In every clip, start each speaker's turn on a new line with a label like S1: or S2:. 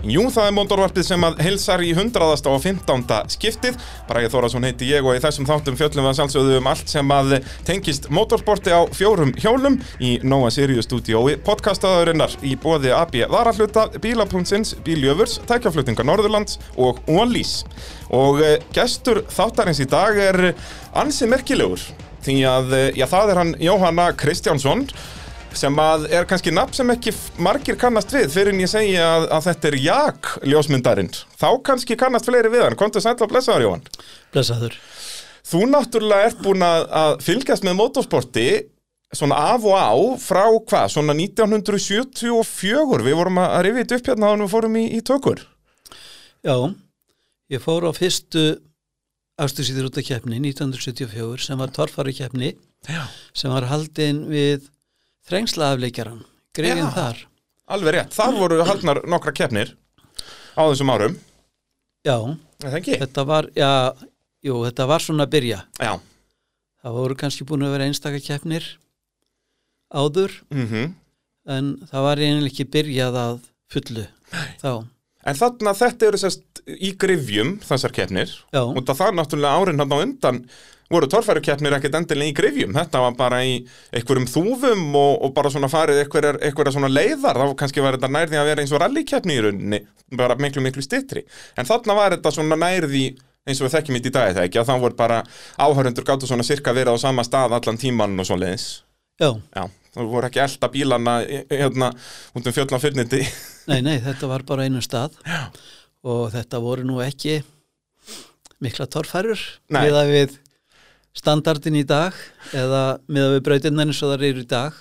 S1: Jú, það er móndorvarpið sem að heilsar í 100. og 15. skiptið. Bræði Þórasson heiti ég og í þessum þáttum fjöllum við að sjálfsögðu um allt sem að tengist mótorsporti á fjórum hjólum í Nóa Sirius stúdiói podcastaðurinnar í bóði AB Varahluta, Bíla.ins, Bíljöfurs, Tækjaflutninga Norðurlands og Ólís. Og eh, gestur þáttarins í dag er ansi merkilegur því að, eh, já, það er hann Jóhanna Kristjánsson sem að er kannski nafn sem ekki f- margir kannast við fyrir en ég segi að, að þetta er Jak ljósmyndarinn þá kannski kannast fleiri við hann, komdu sætla og blessaður Jóhann
S2: Blessaður.
S1: Þú náttúrulega ert búin að, að fylgjast með motorsporti svona af og á frá hvað, svona 1974 við vorum að rifja þetta upp hérna þannig við fórum í, í tökur
S2: Já, ég fór á fyrstu afstursýður út af keppni 1974 sem var torfari keppni
S1: Já.
S2: sem var haldin við þrengsla afleikjaran,
S1: Já.
S2: greiðin þar.
S1: Alveg rétt, þar voru haldnar nokkra keppnir á þessum árum
S2: Já,
S1: Er Það ekki?
S2: þetta var, já, jú, þetta var svona að byrja.
S1: Já
S2: Það voru kannski búin að vera einstaka keppnir áður
S1: mm
S2: en það var eiginlega ekki byrjað að fullu. Nei. Þá,
S1: En þarna þetta eru sérst í grifjum þessar keppnir
S2: já,
S1: og það það náttúrulega árin hann á undan voru torfærukeppnir ekkert endilega í grifjum þetta var bara í einhverjum þúfum og, og bara svona farið einhverjar, einhverjar svona leiðar þá kannski var þetta nærði að vera eins og rallykeppni í rauninni, bara miklu miklu stittri en þarna var þetta svona nærði eins og við þekkjum þetta í dag er það ekki að þá voru bara áhörundur gátu svona sirka verið á sama stað allan tíman og svo leiðis
S2: já,
S1: já, þú voru ekki elda bílana hérna út um fjöldan fyrnindi
S2: nei, nei, þetta var bara á einum stað já. og þetta voru nú ekki mikla torfærur
S1: Nei.
S2: miða við standardin í dag eða miða við brautinnar eins og það eru í dag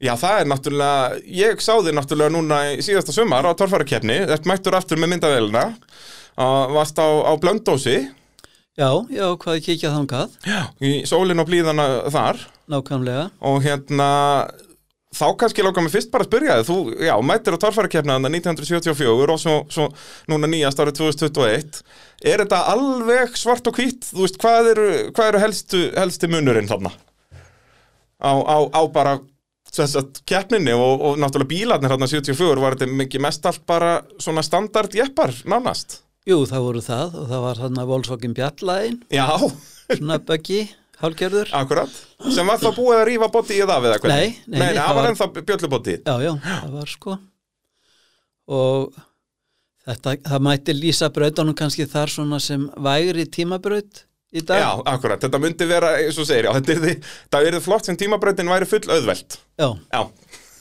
S1: Já, það er náttúrulega, ég sá þig náttúrulega núna í síðasta sumar á torfærakeppni, ert mættur aftur með myndavélina, og varst á, á blöndósi,
S2: Já, já, hvað ég kíkja þangað
S1: Já. í sólin og blíðana þar,
S2: nákvæmlega,
S1: og hérna, þá kannski lóka mig fyrst bara að spyrja þig, þú, já, mættir á torfærakeppna þarna 1974 og svo, svo núna nýjast árið 2021, er þetta alveg svart og hvít, þú veist, hvað eru, hvað eru helstu, helsti munurinn þarna? á, á, á bara sem sagt, keppninni og, og náttúrulega bílarnir hérna 74 var þetta mikið mest allt bara svona standard jeppar nánast
S2: jú, það voru það og það var þarna Volkswagen Bjallæn
S1: Já,
S2: svona böggi, hálgerður
S1: akkurat sem var þá búið að rífa bóti í það eða hvernig
S2: Nei, nei,
S1: nei,
S2: nei,
S1: það
S2: það
S1: var
S2: var-
S1: ennþá bjöllubóti
S2: Já, já, það var sko og þetta, það mætti lýsa brautunum kannski þar svona sem vægri tímabraut í dag
S1: Já, akkurat, þetta myndi vera, eins og þú segir, já, þetta er því, það er flott sem tímabrautin væri full auðvelt.
S2: já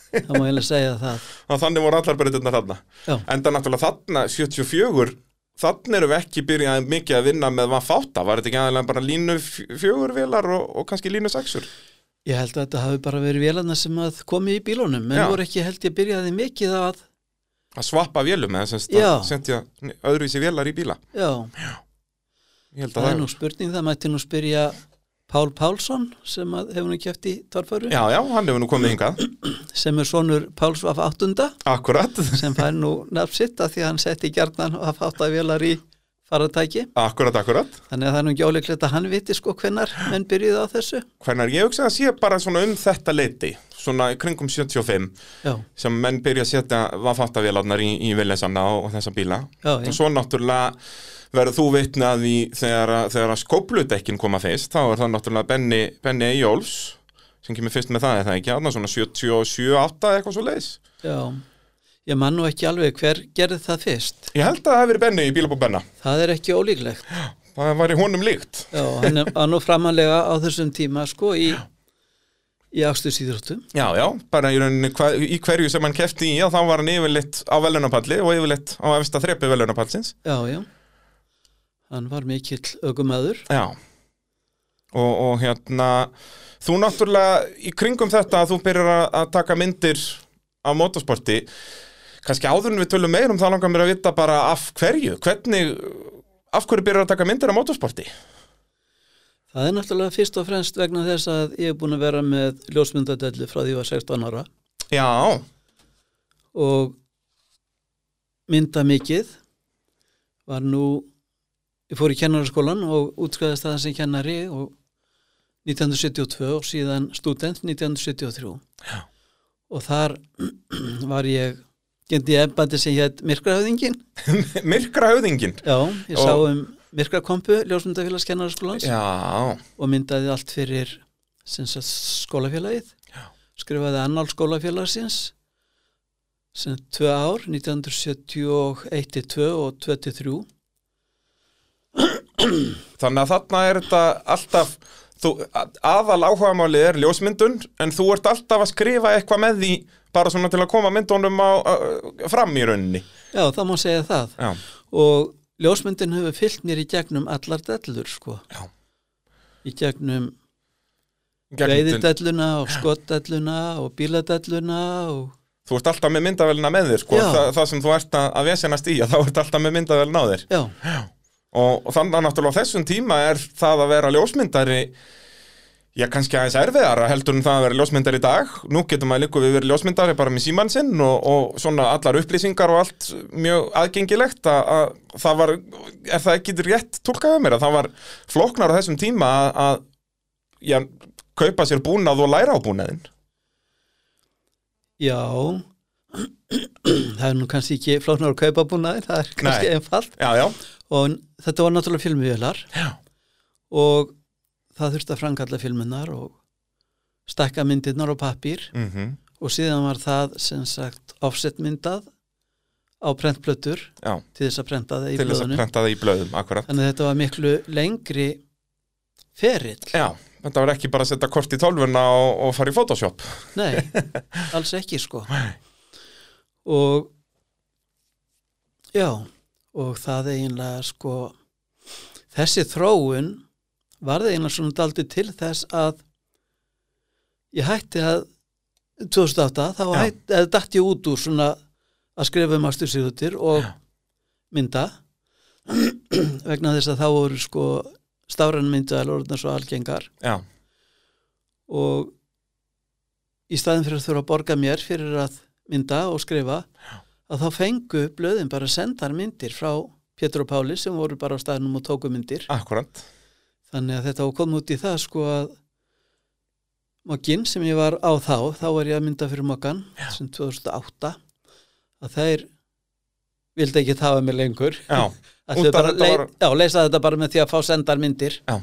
S1: Já,
S2: það má eiginlega segja það
S1: og þannig voru allar brautirnar þarna.
S2: Já.
S1: Enda náttúrulega þarna, 74, þannig erum við ekki byrjað mikið að vinna með hvað fáta, var þetta ekki aðeins bara línu fjögurvilar og, og kannski línu sexur?
S2: Ég held að þetta hafi bara verið vélarna sem að komið í bílunum, menn
S1: Já.
S2: voru ekki held ég byrjaði mikið að,
S1: að svappa vélum eða semst
S2: Já.
S1: að sendja öðruvísi vélar í bíla
S2: já,
S1: ég held
S2: það,
S1: að
S2: er nú spurning, það mætti nú spyrja Pál Pálsson sem að hefur nú kæft í torfæru,
S1: já, já, hann hefur nú
S2: Mm.
S1: komið hingað
S2: sem er sonur Páls af áttunda,
S1: akkurat,
S2: sem fær nú nafn sitt að því að hann setti gjarnan af átta vélar í faratæki,
S1: akkurat, akkurat
S2: þannig að það er nú ekki óleiklegt að hann viti sko hvenar menn byrjuði á þessu,
S1: hvernig ég hugsa að sé bara svona um þetta leiti svona í kringum 75
S2: já,
S1: sem menn byrja að setja vafattavélarnar í, í viljensana og, og þessa bíla
S2: já, já,
S1: og svo náttúrulega verður þú vitnað í þegar, að- þegar að skópludekkin koma fyrst þá er það náttúrulega Benny, Benny Jóls sem kemur fyrst með það, er það ekki? Þarna svona 77, 8 eitthvað svo leis
S2: já, ég man nú ekki alveg hver gerði það fyrst,
S1: Ég held að það hefur verið Benny í bílabú Benna
S2: það er ekki ólíklegt.
S1: Það væri honum líkt
S2: Já, hann er- var nú framanlega á þessum tíma sko í, í ástursýðrottum.
S1: Já, já, bara í rauninni hva, í hverju sem hann kefti í að þá var hann yfirleitt á velunapalli og yfirleitt á efsta þrepi velunapallsins.
S2: Já, já. Hann var mikill ögumæður.
S1: Já. Og, og hérna, þú náttúrulega í kringum þetta að þú byrjar að, að taka myndir af motorsporti, kannski áður en við tölum meir um það langar mér að vita bara af hverju, hvernig, af hverju byrjar að taka myndir af motorsporti?
S2: Það er náttúrulega fyrst og fremst vegna þess að ég er búin að vera með ljósmyndadellu frá því ég var 16 ára
S1: Já,
S2: og mynda mikið var nú, ég fór í kennaraskólan og útskæðast það sem kennari og 1972 og síðan student 1973
S1: Já.
S2: og þar var ég Gendi ég embandi sem hétt myrkrahöfðingin.
S1: Myrkra höfðingin
S2: Já, ég sá
S1: Og-
S2: um myrkrakompu, ljósmyndafélags kennaraskólans
S1: Já,
S2: og myndaði allt fyrir sem sagt, skólafélagið.
S1: Já.
S2: Skrifaði annál skólafélagsins sem sagt, tvö ár, 1971-2 og 23.
S1: þannig að þarna er þetta alltaf þú, að- aðal áhugamálið er ljósmyndun en þú ert alltaf að skrifa eitthvað með því bara svona til að koma myndunum á, á, fram í rauninni
S2: Já, það má segja það.
S1: Já,
S2: og ljósmyndin hefur fyllt mér í gegnum allar dellur sko
S1: Já.
S2: í gegnum
S1: Gegnum-
S2: veiðidelluna og skotdelluna og bíladelluna og
S1: þú ert alltaf með myndavélina með þér sko,
S2: Já.
S1: Þa, það sem þú ert að, að vesenast í að þá ert alltaf með myndavélina á þér
S2: já,
S1: og, og þannig að náttúrulega á þessum tíma er það að vera ljósmyndari já kannski aðeins erfiðara heldur en það að vera ljósmyndari í dag nú getur maður líka við verið ljósmyndari bara með símann sinn og, og svona allar upplýsingar og allt mjög aðgengilegt að, að það var, er það ekki rétt tólkaðið mér að það var flóknar á þessum tíma að, að já, kaupa sér búnað og læra á búnaðinn
S2: já það er nú kannski ekki flóknar að kaupa búnaðir, það er kannski einfalt
S1: já, já,
S2: og n- þetta var náttúrulega filmvélar
S1: já,
S2: og það þurfti að framkalla filmunar og stakka myndirnar á pappír
S1: mm
S2: og síðan var það sem sagt offsetmyndað á prentplötur
S1: já
S2: til þess að prenta það
S1: til
S2: í
S1: þess að
S2: blöðunum
S1: prenta það í blöðum akkurat
S2: Þannig að þetta var miklu lengri ferill.
S1: já, þetta var ekki bara að setja kort í tólfuna og, og fara í Photoshop
S2: Nei, alls ekki sko.
S1: Nei.
S2: Og já, og það eiginlega sko, þessi þróun varði eiginlega svona daldið til þess að ég hætti að 2008, þá
S1: Já.
S2: hætti, eða datt ég út úr svona að skrifa um ástur síðutir og mynda vegna þess að þá voru sko stafran myndaðal orðnar svo algengar
S1: já
S2: og í staðin fyrir að þurfa að borga mér fyrir að mynda og skrifa að þá fengu blöðin bara sendar myndir frá Pétur og Páli sem voru bara á staðinum og tóku myndir
S1: Akkurat,
S2: þannig að þetta kom út í það sko að Mokkin sem ég var á þá þá var ég að mynda fyrir Mokkan sem 2008 að þeir vildi ekki hafa mig lengur
S1: já, Út
S2: Ætluðu
S1: af
S2: bara
S1: þetta
S2: lei-
S1: var-
S2: Já, leysa þetta bara með því að fá sendar myndir
S1: Já.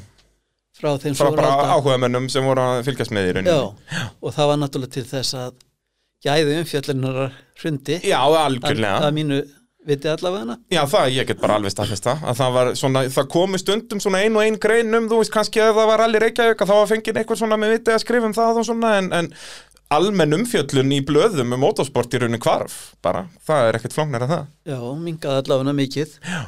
S2: frá þeim
S1: frá
S2: sem voru
S1: bara
S2: á þetta.
S1: áhugamönnum sem voru að fylgjast með í rauninni.
S2: já, og það var náttúrulega til þess að gæði umfjöllunar hrundi
S1: Já,
S2: að,
S1: algjörlega.
S2: að mínu viti allavega
S1: Já, það ég get bara alveg staðfesta að það var svona, það komi stundum svona ein og ein grein um, þú veist, kannski að það var allir Reykjavík að þá var fengið eitthvað svona með vitið að skrifa um það og svona, en, en almenn umfjöllun í blöðum um motorsport í rauninni hvarf, bara, það er ekkert flóknar að það.
S2: já, mingaði allavega mikið já,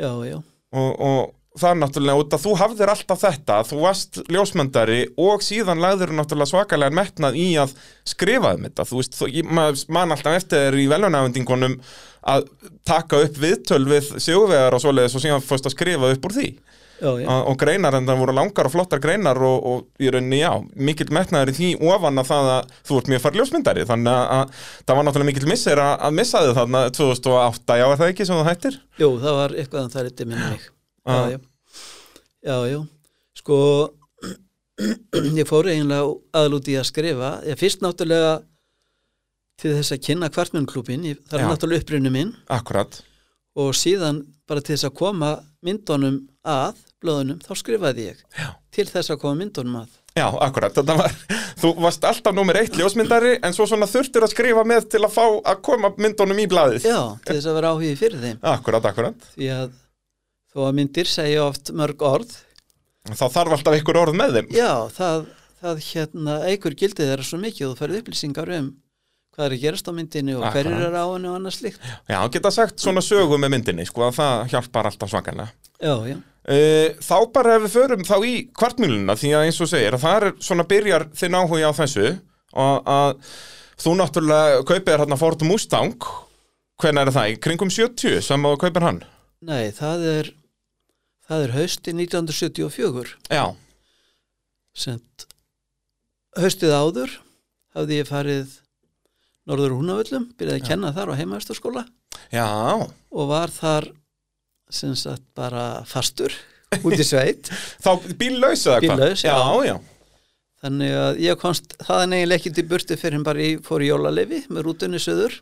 S2: já, já,
S1: og, og það er náttúrulega út að þú hafðir alltaf þetta, þú varst ljósmyndari og síðan lagður náttúrulega svakalega metnað í að skrifa um þetta, þú veist, þú, ég- maður man alltaf eftir þér í velunafendingunum að taka upp viðtöl við sigurvegar og svoleiðis og síðan fórst að skrifa upp úr því
S2: já, já.
S1: og, og greinar, en það voru langar og flottar greinar og, og í rauninni, já, mikill metnaður í því ofan að það að þú ert mjög farið ljósmyndari þannig að, að það var náttúrulega mikill missir að, að missa þið þarna 2008, já, er það ekki sem það hættir?
S2: Jú, það var eitthvað en það er eitthvað minni mig
S1: Ah.
S2: já, já, já, já sko ég fór eiginlega aðal út í að skrifa ég fyrst náttúrulega til þess að kynna kvartmjönnklúbin það er
S1: Já.
S2: náttúrulega upprunni minn
S1: Akkurat,
S2: og síðan bara til þess að koma myndunum að blöðunum þá skrifaði ég
S1: já
S2: til þess að koma myndunum að
S1: Já, akkurat, þetta var, þú varst alltaf nummer eitt ljósmyndari en svo svona þurftir að skrifa með til að fá að koma myndunum í blaðið.
S2: já, til þess að vera áhugi fyrir þeim
S1: Akkurat, akkurat.
S2: því að þó að myndir segja oft mörg orð
S1: Þá þarf alltaf einhver orð með þeim.
S2: já, það, það hérna eigur gildið þeirra svo mikið og þú færið upplýsingar um hvað er að gerast á myndinni og hverjir
S1: Akkurat.
S2: eru á henni og annars slíkt
S1: Já, geta sagt svona sögu með myndinni, sko, að það hjálpar alltaf svakalega.
S2: já, já,
S1: Eh, Þá bara ef við förum þá í kvartmjöluna, því að eins og segir, að það er svona byrjar þinn áhuga á þessu og að þú náttúrulega kaupir þér hérna Ford Mustang, hvenær er það, í kringum 70 sem að þú kaupir hann?
S2: nei, það er það er hausti 1974
S1: Já,
S2: sem t- haustið áður hafði ég farið norður húnavöllum, byrjaði að kenna þar á heimaðsturskóla
S1: já,
S2: og var þar sem sagt bara fastur út í sveit
S1: þá bíllaus eða hvað?
S2: Bíllaus, já.
S1: Já, já.
S2: þannig að ég komst þaðan eiginlega ekki til burtu fyrir en bara ég fór í jólaleyfi með rútunni söður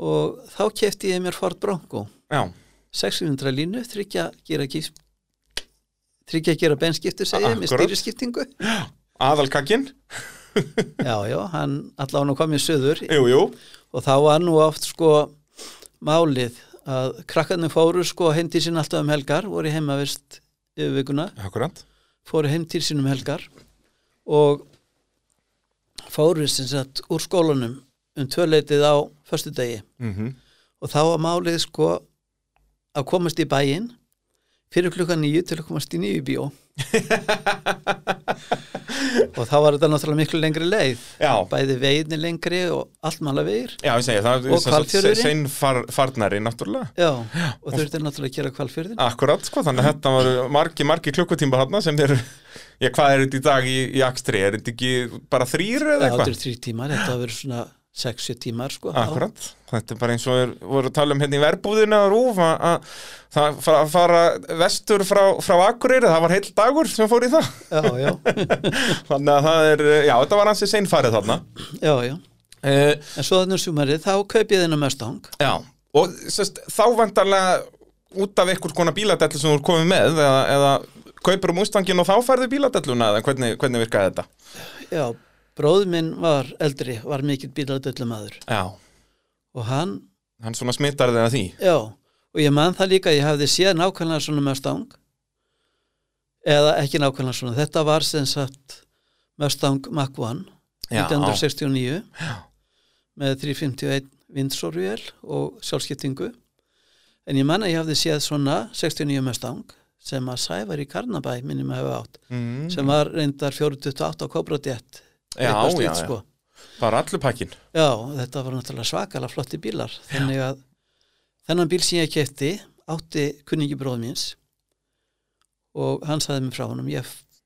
S2: og þá kefti ég mér Ford Bronco
S1: já,
S2: 600 línu, þryggja gera gísp þryggja gera benskiptu segja ég, með
S1: Akkurat.
S2: stýriskiptingu
S1: aðalkakkin
S2: já, já, hann allan og komið söður
S1: jú, jú,
S2: og þá var nú oft sko málið að krakkarnir fóru sko heim til sín alltaf um helgar voru heimavist yfir vikuna
S1: akkurat
S2: fóru heim til sín um helgar og fóru sem sagt úr skólanum um tvöleitið á föstudegi
S1: mm
S2: og þá var málið sko að komast í bæinn fyrir klukkan nýju til að komast í nýju bíó og þá var þetta náttúrulega miklu lengri leið
S1: já,
S2: bæði veginni lengri og allt mála vegir
S1: já, ég segi það
S2: Og Hvalfjörðurinn?
S1: seinfarnari, náttúrulega
S2: já, og þurfti náttúrulega að gera kvalfjörðin
S1: Akkurat, sko, þannig að þetta var margi, margi klukkutíma þarna sem er, já, hvað er þetta í dag í, í akstri, er þetta ekki bara þrýr
S2: það
S1: eða
S2: áttur
S1: eitthvað?
S2: þrý tímar, þetta hafa verið svona 6-7 tímar sko
S1: Akkurat, þetta er bara eins og er, voru að tala um hérna í verbúðina að rúf að- að það fara, fara vestur frá, frá Akureyri, það var heill dagur sem fór í það,
S2: já, já,
S1: þannig að það er, já, þetta var hansi seinfarið þarna.
S2: já, já
S1: Uh,
S2: en svo þannig sumarið, þá kaup ég þennan Mustang
S1: já, og sest, þá vantarlega út af einhvers konar bíladellu sem þú er komið með eða, eða kaupur um ústangin og þá færðu bíladelluna eða hvernig, hvernig virkaði þetta?
S2: já, bróð minn var eldri var mikill bíladöllumæður
S1: Já.
S2: og hann,
S1: hann svona smittar þeirra því
S2: já, og ég man það líka að ég hafði séð nákvæmlega svona Mustang eða ekki nákvæmlega svona þetta var sem sagt Mustang Mach 1
S1: Já,
S2: 1969 með 351 vindsóruvél og sjálfskiptingu en ég man að ég hafði séð svona 69 Mustang sem að sævar í Karnabæ minni maður hefur átt
S1: mm,
S2: sem var reyndar 428 á Cobra Jet
S1: Já,
S2: eitthvað
S1: já,
S2: slíkt,
S1: já. bara allur pakkin
S2: já, þetta var náttúrulega svakalega flotti bílar þannig að þennan bíl sem ég kefti átti kunningi bróð míns og hann saði mér frá honum ég f-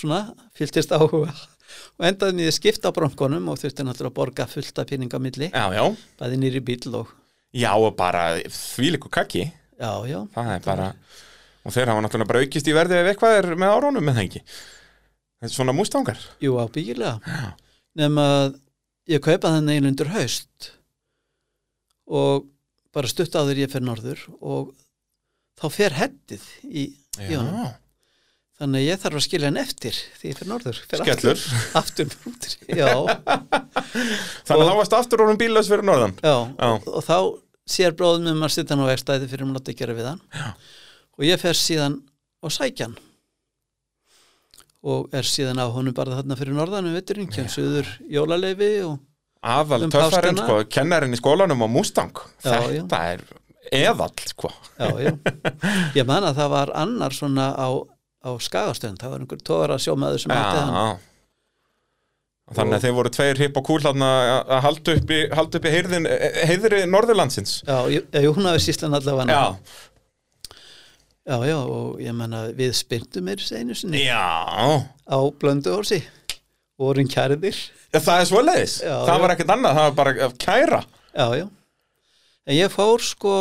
S2: svona fylgtist áhuga og endaði mér skipta á bronkonum og þurfti náttúrulega að borga fullta peninga á milli
S1: já, já,
S2: bæði nýri bíl og
S1: já og bara þvílíku kakki
S2: já, já,
S1: það er bara og þeir hafa náttúrulega bara aukist í verði ef eitthvað er með árónum með það ekki þetta er svona mústangar
S2: jú ábyggilega
S1: Já.
S2: nefn að ég kaupa þann einu undir haust og bara stutt áður ég fer norður og þá fer hettið í, í honum þannig að ég þarf að skilja hann eftir því ég fer norður fer
S1: skellur
S2: aftur, aftur út já,
S1: þannig að þá varst aftur orðum bílaus fyrir norðan
S2: já,
S1: Já.
S2: Og, og þá sér bróðum um að sitja hann á vegstæði fyrir um láta gera við hann já. og ég fer síðan og sækja hann og er síðan á honum bara þarna fyrir norðan um vetturinn, kemst yfir jólaleifi og
S1: aðal
S2: Um
S1: töffarinn
S2: páskana?
S1: sko, kennarinn í skólanum á mústang
S2: Já,
S1: þetta er eðall sko
S2: já, já. ég man að það var annar svona á, á skagastönd, það var einhver tóra sjómaður sem átti hann
S1: Já. Þannig að þeir voru tveir hipp og kúl þarna að að halda uppi, halda uppi heyrðin, e, heiðri Norðurlandsins.
S2: já, ég, ég, hún hafi sýslan allavega hann.
S1: Já,
S2: já, já, og ég man að við spyrntum meir einu sinni
S1: já,
S2: á blöndu orsi vorum kærðir,
S1: Já, það er svoleiðis.
S2: Já,
S1: það
S2: já.
S1: var ekkert annað, það var bara að kæra.
S2: já, já en ég fór sko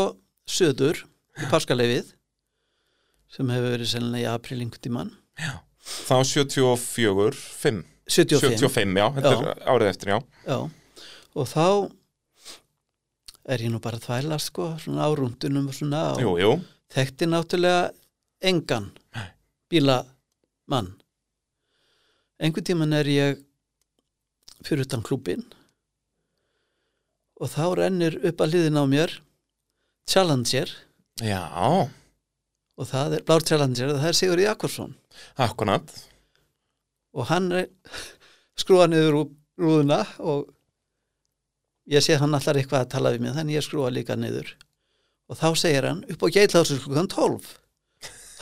S2: söður í paskaleifið sem hefur verið sennilega í apríl einhvern tímann
S1: Þá 74, 5.
S2: 75,
S1: 75, já, þetta
S2: Já.
S1: er árið eftir, já.
S2: Já, og þá er ég nú bara að þvæla sko, svona árúndunum og svona og
S1: Jú, jú,
S2: þekkti náttúrulega engan bílamann einhvern tíman er ég fyrir utan klúbin og þá rennir upp að hliðin á mér Challenger
S1: já,
S2: og það er Blár Challenger og það er Sigurði Akkursson
S1: akkurat.
S2: og hann er- skrúa niður úr rúðuna og ég sé hann allar eitthvað að tala við mig þannig ég skrúa líka niður og þá segir hann upp á geitlásur klukkan 12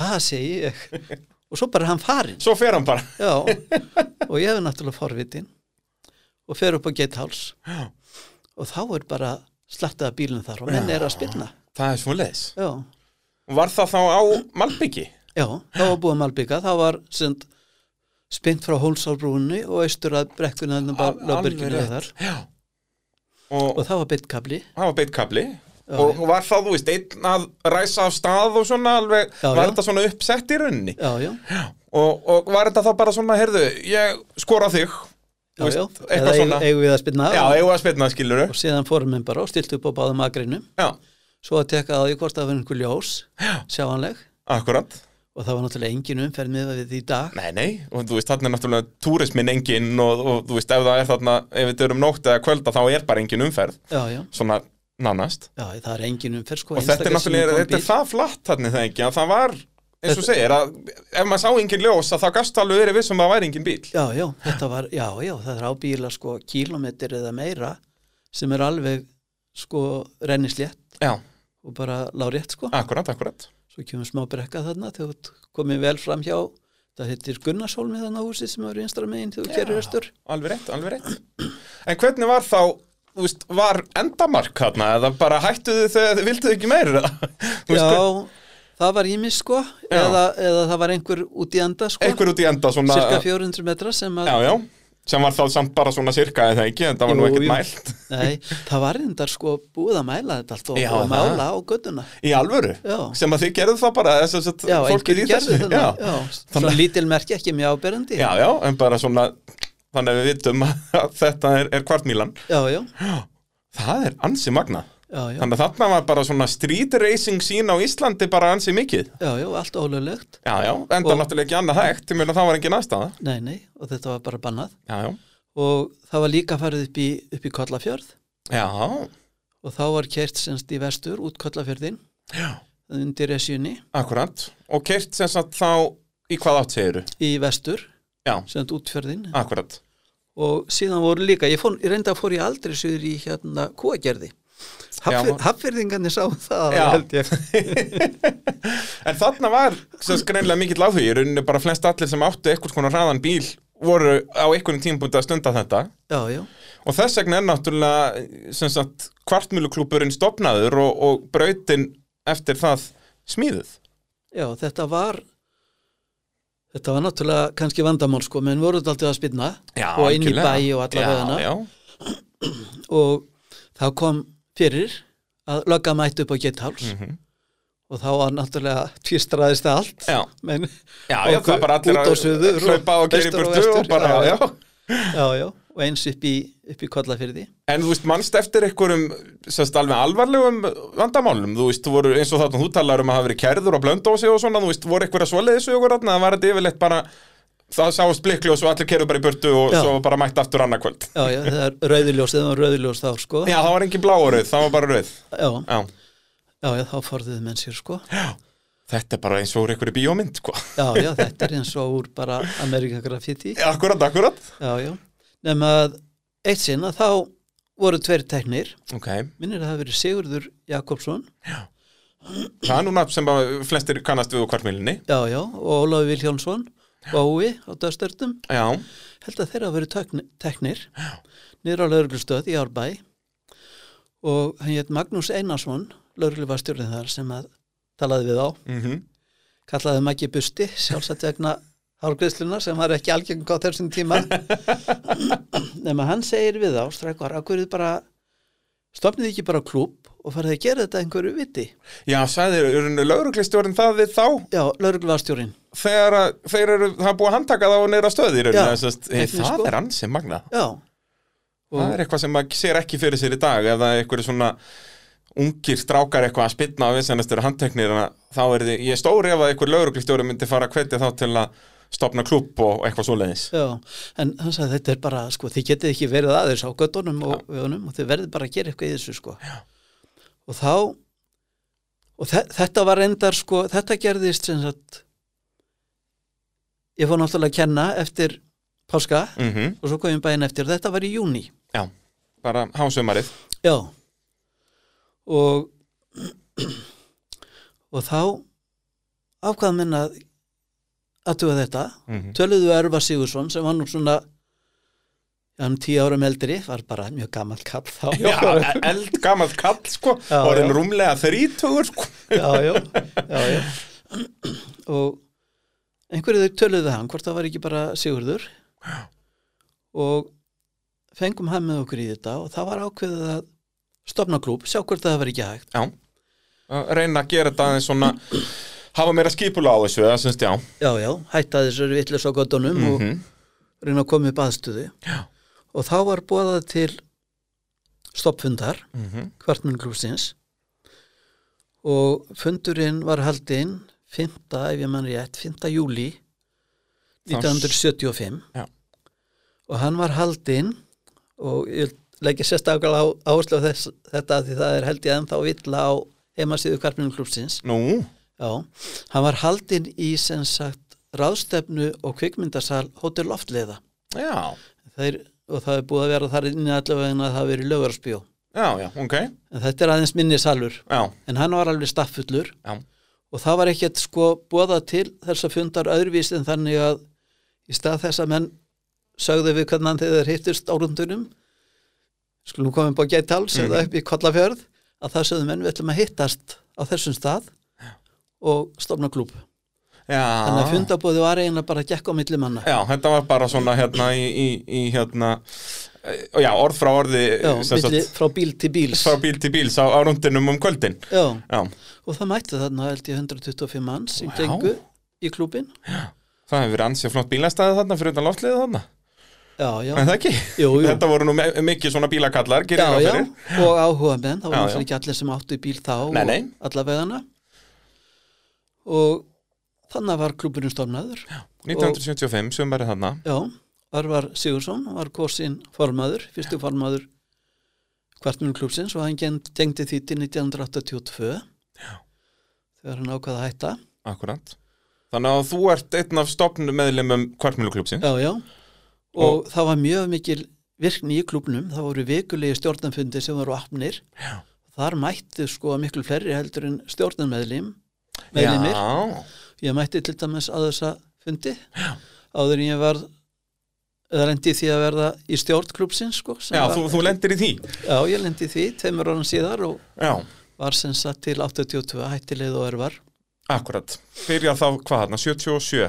S2: það segi ég og svo bara er hann farinn
S1: Svo fer hann bara.
S2: já, og ég hefur náttúrulega forvitin og fer upp á geitháls
S1: Já.
S2: og þá er bara slattaða bílum þar og menn er að spilna
S1: Það er svoleiðis.
S2: já,
S1: Var það þá á Malbyggi?
S2: já, þá var búið malbygga þá var sind spint frá Hólsárbrúni og austur að brekkunni þannig bara lögbyrginu þar
S1: Já. Og
S2: og það var beitt kabli
S1: það var beitkabli. Og og var það, þú veist, einn að ræsa af stað og svona alveg,
S2: Já,
S1: var
S2: já.
S1: þetta svona uppsett í rauninni?
S2: já, já,
S1: Og, og var þetta þá bara svona, heyrðu, ég skora á þig þú
S2: já,
S1: veist,
S2: eða
S1: eitthvað
S2: eigum-
S1: svona
S2: eigum við að spilna
S1: Já,
S2: og,
S1: eigum að spilna skilur
S2: og síðan fórum við bara og stilt upp á báðum agrinu
S1: Já,
S2: svo að tekka að því hvort það var einhver ljós sjáanleg
S1: akkurat
S2: og það var náttúrulega engin umferð með við í dag
S1: Nei, nei, og þú veist, þarna er náttúrulega túrismin engin og, og þú veist, ef það er þarna ef þetta er um nótt eða kvölda þá er bara engin umferð
S2: já, já,
S1: svona nánast
S2: já, það er engin umferð sko,
S1: og þetta er
S2: einstaka sinnum
S1: náttúrulega,
S2: kom
S1: þetta er
S2: bíll.
S1: það flatt þarna er það ekki, að það var eins og
S2: Þetta-
S1: segir að ef maður sá engin ljós að þá gast alveg verið vissum að það væri engin bíl
S2: Já, já, þetta var, já, já, það er á bíla sko kílómetri eða meira sem er alveg sko rennislétt
S1: Já,
S2: og bara lárétt sko.
S1: akkurat, akkurat
S2: Svo kemur smá brekka þarna þegar þú ert komin vel fram hjá, það heitir Gunnarshólmi þarna húsið sem er einstra megin þegar þú kerir östur.
S1: Alveg rétt, alveg rétt En hvernig var þá, þú veist, var endamark þarna eða bara hættuðu þegar þið vilduðu ekki meir eða? Þú veist,
S2: Já,
S1: hver-
S2: það var ímis sko,
S1: Já.
S2: eða, eða það var einhver út í enda sko,
S1: Einhver út í enda svona
S2: cirka 400 metra sem að,
S1: Já, já, sem var þá samt bara svona cirka eða ekki, en það var nú
S2: Jú,
S1: ekkert
S2: jú.
S1: mælt
S2: nei, það var reyndar sko búið að mæla þetta allt og,
S1: Já,
S2: og
S1: það.
S2: mála á göttuna.
S1: Í alvöru,
S2: Já.
S1: sem að þið gerðu það bara þess að
S2: Já,
S1: fólkið
S2: einhverjir
S1: í
S2: gerðu
S1: þessu
S2: þannig, já,
S1: já.
S2: svona lítil merki ekki mjög áberandi.
S1: já, já, en bara svona þannig að við vitum að þetta er, er kvartmílan
S2: Já, já,
S1: Það er ansi magna
S2: já, já,
S1: Þannig að þarna var bara svona street racing sín á Íslandi bara ansi mikið
S2: já, já, allt ólöglegt
S1: Já, já, enda
S2: Og-
S1: náttúrulega ekki annað hægt, ég meina það var engin aðstæða
S2: Nei, nei, og þetta var bara bannað
S1: Já, já
S2: og það var líka farið upp í, upp í Kollafjörð
S1: Já,
S2: og þá var kert semst í vestur út Kollafjörðin
S1: Já.
S2: undir Esjunni
S1: akkurat Og kert sem sagt þá í hvað átt segiru
S2: í vestur
S1: Já.
S2: semst útfjörðin
S1: Akkurat
S2: og síðan voru líka, ég, fór, ég reynda að fór ég aldrei sögur í hérna kúagerði
S1: Já.
S2: Hafnfyrðingarnir sá það
S1: Já.
S2: held ég
S1: En þarna var sem sagt greinlega mikill áhugi Í rauninni bara flest allir sem áttu einhvers konar hraðan bíl voru á einhvern tímpúndi að stunda þetta
S2: Já, já,
S1: Og þess vegna er náttúrulega sem sagt kvartmjöluklúburinn stopnaður og, og brautin eftir það smíðuð
S2: já, þetta var þetta var náttúrulega kannski vandamál sko, menn voru þetta aldrei að spynna
S1: Já,
S2: og inn í
S1: algjörlega.
S2: bæi og alla vegana
S1: Já, já,
S2: og þá kom fyrir að lögga mætt upp á getháls
S1: Mhm.
S2: og þá var náttúrulega tvistraðist allt
S1: já,
S2: menn,
S1: já, já
S2: Og
S1: það er bara allir
S2: út og suður og
S1: hlaupa og gera í
S2: vestur og
S1: burtu og
S2: vestur,
S1: bara, já,
S2: já, já.
S1: já
S2: já, já, og eins upp í, upp í kollafyrði
S1: En þú veist, mannst eftir einhverjum sérst, alveg alvarlegum vandamálum þú veist, þú voru eins og þarna þú talar um að hafa verið kærður og blöndósi og svona, þú veist, voru einhverja svoleiðis og ykkur þarna, það var þetta yfirleitt bara það sást blikli og svo allir kerðu bara í burtu og
S2: Já.
S1: svo bara mætt aftur annarkvöld
S2: já, já, það er rauðiljós, það var rauðiljós þá sko
S1: Já, það var engin blá og rauð, það var bara rauð
S2: já,
S1: Já,
S2: já, já, þá forðuðu menn sér sko
S1: þetta er bara eins og úr einhverju bíómynd, sko
S2: já, já, þetta er eins og úr bara Amerika Graffiti
S1: Já, Akkurat, akkurat
S2: já, já, nema að eitt sinn að þá voru tveir teknir
S1: Ok,
S2: minnir að það hafi verið Sigurður Jakobsson
S1: það er núna sem að flestir kannast við úr kvartmílinni
S2: já, já, og Ólafi Vilhjónsson Bói á Döstörtum
S1: Já,
S2: held að þeirra hafa verið tökn- teknir niður á lauruglustöð í Árbæ og hann hétt Magnús Einarsson lauruglufastjórið þar sem að talaði við á,
S1: mhm
S2: kallaði Maggi Busti sjálfsagt vegna hálgriðsluna sem var ekki algengum á þessum tíma nema hann segir við á strekkar, akkur þið bara stopnið ekki bara klúb og farið að gera þetta einhverju viti
S1: Já, sagði lauruglistjórinn það við þá
S2: já, lauruglufastjórin
S1: þegar að, þeir eru, það er búið að handtaka það og neyra stöðir
S2: Já,
S1: það, sest, e,
S2: einnig,
S1: það
S2: sko.
S1: er ansi magna
S2: já,
S1: það er eitthvað sem maður sér ekki fyrir sér í dag ef það er eitthvað svona ungir strákar eitthvað að spynna á vinsennast eru handteknir en að þá er þið, ég er stóri ef að eitthvað lauruglistjóri myndi fara að hvetja þá til að stopna klúpp og eitthvað svoleiðis
S2: já, en hann sagði þetta er bara, sko, þið getið ekki verið aðeins á göttunum og, vegunum og þið verðið bara að gera eitthvað í þessu, sko já. og þá og þe þetta var endar, sko þetta gerðist sem sagt ég fór náttúrulega að kenna eftir páska
S1: mm
S2: og svo kom ég bæinn eftir, þetta var í júni
S1: Já, bara hásumarið
S2: já og og þá ákvað minn að aðtuga þetta
S1: mm
S2: töluðu Örva Sigursson sem var nú svona já, hann tíu árum eldri, var bara mjög gammal kall þá
S1: Já, e- eld gamall kall sko
S2: Já,
S1: orðin
S2: já.
S1: rúmlega þrítugur sko
S2: já, já, já, já. og einhverju þau töluðu hann hvort það var ekki bara Sigurður og fengum hann með okkur í þetta og það var ákveðið að stopna klúb, sjá hvort það var ekki hægt
S1: Já, að reyna að gera þetta aðeins svona hafa meira skipula á þessu, það syns já
S2: já, já, hætta þessari vitlega svo gottunum
S1: Mhm.
S2: og reyna að koma upp aðstöðu já. og þá var bóðað til stoppfundar
S1: mm
S2: kvartmennklúsins og fundurinn var haldinn 5. ef ég mann rétt 5. júli
S1: Þá-
S2: 1975
S1: Já.
S2: og hann var haldinn og ég leggja sérstaklega á- áherslu á þess, þetta af því það er held ég ennþá vill á heimasíðu kvartmennklúsins
S1: Nú,
S2: Já, hann var haldinn í sem sagt ráðstefnu og kvikmyndasal Hotel Loftleiða
S1: já,
S2: Þeir, og það er búið að vera þar inni allavega en að það hafi verið lögurarspjó
S1: já, já, ok
S2: en þetta er aðeins minni salur
S1: Já,
S2: en hann var alveg stafffullur
S1: já,
S2: og það var ekkert sko bóða til þess að fundar öðruvís en þannig að í stað þess að menn sögðu við hvernig hann þegar þeir hittust á rundunum skulum koma upp á gættáls mm. eða upp í kollafjörð að það sögðu menn við ætlum að hittast á þessum stað og stofna klúb
S1: já
S2: þannig að fundabóði var eiginlega bara að gekk á milli manna
S1: Já, þetta var bara svona hérna í, í, í hérna eh, Já, orð frá orði
S2: já,
S1: sem sagt,
S2: milli, frá bíl til bíls
S1: frá bíl til bíls á, á rundinum um kvöldin
S2: já,
S1: Já,
S2: og það mættu þarna held ég 125 mann sem
S1: Vá.
S2: gengu í klúbin
S1: það hefur verið ansið flott bílastæði þarna fyrir utan loftliðið þarna,
S2: já, já,
S1: en það ekki
S2: jú, jú
S1: Þetta voru nú me mikið svona bílakallar
S2: já,
S1: gerir ég ráð
S2: já,
S1: fyrir.
S2: og áhuga menn það
S1: Já,
S2: var
S1: já.
S2: náttúrulega ekki allir sem áttu í bíl þá
S1: Nei, nei.
S2: og allavegana og þannig var klúbunum stofnaður já.
S1: 1975, sömarið þarna
S2: Örvar Sigursson var kosin formaður, fyrstu formaður kvartminn klúbsins og hann geng- gengdi því til 1982 já. þegar hann ákvaða að hætta
S1: Akkurat Þannig að þú ert einn af stopnum meðlumum kvartmjöluklúpsin
S2: Já, já. Og,
S1: Og-
S2: það var mjög mikil virkni í klubnum. Það voru vikulegi stjórnanfundi sem voru apnir.
S1: Já.
S2: Þar mættu sko miklu fleiri heldur en stjórnanmeðlim. Meðlimir.
S1: Já,
S2: Ég mætti til dæmis að þessa fundi. Já. Áður en ég var eða lendi því að verða í stjórn klubsins sko. sem
S1: já
S2: var,
S1: þú, þú lendir í því
S2: já, ég lendi því tveimur orðan síðar og
S1: Já,
S2: var sem sagt til 82 hættilegð og ervar.
S1: akkurat Byrjar þá hvað þarna, 77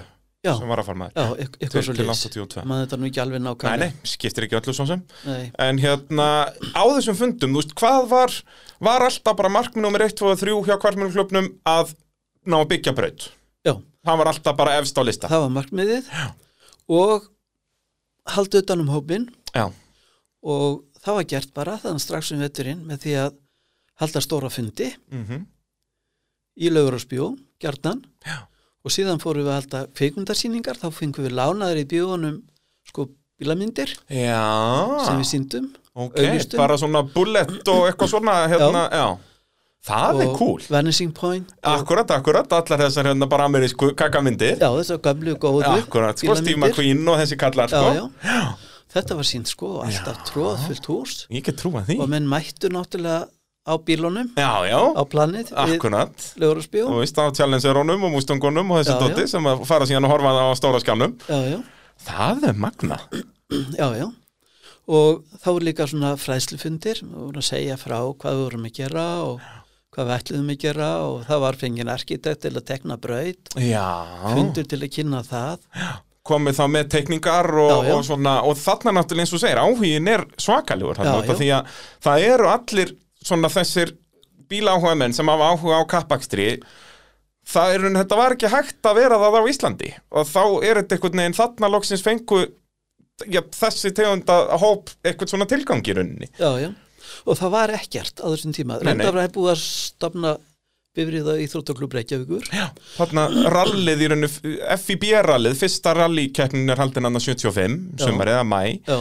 S2: Já,
S1: sem var að fara maður
S2: já, eit- eitthvað svo
S1: til
S2: lýs.
S1: 82
S2: Maður þetta nú ekki alveg
S1: Nei,
S2: nákvæmlega.
S1: nei, skiptir ekki öllu svo sem
S2: nei.
S1: En hérna, á þessum fundum, þú veist, hvað var Var alltaf bara markmið nummer 1, 2 og 3 hjá kvartmjöluklúpnum að ná að byggja braut
S2: Já.
S1: Það var alltaf bara efst á lista
S2: það var markmiðið og haldið utan um hópin
S1: Já,
S2: og það var gert bara þannig strax um vetturinn með því að halda stóra fundi
S1: mhm
S2: í laugurásbjó, gjarnan
S1: Já.
S2: og síðan fórum við að halda kveikmyndarsýningar þá fengum við lánaður í bjóðunum sko bílamyndir
S1: Já
S2: sem við síndum
S1: Ok,
S2: auglýstum.
S1: bara svona bullet og eitthvað svona hérna, já. Það er
S2: og
S1: cool
S2: Vanishing Point og,
S1: Akkurat, akkurat, allar þessar hérna bara amerísku kakamindir
S2: já þess að gamlu og góðu
S1: Akkurat, sko, Steve McQueen og þessi kallar
S2: já,
S1: sko.
S2: já. þetta var sínd sko alltaf tróð fullt hús
S1: Ég get trúa því
S2: og menn mættu náttúrulega á bílunum
S1: Já, já,
S2: á planið við
S1: akkurat
S2: laugurásbjó
S1: Þú veist á Challengerónum og Mustangunum og þessi
S2: Já, já.
S1: dotti sem að fara síðan að horfa á stóra skjánum
S2: já, já,
S1: Það er magna
S2: já, já og þá er líka svona fræðslufundir og vorum að segja frá hvað við vorum að gera og hvað við ætluðum að gera og það var fengin arkitekt til að tekna braut
S1: Já,
S2: fundur til að kynna það
S1: komið þá með tekningar og,
S2: Já, já.
S1: og svona og þarna náttúrulega eins og þú segir, áhugin er svakaljúr þarna
S2: Já,
S1: út af
S2: já.
S1: því að það eru allir svona þessir bíláhuga menn sem hafa áhuga á kappakstri það er, þetta var ekki hægt að vera það á Íslandi og þá er þetta einhvern veginn þarna loksins fengu já, þessi tegund að að hóp eitthvað svona tilgang í rauninni
S2: já, já. og það var ekkert á þessum tíma
S1: Nei, nei.
S2: reynda var búið að stopna bifriða í Þróttaklub Reykjavíkur já,
S1: þarna rallið í rauninni FIB-rallið, fyrsta rallikeppnin er haldin annars 75,
S2: Já.
S1: sumarið að mæ
S2: já,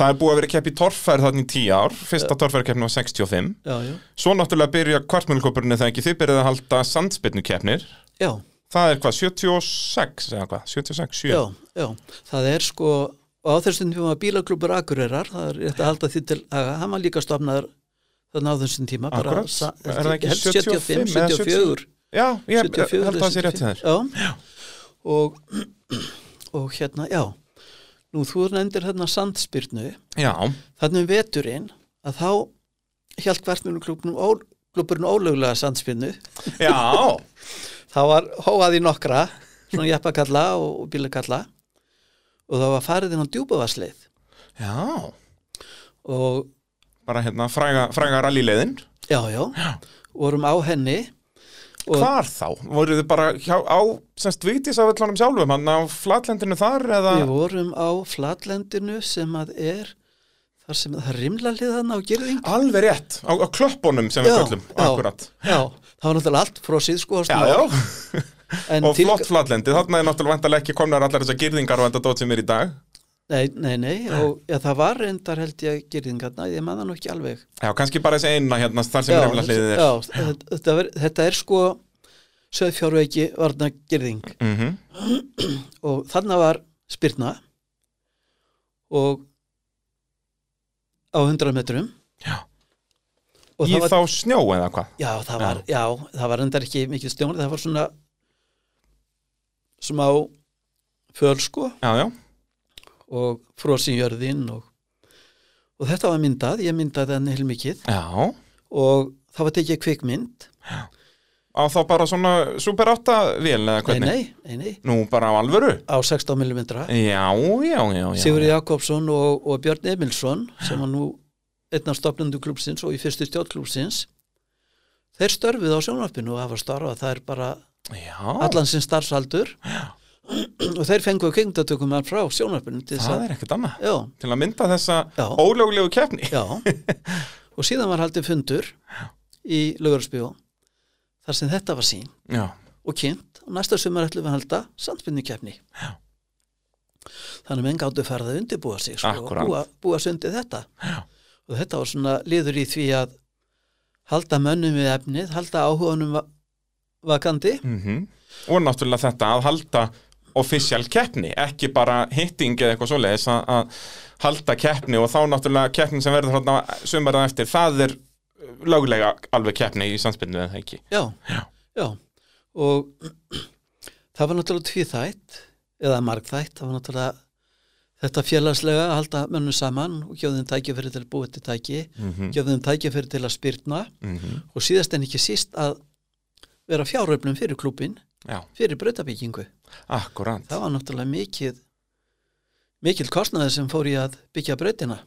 S1: það er búið að vera kepp í torfæri þarna í 10 ár fyrsta torfærikeppnin var 65
S2: já,
S1: Svo náttúrulega byrja kvartmjölkopurinn eða ekki, þið byrjaði að halda sandspinnukeppnir
S2: já,
S1: Það er hvað, 76 eða hvað, 76, 7
S2: já, já. það er sko og á þessum tíma var bílaklubur Akureyrar það er rétt að halda því til að hann var líka stofnaður þannig á þessum tíma bara
S1: Akkurat.
S2: sa-
S1: Er það ekki
S2: ég held
S1: 75,
S2: 75,
S1: eða
S2: 74
S1: Já, ég
S2: 74
S1: held að það sé rétt hjá þér
S2: já. Og, og hérna, já nú þú nefndir þarna sandspyrnu
S1: Já,
S2: þannig um veturinn að þá hjælt hvertmjölu klubnum kluburinn ólöglega sandspyrnu
S1: já,
S2: þá var hóað í nokkra svona jeppakalla og, og bílakalla og það var farið inn á djúbavarsleið
S1: já
S2: og
S1: Bara hérna, fræga, fræga rallileiðin
S2: já, já, vorum á henni og
S1: Hvar þá? Voruð þið bara hjá, á, semst, Vigdísaföllunum sjálfum Hann á flatlendinu þar eða
S2: Við vorum á flatlendinu sem að er þar sem það rimla hlið þarna á gerðing
S1: Alveg rétt, á, á klöppunum sem við
S2: Já,
S1: köllum,
S2: já.
S1: akkurat
S2: já, það var náttúrulega allt frosið sko á
S1: Já,
S2: snjó.
S1: já,
S2: en
S1: og flott flatlendi, þarna er náttúrulega vantarlega ekki komnar allar þessar girðingar og þetta dót sem er í dag
S2: nei, nei, nei, og já, það var reyndar held ég gerðingarna, ég maður það nú ekki alveg
S1: Já, kannski bara þessi eina hérna, þar sem
S2: já,
S1: rimla hliðið er
S2: já, þetta, þetta, ver, þetta er sko söðfjárveiki varna gerðing
S1: mm
S2: og þarna var spyrna og á 100 metrum
S1: Já.
S2: og
S1: Í
S2: það var,
S1: þá snjó eða hvað
S2: já, það var, já, það var endar ekki mikið stjón, það var svona smá föl sko
S1: Já, já,
S2: og frosin jörðin og, og þetta var myndað, ég myndaði hann heilmikið
S1: já
S2: og það var tekið kvikmynd
S1: Á þá bara svona Super 8 vél eða
S2: nei,
S1: hvernig
S2: nei, nei, nei,
S1: Nú bara á alvöru
S2: á 16 mm
S1: Já, já, já, já
S2: Sigur Jakobsson og, og Björn Emilsson sem var nú einn af stopnundu klúpsins og í fyrstu stjórn klúpsins þeir störfið á sjónvarpinu og hafa starfað, það er bara
S1: Já,
S2: allan sinn starfsaldur og þeir fengu kengdatökum hann frá sjónvarpinu til þess
S1: það
S2: að,
S1: er ekkert annað
S2: já,
S1: Til að mynda þessa
S2: Já.
S1: ólöglegu keppni
S2: já og síðan var haldið fundur í Lögurspjó þar sem þetta var sín
S1: Já,
S2: og kynnt og næsta sumar ætlum við að halda sandfinnikeppni
S1: Já.
S2: þannig að menn gáttu farið að undirbúa sig sko, og
S1: Akkúrat.
S2: búa, búa sig undir þetta
S1: Já.
S2: og þetta var svona liður í því að halda mönnum við efnið halda áhuganum va vakandi
S1: mhm Og náttúrulega þetta að halda official keppni, ekki bara hitting eða eitthvað svoleiðis að- að halda keppni og þá náttúrulega keppni sem verður þarna sumarðan eftir, það er löglega alveg keppni í samspilnu eða ekki.
S2: já,
S1: Já.
S2: og það var náttúrulega tvíþætt eða margþætt, það var náttúrulega þetta félagslega að halda mönnum saman og gjöfðum tækifæri til að búa til tæki
S1: Mm -hmm.
S2: gjöfðum tækifæri til að spyrna
S1: Mm -hmm.
S2: og síðast en ekki síst að vera fjáröflum fyrir klúbin
S1: Já,
S2: fyrir brautabyggingu.
S1: akkurant.
S2: Það var náttúrulega mikið mikil kostnaði sem fór í að byggja brautina.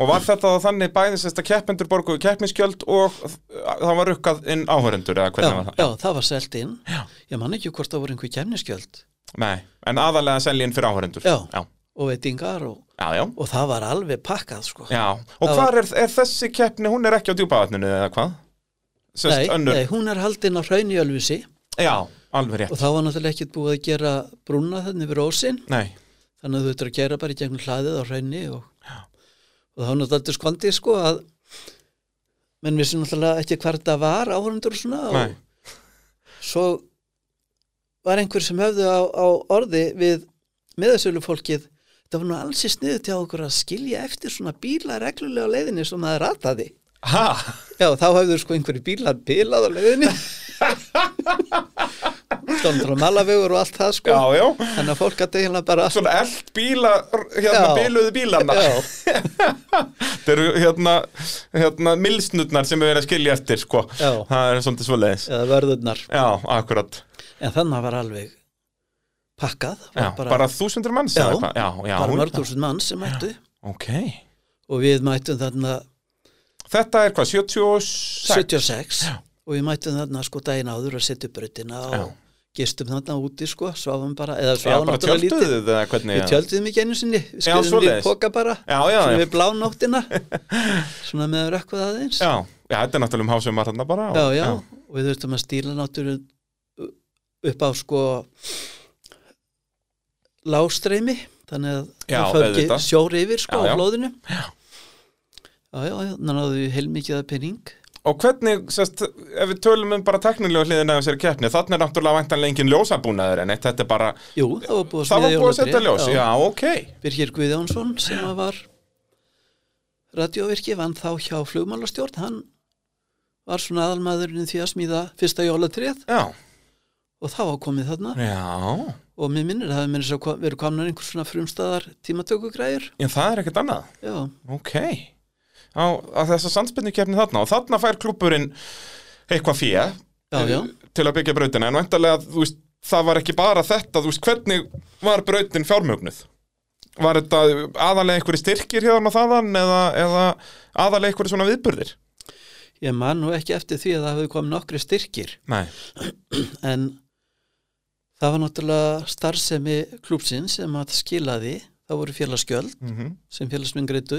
S1: Og var þetta þá þannig bæðið sérst að keppendur borguðu keppniskjöld og það var rukkað inn áhörendur eða
S2: Já,
S1: hvernig var það?
S2: já, það var selt inn.
S1: Já.
S2: Ég man ekki hvort það voru einhver kemniskjöld
S1: Nei, en aðalega seljinn fyrir áhörendur.
S2: Já.
S1: Já,
S2: og veitingar og,
S1: já. já.
S2: og það var alveg pakkað sko.
S1: já. Og
S2: Það
S1: hvar er, er þessi keppni, hún er ekki á djúpaðatninu eða hvað? Sérst
S2: nei,
S1: önnur.
S2: nei, hún er haldin á hraun í Ölfusi
S1: Já, alveg rétt.
S2: og það var náttúrulega ekkert búið að gera brúna þannig við rósin
S1: Nei,
S2: þannig að þú ert að gera bara í gegnum hlaðið á hraunni og, og það var náttúrulega skvandi sko að menn vissi náttúrulega ekki hvar þetta var áhundur og svona
S1: nei.
S2: og svo var einhver sem höfðu á, á orði við miðasölu fólkið það var nú alls í sniðu til okkur að skilja eftir svona bíla reglulega á leiðinni sem það rataði
S1: Ha?
S2: já þá höfðu sko einhverju bílar bilað á leiðinni stóndur og malavegur og allt það sko
S1: Já, já.
S2: þannig að fólk að deila bara
S1: Svona eld bíla, hérna
S2: Já.
S1: bíluðu bílana.
S2: já,
S1: Þetta eru hérna, hérna milsnutnar sem við verið að skilja eftir, sko.
S2: Já.
S1: Það er svolítið svoleiðis.
S2: eða verðurnar
S1: Já, akkurat.
S2: En þannig var alveg pakkað,
S1: Já,
S2: var
S1: bara, þúsundur manns
S2: Já,
S1: eða eitthvað? já, já,
S2: bara
S1: hún-
S2: mörg þúsund mann sem mættu
S1: Ok,
S2: og við mættum þarna
S1: þetta er hvað, 76?
S2: 76 og við mættum þarna sko daginn áður að setja upp brautina og
S1: Já.
S2: gistum þarna úti sko, sváfum bara eða
S1: Já,
S2: sváfum
S1: bara
S2: náttúrulega lítið
S1: tjölduðu eða hvernig?
S2: við tjöldum ekki einu sinni, við skriðum við
S1: svoleiðis.
S2: póka bara
S1: Já, já,
S2: svona
S1: já,
S2: við blánóttina svona með rökkvað aðeins
S1: já, já, þetta er náttúrulega um hásumar þarna bara. og-
S2: já, já, og við þurftum að stíla náttúrulega upp á sko lástreimi þannig að
S1: Já,
S2: það fór ekki
S1: auðvitað.
S2: sjóri yfir sko
S1: Já, já.
S2: á flóðinu já, já, já þannig að við heilmikið að penning
S1: Og hvernig, sérst, ef við tölum um bara teknilega hliðina af sér keppni, þannig er náttúrulega væntanlega engin ljósabúnaður en eitt, þetta er bara,
S2: jú, það var búið að
S1: það var
S2: smíða
S1: búið að setja
S2: jólatré,
S1: ljós, já, ok.
S2: Birgir Guðjónsson sem að var radiovirki vann þá hjá flugmálastjórn hann var svona aðalmaðurinn í því að smíða fyrsta jólatrið
S1: Já,
S2: og þá var komið þarna
S1: já,
S2: og mér minnir að það minnir að kom- verið komnar einhvers svona frumstæðar tímatökugræður
S1: já, það er ekkert annað.
S2: já
S1: Ok, á, á þessa sandspinnu keppni þarna og þarna fær klúpurinn eitthvað fjö
S2: Já, já,
S1: til að byggja brautina en væntalega, þú veist, það var ekki bara þetta þú veist, hvernig var brautin fjármögnuð? Var þetta aðalega einhverju styrkir hérna og þaðan eða, eða aðalega einhverju svona viðburðir?
S2: ég man nú ekki eftir því að það hafi komið nokkri styrkir
S1: Nei,
S2: en það var náttúrulega starfsemi klúpsinn sem að skilaði, það voru félagsgjöld
S1: mm
S2: sem félagsminn greitu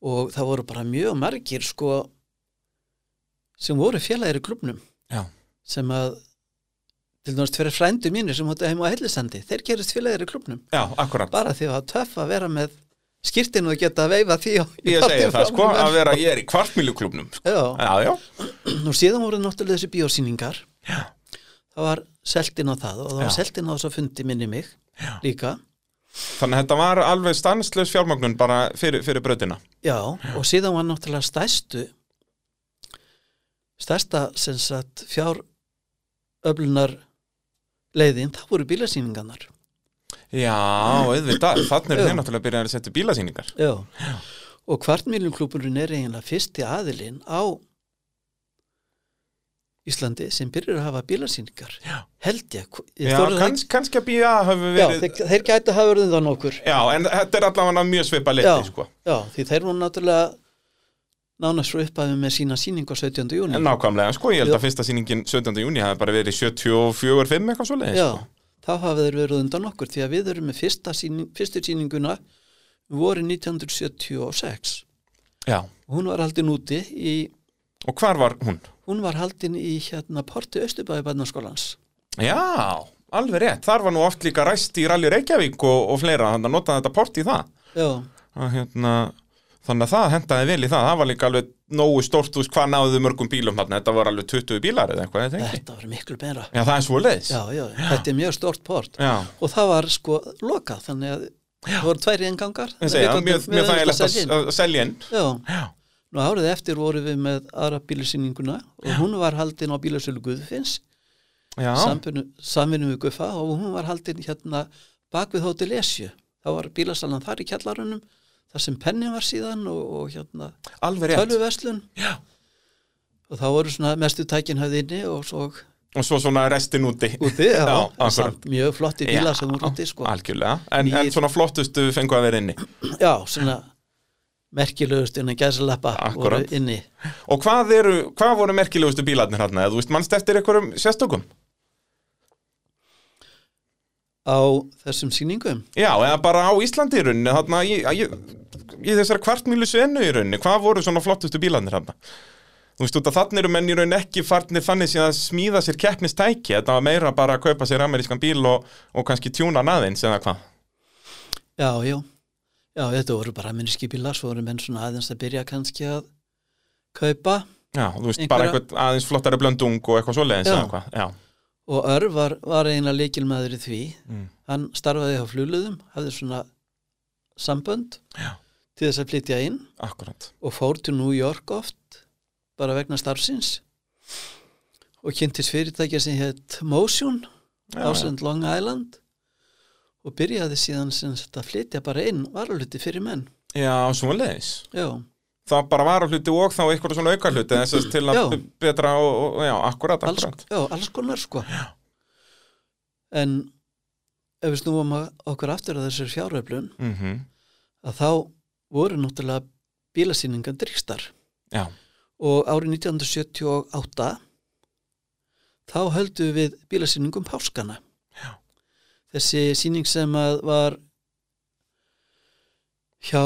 S2: og það voru bara mjög margir sko sem voru félagir í klubnum
S1: Já.
S2: sem að til dæmis tverja frændu mínir sem hóttu heim á hellisandi þeir gerist félagir í klubnum
S1: Já, akkurat.
S2: bara því að það var töff að vera með skýrtin og geta að veifa því á-
S1: Ég segi það, sko,
S2: framan á
S1: að
S2: menn.
S1: vera ég er í kvartmýluklubnum. Sko.
S2: Já,
S1: Já, já,
S2: nú síðan voru náttúrulega þessi bíósýningar
S1: já,
S2: það var selt inn á það og það var
S1: Já.
S2: selt inn á þess að fundi minni mig já. líka
S1: þannig að þetta var alveg stanslaus fjármagnun bara fyrir, fyrir bröðina.
S2: já, og síðan var náttúrulega stærstu stærsta sem sagt fjáröflunar leiðin, það voru bílasýningarnar
S1: Já, auðvitað, þannig er
S2: Já.
S1: þeir náttúrulega að byrja að setja upp bílasýningar.
S2: já. já og kvartmýlumklúburinn er eiginlega fyrsti aðilinn á Íslandi sem byrjar að hafa bílasýningar já. held ég, ég
S1: Já,
S2: þori það-
S1: kanns, kannski að bíja hafi
S2: já
S1: verið...
S2: þeir, þeir gætu að hafa verið þann okkur
S1: Já, en þetta er allavega mjög svipa
S2: Já.
S1: leti, sko.
S2: Já, því þeir voru náttúrulega nánast frá upphæfum með sína sýningu á 17. júni.
S1: En nákvæmlega, sko, ég held að fyrsta sýningin 17. júni hafi bara verið 74-5 eitthvað svo leiðis,
S2: Já,
S1: sko.
S2: þá hafa þeir verið undan okkur því að við erum með fyrsta sýning, fyrstu sýninguna voru 1976.
S1: Já,
S2: Hún var haldin úti í,
S1: og hvar var hún?
S2: hún var haldin í hérna porti Östubæði barnaskólans.
S1: Já, alveg rétt, þar var nú oft líka ræst í Rally Reykjavík og, og fleira, þannig að nota þetta port í það
S2: Já,
S1: að, hérna, þannig að það hendaði vel í það það var líka alveg nógu stórt úr hvað náðuðu mörgum bílum þarna, þetta var alveg 20 bílar eða eitthvað, þetta ekki?
S2: þetta var miklu beira.
S1: Já, það er svo leiðis
S2: Já, já, þetta er mjög stort port.
S1: Já.
S2: Og það var sko lokað, þannig að það voru tværi engangar.
S1: Ég segja,
S2: Við gátum-
S1: mjög,
S2: við
S1: mjög
S2: gátum
S1: þægilegt
S2: að
S1: að
S2: selja inn.
S1: að selja inn
S2: Já,
S1: Já,
S2: Nú árið eftir vorum við með aðra bílasýninguna og hún var haldin á bílasölu Guðfinns
S1: já,
S2: samvinnu samvinnu við Guðfa og hún var haldin hérna bak við hóti Lesju þá var bílasalan þar í kjallarunum þar sem pennin var síðan og, og hérna
S1: alveg rétt
S2: tölvuverslun
S1: Já.
S2: og þá voru svona mestu tækin höfð inni og svo
S1: Og svo svona restin úti
S2: úti já,
S1: Já,
S2: en
S1: akkurat.
S2: samt mjög flotti
S1: Já,
S2: bíla sem voru úti sko.
S1: Algjörlega, en, en
S2: Nýir-
S1: svona flottustu fengu að vera inni
S2: já, svona merkilegust innan gæðsalappa voru
S1: Akkurat.
S2: inni
S1: Og hvað, eru, hvað voru merkilegustu bílarnir hérna, eða þú veist mannst eftir einhverjum sérstökum?
S2: á þessum sýningum
S1: Já, eða bara á Íslandi í rauninni, þarna í, í, í þessari kvartmýlu senu í rauninni, hvað voru svona flottustu bílarnir þarna? Þú veist út að þarna eru menn í rauninni ekki farnir þannig sem að smíða sér keppnistæki, þetta var meira bara að kaupa sér amerískan bíl og, og kannski tjúna hann aðeins eða hvað?
S2: Já, já. Já, þetta voru bara minnskipílar, svo voru menn svona aðeins að byrja kannski að kaupa
S1: Já, þú veist,
S2: Einhverja-
S1: bara eitthvað aðeins flottari blöndung og eitthvað svoleiðins
S2: Já.
S1: eða hvað, já,
S2: og Örv var, var eiginlega leikilmaður í því.
S1: Mm.
S2: Hann starfaði á flugluðum, hafði svona sambönd
S1: Já.
S2: til þess að flytja inn
S1: akkurat.
S2: og fór til New York oft, bara vegna starfsins og kynntist fyrirtækja sem hétt Motion
S1: Já, já.
S2: ásend Long Island og byrjaði síðan sem þetta flytja bara inn varuluti fyrir menn.
S1: já, svoleiðis.
S2: Já,
S1: Það bara var hluti og þá eitthvað svona auka hluti, þess að til að
S2: Já.
S1: betra og, og já, akkurat,
S2: alls,
S1: akkurat.
S2: já, alls konar sko en ef við snúum að- okkur aftur að þessari fjáröflun
S1: Mm
S2: að þá voru náttúrulega bílasýningan dryggstar
S1: Já,
S2: og árið 1978 þá höldum við bílasýningum páskana
S1: Já.
S2: þessi sýning sem að var hjá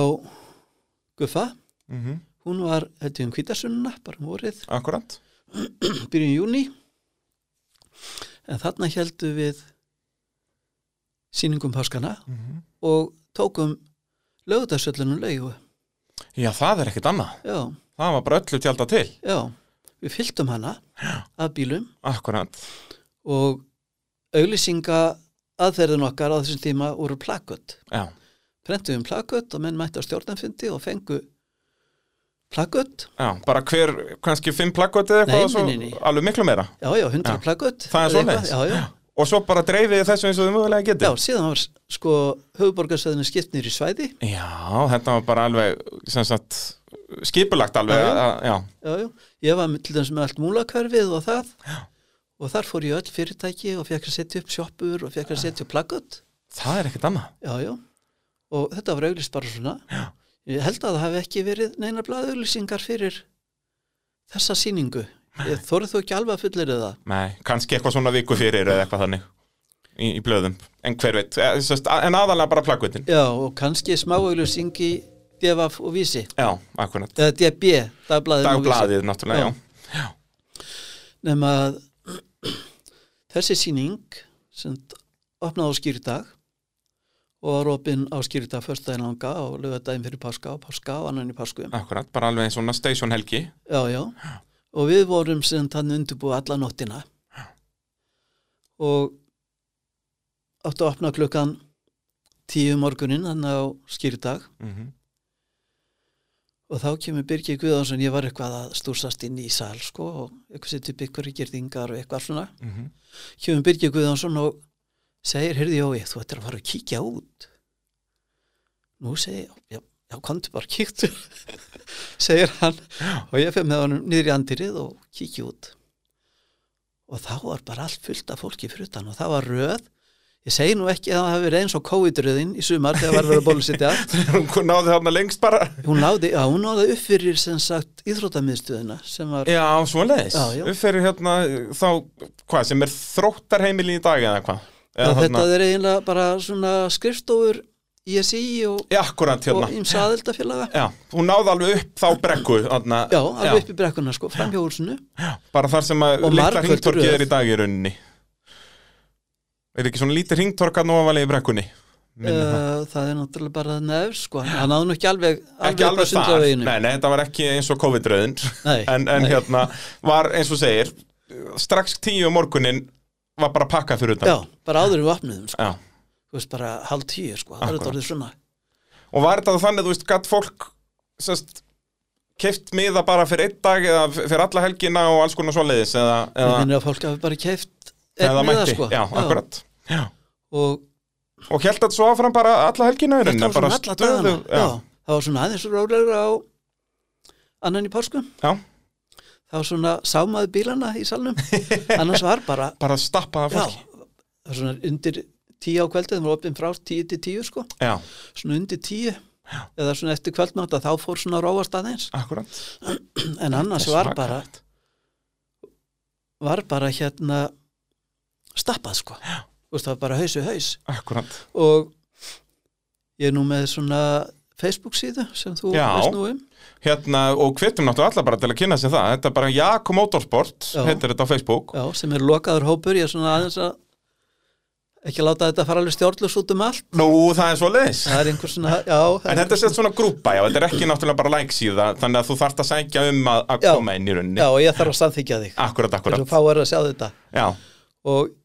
S2: Guffa
S1: mm
S2: hún var heldur um kvítasunna bara um vorið
S1: akkurat.
S2: byrjun júni en þarna heldum við sýningum páskana
S1: Mhm.
S2: og tókum lögðarsöllunum laugu
S1: Já, það er ekkert annað.
S2: já,
S1: Það var bara öllu tjálta til.
S2: já, við fylgdum hana af bílum
S1: Akkurat.
S2: og auglýsinga aðferðin okkar á þessum tíma voru plakut
S1: Já,
S2: prentum plakut og menn mættu á stjórnanfundi og fengu plakut
S1: já, bara hver, kannski fimm plakkvöti eða eitthvað
S2: Nei,
S1: og svo
S2: nei, nei, nei.
S1: alveg miklu meira.
S2: já, já, hundra
S1: Já.
S2: plakut
S1: Það er
S2: eða
S1: svoleiðis.
S2: eitthvað, já, já,
S1: Og svo bara dreifið þið þessu eins og þið mögulega getið.
S2: já, síðan var sko höfuborgarsöðinu skipt nýr í svæði
S1: Já, þetta var bara alveg, sem sagt, skipulagt alveg.
S2: Já, já.
S1: að- já.
S2: já, já. Ég var með- til dæmis með allt múlakverfið og það já. og þar fór ég öll fyrirtæki og fekk að setja upp sjoppur og fekk að setja upp plakut
S1: Það er ekkert annað.
S2: já, já. og þetta var auglýst bara svona já. ég held að það hafi ekki verið neina blaðauglýsingar fyrir þessa sýningu ég þorði þú ekki alveg að fullir það
S1: Nei, kannski eitthvað svona viku fyrir eða eitthvað þannig í, í blöðum. En hver veit, eh, sem sagt, en aðalega bara plakkvötin.
S2: já, og kannski smáauglýsing í DVF og Vísi
S1: Já, akkurat.
S2: eða DB, dagblaðið og Vísi.
S1: Dagbladið, náttúrulega, já.
S2: Nefn að þessi sýning sem opnaði á skýrdag og var opinn á skýrdag förstæðin langa og lögadaginn fyrir páska og páska og annan í páskum.
S1: Akkurat, bara alveg svona station helgi.
S2: Já, já. Og við vorum sem þannig undirbúið alla nóttina. Og áttu að opna klukkan tíu morgunin, þannig á skýrdag.
S1: Mm
S2: Og þá kemur Birgir Guðánsson, ég var eitthvað að stúsast inn í sal, sko, og eitthvað setja upp ykkur í gerðingar og eitthvað svona. kemur Birgir Guðjónsson og segir, heyrði Jói, þú ættir að fara að kíkja út. Nú segir ég, já, já, komdu bara kíktu, segir hann og ég fyrir með honum niður í andirið og kíkja út. Og þá var bara allt fullt af fólki fyrir utan og það var röð. Ég segi nú ekki að það hafi verið eins og COVID-röðin í sumar þegar var verið að bólusetja.
S1: Hún náði mhm. þarna lengst bara.
S2: Hún náði, já, hún náði upp fyrir sem sagt íþróttamiðstöðina sem var,
S1: Já, svoleiðis.
S2: Já, já.
S1: Við ferum hérna þá, hvað, sem er þróttarheimili í dag eða hvað?
S2: já,
S1: Eða
S2: þetta
S1: þarna-
S2: er eiginlega bara svona skrifstofur ISI og
S1: Já, akkurat hérna.
S2: og ímsa aðildafélaga
S1: Já, hún náði alveg upp þá brekku, þarna,
S2: já, alveg upp í brekkuna sko, framhjólsunu
S1: bara þar sem að
S2: Og
S1: litla
S2: margföld
S1: hringtorkið
S2: röð.
S1: er í dag í rauninni. Er ekki svona lítið hringtorka nú ofalega í brekkunni? Minni það.
S2: uh, það er náttúrulega bara nefn sko, hann náði nú ekki alveg
S1: Ekki
S2: upp að
S1: alveg það,
S2: Sundlaveginu.
S1: nei, nei, þetta var ekki eins og COVID-röðin,
S2: Nei,
S1: en, en
S2: nei.
S1: hérna var eins og segir, strax tíu um morgunin var bara pakkað fyrir utan.
S2: já, bara áður við opnuðum sko,
S1: Já.
S2: þú veist bara hálf tíu sko, það er
S1: Akkúrat.
S2: þetta orðið svona
S1: Og var þetta þannig, þú veist, gatt fólk sest, keft miða bara fyrir einn dag eða f- fyrir alla helgina og alls konar svoleiðis eða,
S2: það
S1: eða,
S2: finnir að fólk hafi bara keift
S1: eða mætti,
S2: sko.
S1: já, akkurat já.
S2: og
S1: Og held þetta svo áfram bara alla helgina í rauninni,
S2: þetta var svona
S1: bara
S2: alla
S1: stöðu-
S2: dagana já.
S1: já.
S2: það var svona aðeins rólegra á annan í páskum
S1: Já.
S2: það var svona sámaði bílana í salnum annars var bara
S1: Bara að stappa það
S2: já,
S1: fólki
S2: það var svona undir tíu á kvöldið, það var opinn frá tíu til tíu sko
S1: Já,
S2: svona undir tíu eða svona eftir kvöldmáta þá fór svona róast aðeins
S1: akkurat
S2: en annars
S1: Það er
S2: var
S1: svakalegt.
S2: bara var bara hérna stappað sko Þú veist, það var bara hausu haus
S1: Akkurat,
S2: og ég er nú með svona Facebook síðu sem þú
S1: Já.
S2: veist nú um
S1: hérna og hvetjum náttúrulega alla bara til að kynna sér það Þetta er bara Jakob Motorsport,
S2: Já.
S1: heitir þetta á Facebook
S2: já, sem er lokaður hópur ég er svona aðeins að ekki láta þetta fara alveg stjórnlust út um allt
S1: Nú, það er svoleiðis
S2: það er einhver svona, já það
S1: En
S2: er
S1: þetta er sett svona grúpa, já, þetta er ekki náttúrulega bara like síða Þannig að þú þarft að sækja um að, að
S2: Já.
S1: koma inn í rauninni
S2: já, og ég þarf að samþykja þig
S1: Akkurat,
S2: þess
S1: akkurat,
S2: að fá er að sjá þetta
S1: já,
S2: og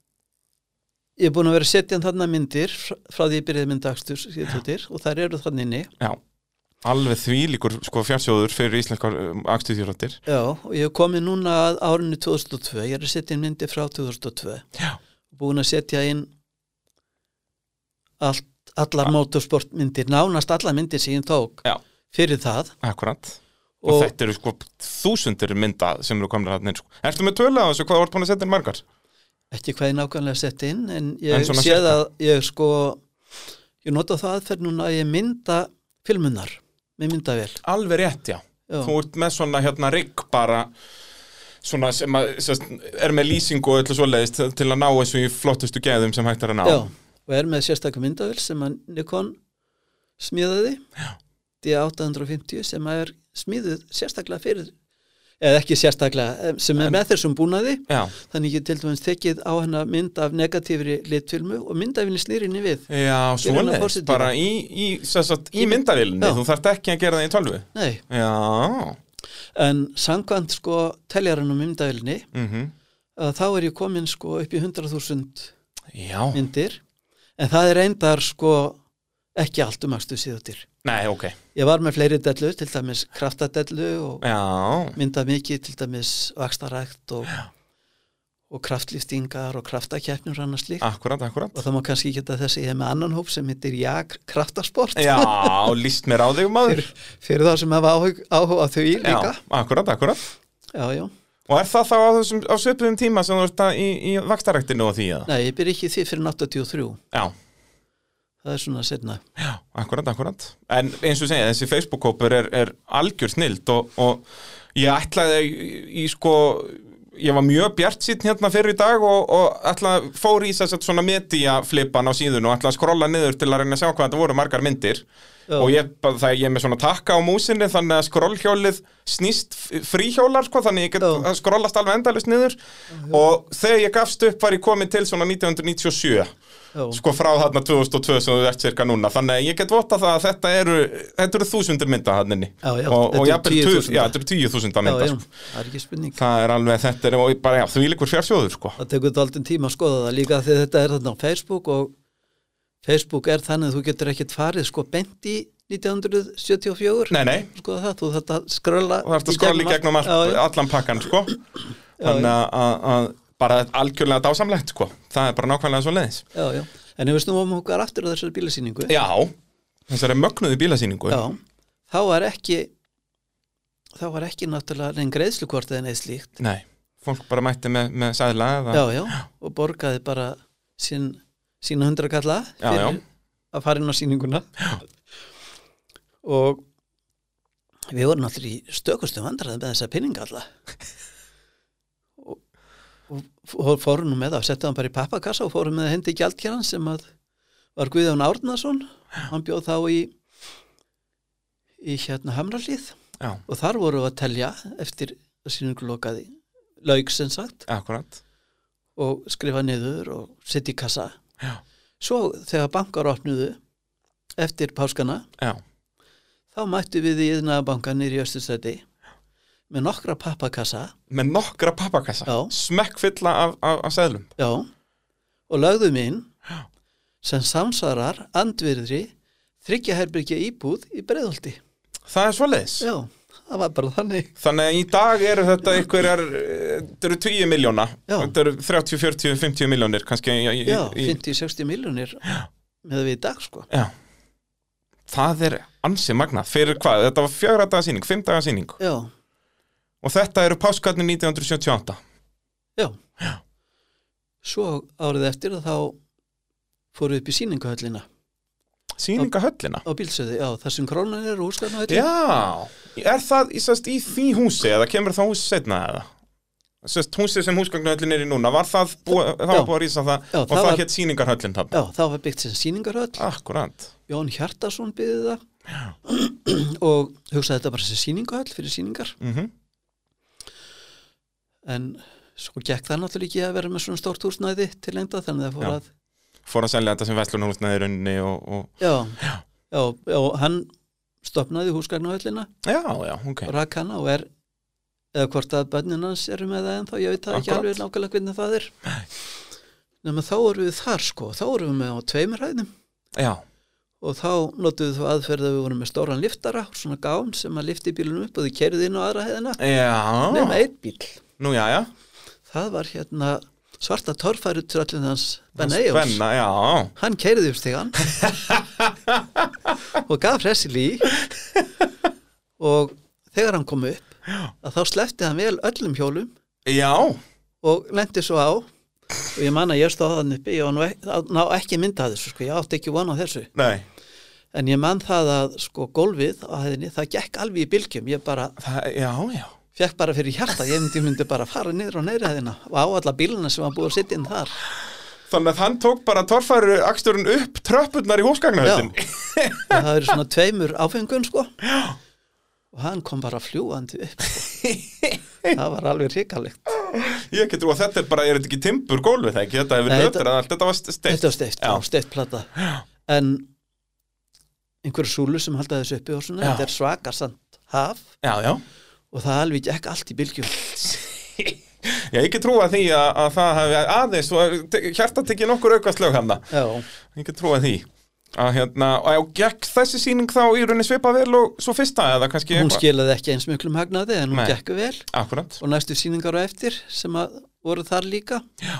S2: ég er búin að vera að setja þarna myndir fr- frá því ég byrjaði myndakstur síðutir, og þær eru þarna inni
S1: já Alveg því líkur sko fjársjóður fyrir íslenskar um, akstuðjúröndir
S2: já, og ég er komið núna að árinu 2002 ég er að setja inn myndir frá 2002
S1: Já.
S2: búin að setja inn allt, allar motorsportmyndir nánast allar myndir sem ég tók
S1: Já.
S2: fyrir það
S1: Akkurat Og,
S2: og,
S1: þetta eru sko þúsundir mynda sem eru komnir hann inn sko. Ertu með tölu á þessu hvað þú ert búin að setja inn margar?
S2: ekki hvað ég nákvæmlega setja inn
S1: En
S2: en ég
S1: svona
S2: séð
S1: sirka?
S2: að ég sko ég nota það aðferð núna að ég mynda filmunar með myndavél
S1: Alveg rétt, já
S2: Já.
S1: Þú ert með svona hérna rigg bara svona sem að, sest, er með lýsingu og öllu svoleiðist til að ná þessu í flottustu geðum sem hægt er að ná
S2: Já, og er með sérstakku myndavél sem að Nikon smíðaði D850 sem að er smíðuð sérstaklega fyrir eða ekki sérstaklega, em, sem er með þessum búnaði
S1: já.
S2: þannig ég til dæmis tekið á hennar mynd af negatífri litfilmu og myndafinni slýrinni við
S1: já
S2: Byrjun á
S1: svoleiðist
S2: forsetíma.
S1: bara í, í, sem sagt, í myndavillinni,
S2: Já.
S1: þú þarft ekki að gera það í tölvu
S2: Nei,
S1: Já,
S2: en samkvæmt sko teljarann á myndavilni
S1: mhm
S2: að þá er ég komin sko upp í 100.000
S1: Já,
S2: myndir en það er eindar sko ekki allt um akstu síðutir
S1: nei, ok
S2: Ég var með fleiri dellu, til dæmis kraftadellu og
S1: Já,
S2: mynda mikið, til dæmis vakstarækt og, og kraftlýstingar og kraftakeppnur og annað slíkt.
S1: akkurat, akkurat
S2: Og það má kannski geta þess að ég er með annan hóp sem heitir Jak kraftasport
S1: Já, líst mér á þig maður
S2: fyrir, fyrir þá sem hafa áhug- áhuga á þau líka.
S1: Já, akkurat, akkurat
S2: Já, já.
S1: Og er það þá á, þessum, á svipuðum tíma sem þú ert að í, í vakstaræktinu og því eða?
S2: Nei, ég byrja ekki í því fyrir 83.
S1: Já,
S2: Það er svona setna.
S1: já, akkurat, akkurat En eins og segja, þessi Facebook-kópur er, er algjör snild og, og ég ætlaði í, í sko ég var mjög bjart sýtt hérna fyrir í dag og, og alltaf fór í þess að svona media flipan á síðun og alltaf að skrolla niður til að reyna að sjá hvað þetta voru margar myndir
S2: Já.
S1: og ég, bara það, ég er með svona takka á músinni þannig að skrollhjólið snýst f- fríhjólar sko, þannig að ég get
S2: Já.
S1: að skrollast alveg endalist niður og þegar ég gafst upp var ég komið til svona 1997
S2: já,
S1: sko frá þarna 2002 sem þú ert cirka núna þannig að ég get votta það að þetta eru þetta eru þúsundir mynda hann inni
S2: Já,
S1: og,
S2: já, þetta
S1: og
S2: eru
S1: jafnvel
S2: 10.000.
S1: tug- já, þetta eru tíu þúsunda
S2: já,
S1: mynda
S2: já,
S1: sko.
S2: það er ekki spurning
S1: það er alveg þetta er og ég bara já, því líkur fjársjóður sko
S2: það tekur þetta aldrei tíma að skoða það líka þegar þetta er þarna á Facebook og Facebook er þannig að þú getur ekkert farið sko bent í 1974
S1: nei nei
S2: skoða Sko, það, þú þarft að skrölla
S1: og það ert að skrolla í gegnum all,
S2: já, já,
S1: allan pakkan sko þannig að- að- að bara algjörlega dásamlegt sko það er bara nákvæmlega svo leiðis
S2: já, já. en ef við snúum okkar aftur á þessari bílasýningu
S1: já þessari mögnuðu bílasýningu
S2: Já, þá var ekki þá var ekki náttúrulega neinn greiðslukort eða neitt slíkt
S1: nei fólk bara mætti með, með sæðla eða
S2: já, já, og borgaði bara sín, sína hundra kalla
S1: Já,
S2: fyrir
S1: já.
S2: að fara inn á sýninguna já. og við vorum náttúrulega í stökustum vandraði með þessa pinninga alla og, og fórum nú með það, settum hann bara í pappakassa og fórum með það hendi gjaldkjæran sem að var Guðjón Árnason hann bjóð þá í í hérna Hamralíð
S1: já
S2: og þar voru við að telja eftir að sýningu lokaði lauk sem sagt
S1: akkurat
S2: og skrifa niður og setja í kassa
S1: Já.
S2: svo þegar bankar opnuðu eftir páskana
S1: já
S2: þá mættu við í yðnaða bankan í Östurstæti með nokkra pappakassa
S1: með nokkra pappakassa
S2: Já.
S1: smekkfylla af, af, af seðlum
S2: já, og lagðum inn sem samsvarar andvirðri þryggja herbyggja íbúð í breiðholti
S1: það er svoleiðis
S2: já, það var bara þannig
S1: þannig að í dag eru þetta einhverjar eh, þetta eru 20 miljóna
S2: Já.
S1: þetta eru 30, 40, 50 miljónir kannski í, í,
S2: já,
S1: í,
S2: 50-60 miljonir með við í dag sko
S1: já. það er ansi magnað fyrir hvað, þetta var fjögra daga sýning, fimm daga sýning
S2: já,
S1: og þetta eru páskarnir 1978
S2: Já. Svo árið eftir þá fóru upp í sýninguhöllina
S1: sýningahöllina
S2: á bílsöði, já, þar sem krónan er úrskarnahöllin.
S1: já, er það í, sest, í því húsi eða kemur það húsi setna eða sest, húsi sem húsgagnahöllin er í núna var það, búa, það var
S2: Já.
S1: búið að rísa það
S2: Já,
S1: og
S2: það
S1: það,
S2: var-
S1: hétt sýningarhöllin þarna.
S2: Já, þá var byggt sem sýningarhöll,
S1: akkurat
S2: Jón Hjartarsson byggði það og hugsaði þetta bara sem sýningarhöll fyrir sýningar
S1: mhm
S2: en svo gekk það náttúrulega ekki að vera með svona stórt húsnæði til lengda þannig að það fór
S1: Já.
S2: að
S1: fór að selja þetta sem Vestlunarhúsnaði runni og, og
S2: já, já, já, hann stopnaði húskarnahöllina
S1: já, já, ok
S2: og rak hana og er eða hvort að bönnin hans eru með það en þá ég veit það ekki
S1: Akkúrat.
S2: alveg nákvæmlega hvernig það er nema þá erum við þar sko þá erum við með á tveimur hæðum
S1: já,
S2: og þá notuðu þú aðferð að við vorum með stóran liftara svona gán sem að lifti bílunum upp og þið kerðið inn á aðra hæðina
S1: já,
S2: nema einn bíl
S1: nú já, já
S2: það var hérna svarta torfæru tröllin hans Ben Eyjós
S1: spenna, já,
S2: hann kerði upp stegan og gaf hressilí og þegar hann kom upp að þá slefti hann vel öllum hjólum
S1: já
S2: og lendi svo á og ég man að ég stóð þannig uppi ég var nú ekki, ná ekki mynda að þessu sko, ég átti ekki vona þessu
S1: nei,
S2: en ég man það að sko gólfið á hæðinni, það gekk alveg í bylgjum ég bara,
S1: það, já, já
S2: fekk bara fyrir hjarta ég myndi, myndi bara fara niður á neðri hæðina og á alla bíluna sem var búið að sitja inn þar
S1: þannig að hann tók bara torfæru aksturinn upp tröppurnar í húsgagnahöldin
S2: og það eru svona tveimur áfengun sko Já. og hann kom bara fljúandi upp sko. það var alveg hrikalegt
S1: ég getur að þetta er bara, er þetta ekki timbur gólfið það ekki, þetta hefur
S2: Nei,
S1: verið
S2: þetta-
S1: öttur allt, þetta var steikt
S2: þetta var steift,
S1: Já.
S2: já, steift plata en einhverju súlu sem halda þessu uppi og svona,
S1: Já.
S2: þetta er svaka samt haf
S1: já, já,
S2: og það alveg gekk allt í bylgjum
S1: já, ég getur að því að, að það hefði aðeins og eh, te- hjarta tekið nokkur aukast lög hann
S2: já,
S1: ég get trúið því að hérna, og og gekk þessi sýning þá í rauninni svipað vel og svo fyrsta eða kannski
S2: hún
S1: eitthvað,
S2: skilaði ekki eins miklum hagnaði en hún
S1: Nei.
S2: gekk vel
S1: akkurat
S2: og næstu sýningar á eftir sem að voru þar líka
S1: já,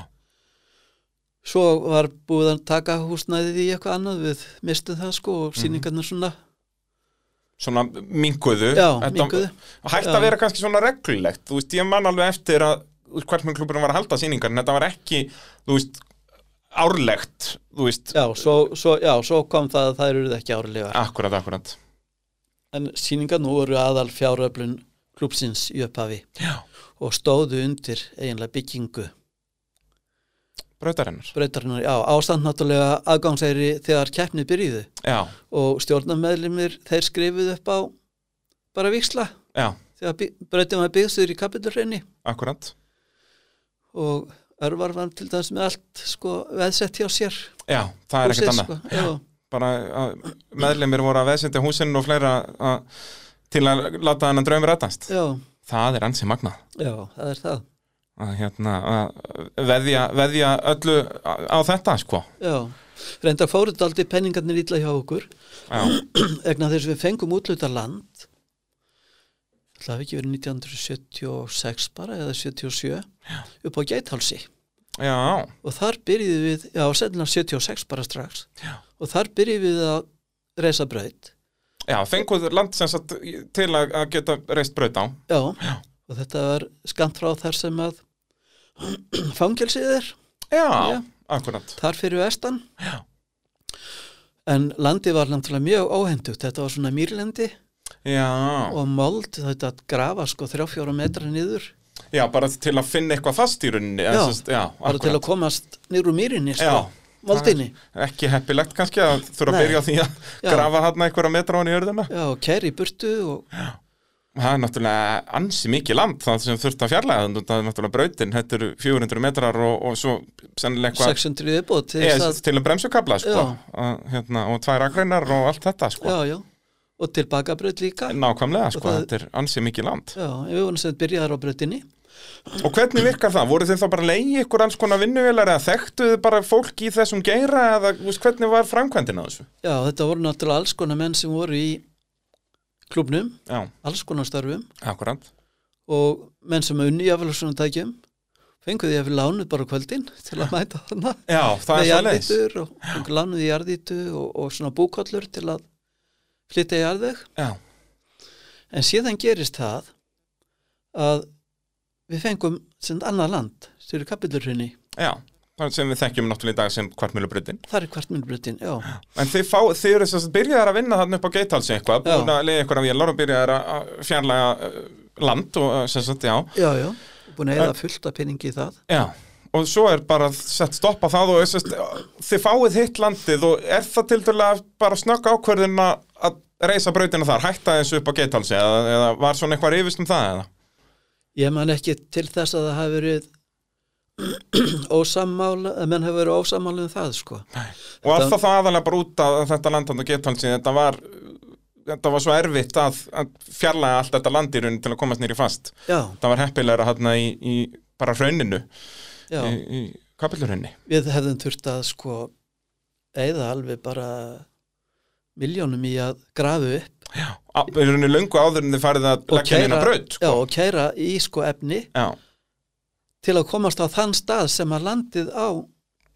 S2: svo var búið að taka húsnæðið í eitthvað annað við mistum það sko og sýningarnar svona
S1: svona minguðu
S2: Já, minnkuðu.
S1: hægt
S2: Já.
S1: að vera kannski svona reglulegt þú veist, ég man alveg eftir að þú veist, hvernig kluburinn var að halda sýningar en þetta var ekki, þú veist, árlegt þú veist,
S2: já svo, svo, já, svo kom það að það eru ekki árlegar
S1: akkurat, akkurat
S2: en sýningarnar voru aðal fjáröflun klúpsins í upphafi
S1: Já.
S2: og stóðu undir eiginlega byggingu
S1: Brautarinnar.
S2: brautarinnar, já, ástand náttúrulega aðgangsæri þegar keppni byrjuðu
S1: Já,
S2: og stjórnameðlimir þeir skrifuðu upp á bara viksla
S1: já,
S2: þegar by- brautin var byggðsur í kapitulreinni
S1: akkurat.
S2: og örvar var til dæmis með allt sko veðsett hjá sér
S1: Já, það er ekkert annað.
S2: sko, já,
S1: Bara að meðlemir voru að veðsendja húsinu og fleira að, til að láta hennan draum rætast.
S2: já,
S1: Það er ansi magnað.
S2: já, það er það
S1: Að, hérna, að veðja, veðja öllu á á þetta, sko.
S2: já, reynda fóruð aldrei penningarnir illa hjá okkur
S1: Já,
S2: vegna þess að við fengum útluta land það hafi ekki verið 1976 bara eða 77 upp á Gæthálsi
S1: já,
S2: og þar byrjuðum við, já, sennilega 76 bara strax
S1: Já.
S2: og þar byrjuðum við að reysa braut
S1: já, fenguð land sem sagt til að, að geta reist braut á.
S2: já. og þetta var skamt frá þar sem að fangelsið er
S1: Já,
S2: Já.
S1: akkurat.
S2: þar fyrir vestan já. en landið var náttúrulega mjög óhendugt þetta var svona mýrlendi
S1: Já,
S2: og mold þetta að grafa sko 3-4 metra niður
S1: já, bara til að finna eitthvað fast í rauninni. eða
S2: Já,
S1: sem sagt- já
S2: bara til að komast niður úr mýrinni sko,
S1: Já.
S2: moldinni
S1: Ekki heppilegt kannski að þurfa að
S2: Nei.
S1: byrja á því að
S2: Já.
S1: grafa hann einhverja metra á hann í örðuna.
S2: já, og kæri í burtu og,
S1: Það er náttúrulega ansi mikið land það sem þurft að fjarlæga, það er náttúrulega brautin, þetta eru 400 metrar og, og svo sennilega eitthvað
S2: 600 viðbót til
S1: Ég,
S2: þess að,
S1: til að bremsukabla sko,
S2: Já.
S1: að, hérna, og tvær akreinar og allt þetta sko.
S2: já, já, og til bakabraut líka
S1: nákvæmlega, sko,
S2: það-
S1: þetta er ansi mikið land
S2: já, en við vorum sem byrjaðar á brautinni
S1: og hvernig virkar það? voru þið þá bara leiði ykkur alls konar vinnuvelar eða þekktuðu bara fólk í þessum geira eða þú veist, hvernig var framkvæmdina á þessu?
S2: já, þetta voru náttúrulega alls konar menn sem voru í klubnum,
S1: Já,
S2: alls konar starfum
S1: akkurat
S2: og menn sem unni jafnvel á svona tækjum fenguði jafnvel lánuð bara á kvöldin til að mæta þarna
S1: Já, það
S2: með
S1: er svo leis
S2: jarðýtur og fengu lánuði jarðýtu og, og svona búkollur til að flytja jarðveg
S1: Já,
S2: En síðan gerist það að við fengum sem annað land, sem eru kapillurhrinni,
S1: já, það sem við þekkjum náttúrulega í dag sem kvartmjölubrautin
S2: það er kvartmjölbrutin, já,
S1: En þið, fá, þið eru þess að byrjaðar að vinna þarna upp á geithalsi eitthvað,
S2: Já.
S1: búin að leiða eitthvað að vélar og byrjaðar að- að fjarlæga uh, land og uh, sem sagt, já,
S2: já, já, búin að eða fullt af peningi í það.
S1: já. Og svo er bara sett stopp á það og sem sagt, þið fáið hitt landið og er það til dærulega bara snögg ákvörðin að- að reisa brautina þar, hætta þessu upp á geithalsi eða, eða var svona eitthvað rifist um það eða?
S2: Ég man ekki til þess að það hafi verið ósammála, að menn hafi verið ósammála um það, sko.
S1: Og
S2: Þetta-
S1: alltaf það aðalega bara út að þetta land þarna á geithalsi, þetta var... Þetta var svo erfitt að, að fjarlæga allt þetta land í raunin til að komast nýri fast.
S2: Já,
S1: Það var heppilegra hérna í, í bara hrauninu.
S2: já,
S1: í, í kapillurunni
S2: við hefðum þurft að, sko, eða alveg bara miljónum í að grafu upp
S1: Í rauninni löngu áður en þið farið að
S2: og
S1: leggja neina braut
S2: já,
S1: sko.
S2: og kæra í, sko, efni
S1: já.
S2: til að komast á þann stað sem að landið á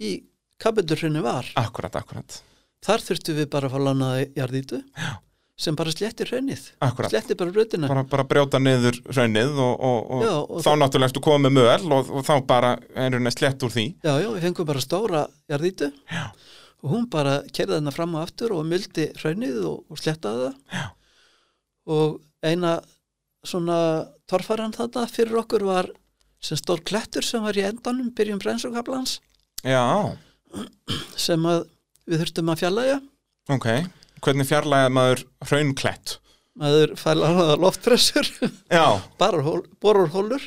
S2: í kapillurhrinni var.
S1: akkurat, akkurat
S2: Þar þurftu við bara að fá lánaði jarðítu Já. sem bara slettir hrunnið,
S1: Akkurat,
S2: slettir bara rautina.
S1: bara, bara brjóta niður raunnið og, og, og,
S2: Já, og
S1: þá
S2: það-
S1: náttúrulega ertu komið með möl og, og þá bara er rauninni slett úr því
S2: Já, já, við fengum bara stóra jarðítu
S1: Já.
S2: og hún bara kerði þarna fram og aftur og myldi hrunnið og, og slettaði það.
S1: Já.
S2: Og eina svona torfaran þarna fyrir okkur var sem stór klettur sem var í endanum byrjum brennsókablans
S1: Já,
S2: sem að við þurftum að fjallaja.
S1: ok Hvernig fjarlæða maður hraunklett
S2: Maður fælaði loftpressur.
S1: Já,
S2: bara hól, borur hólur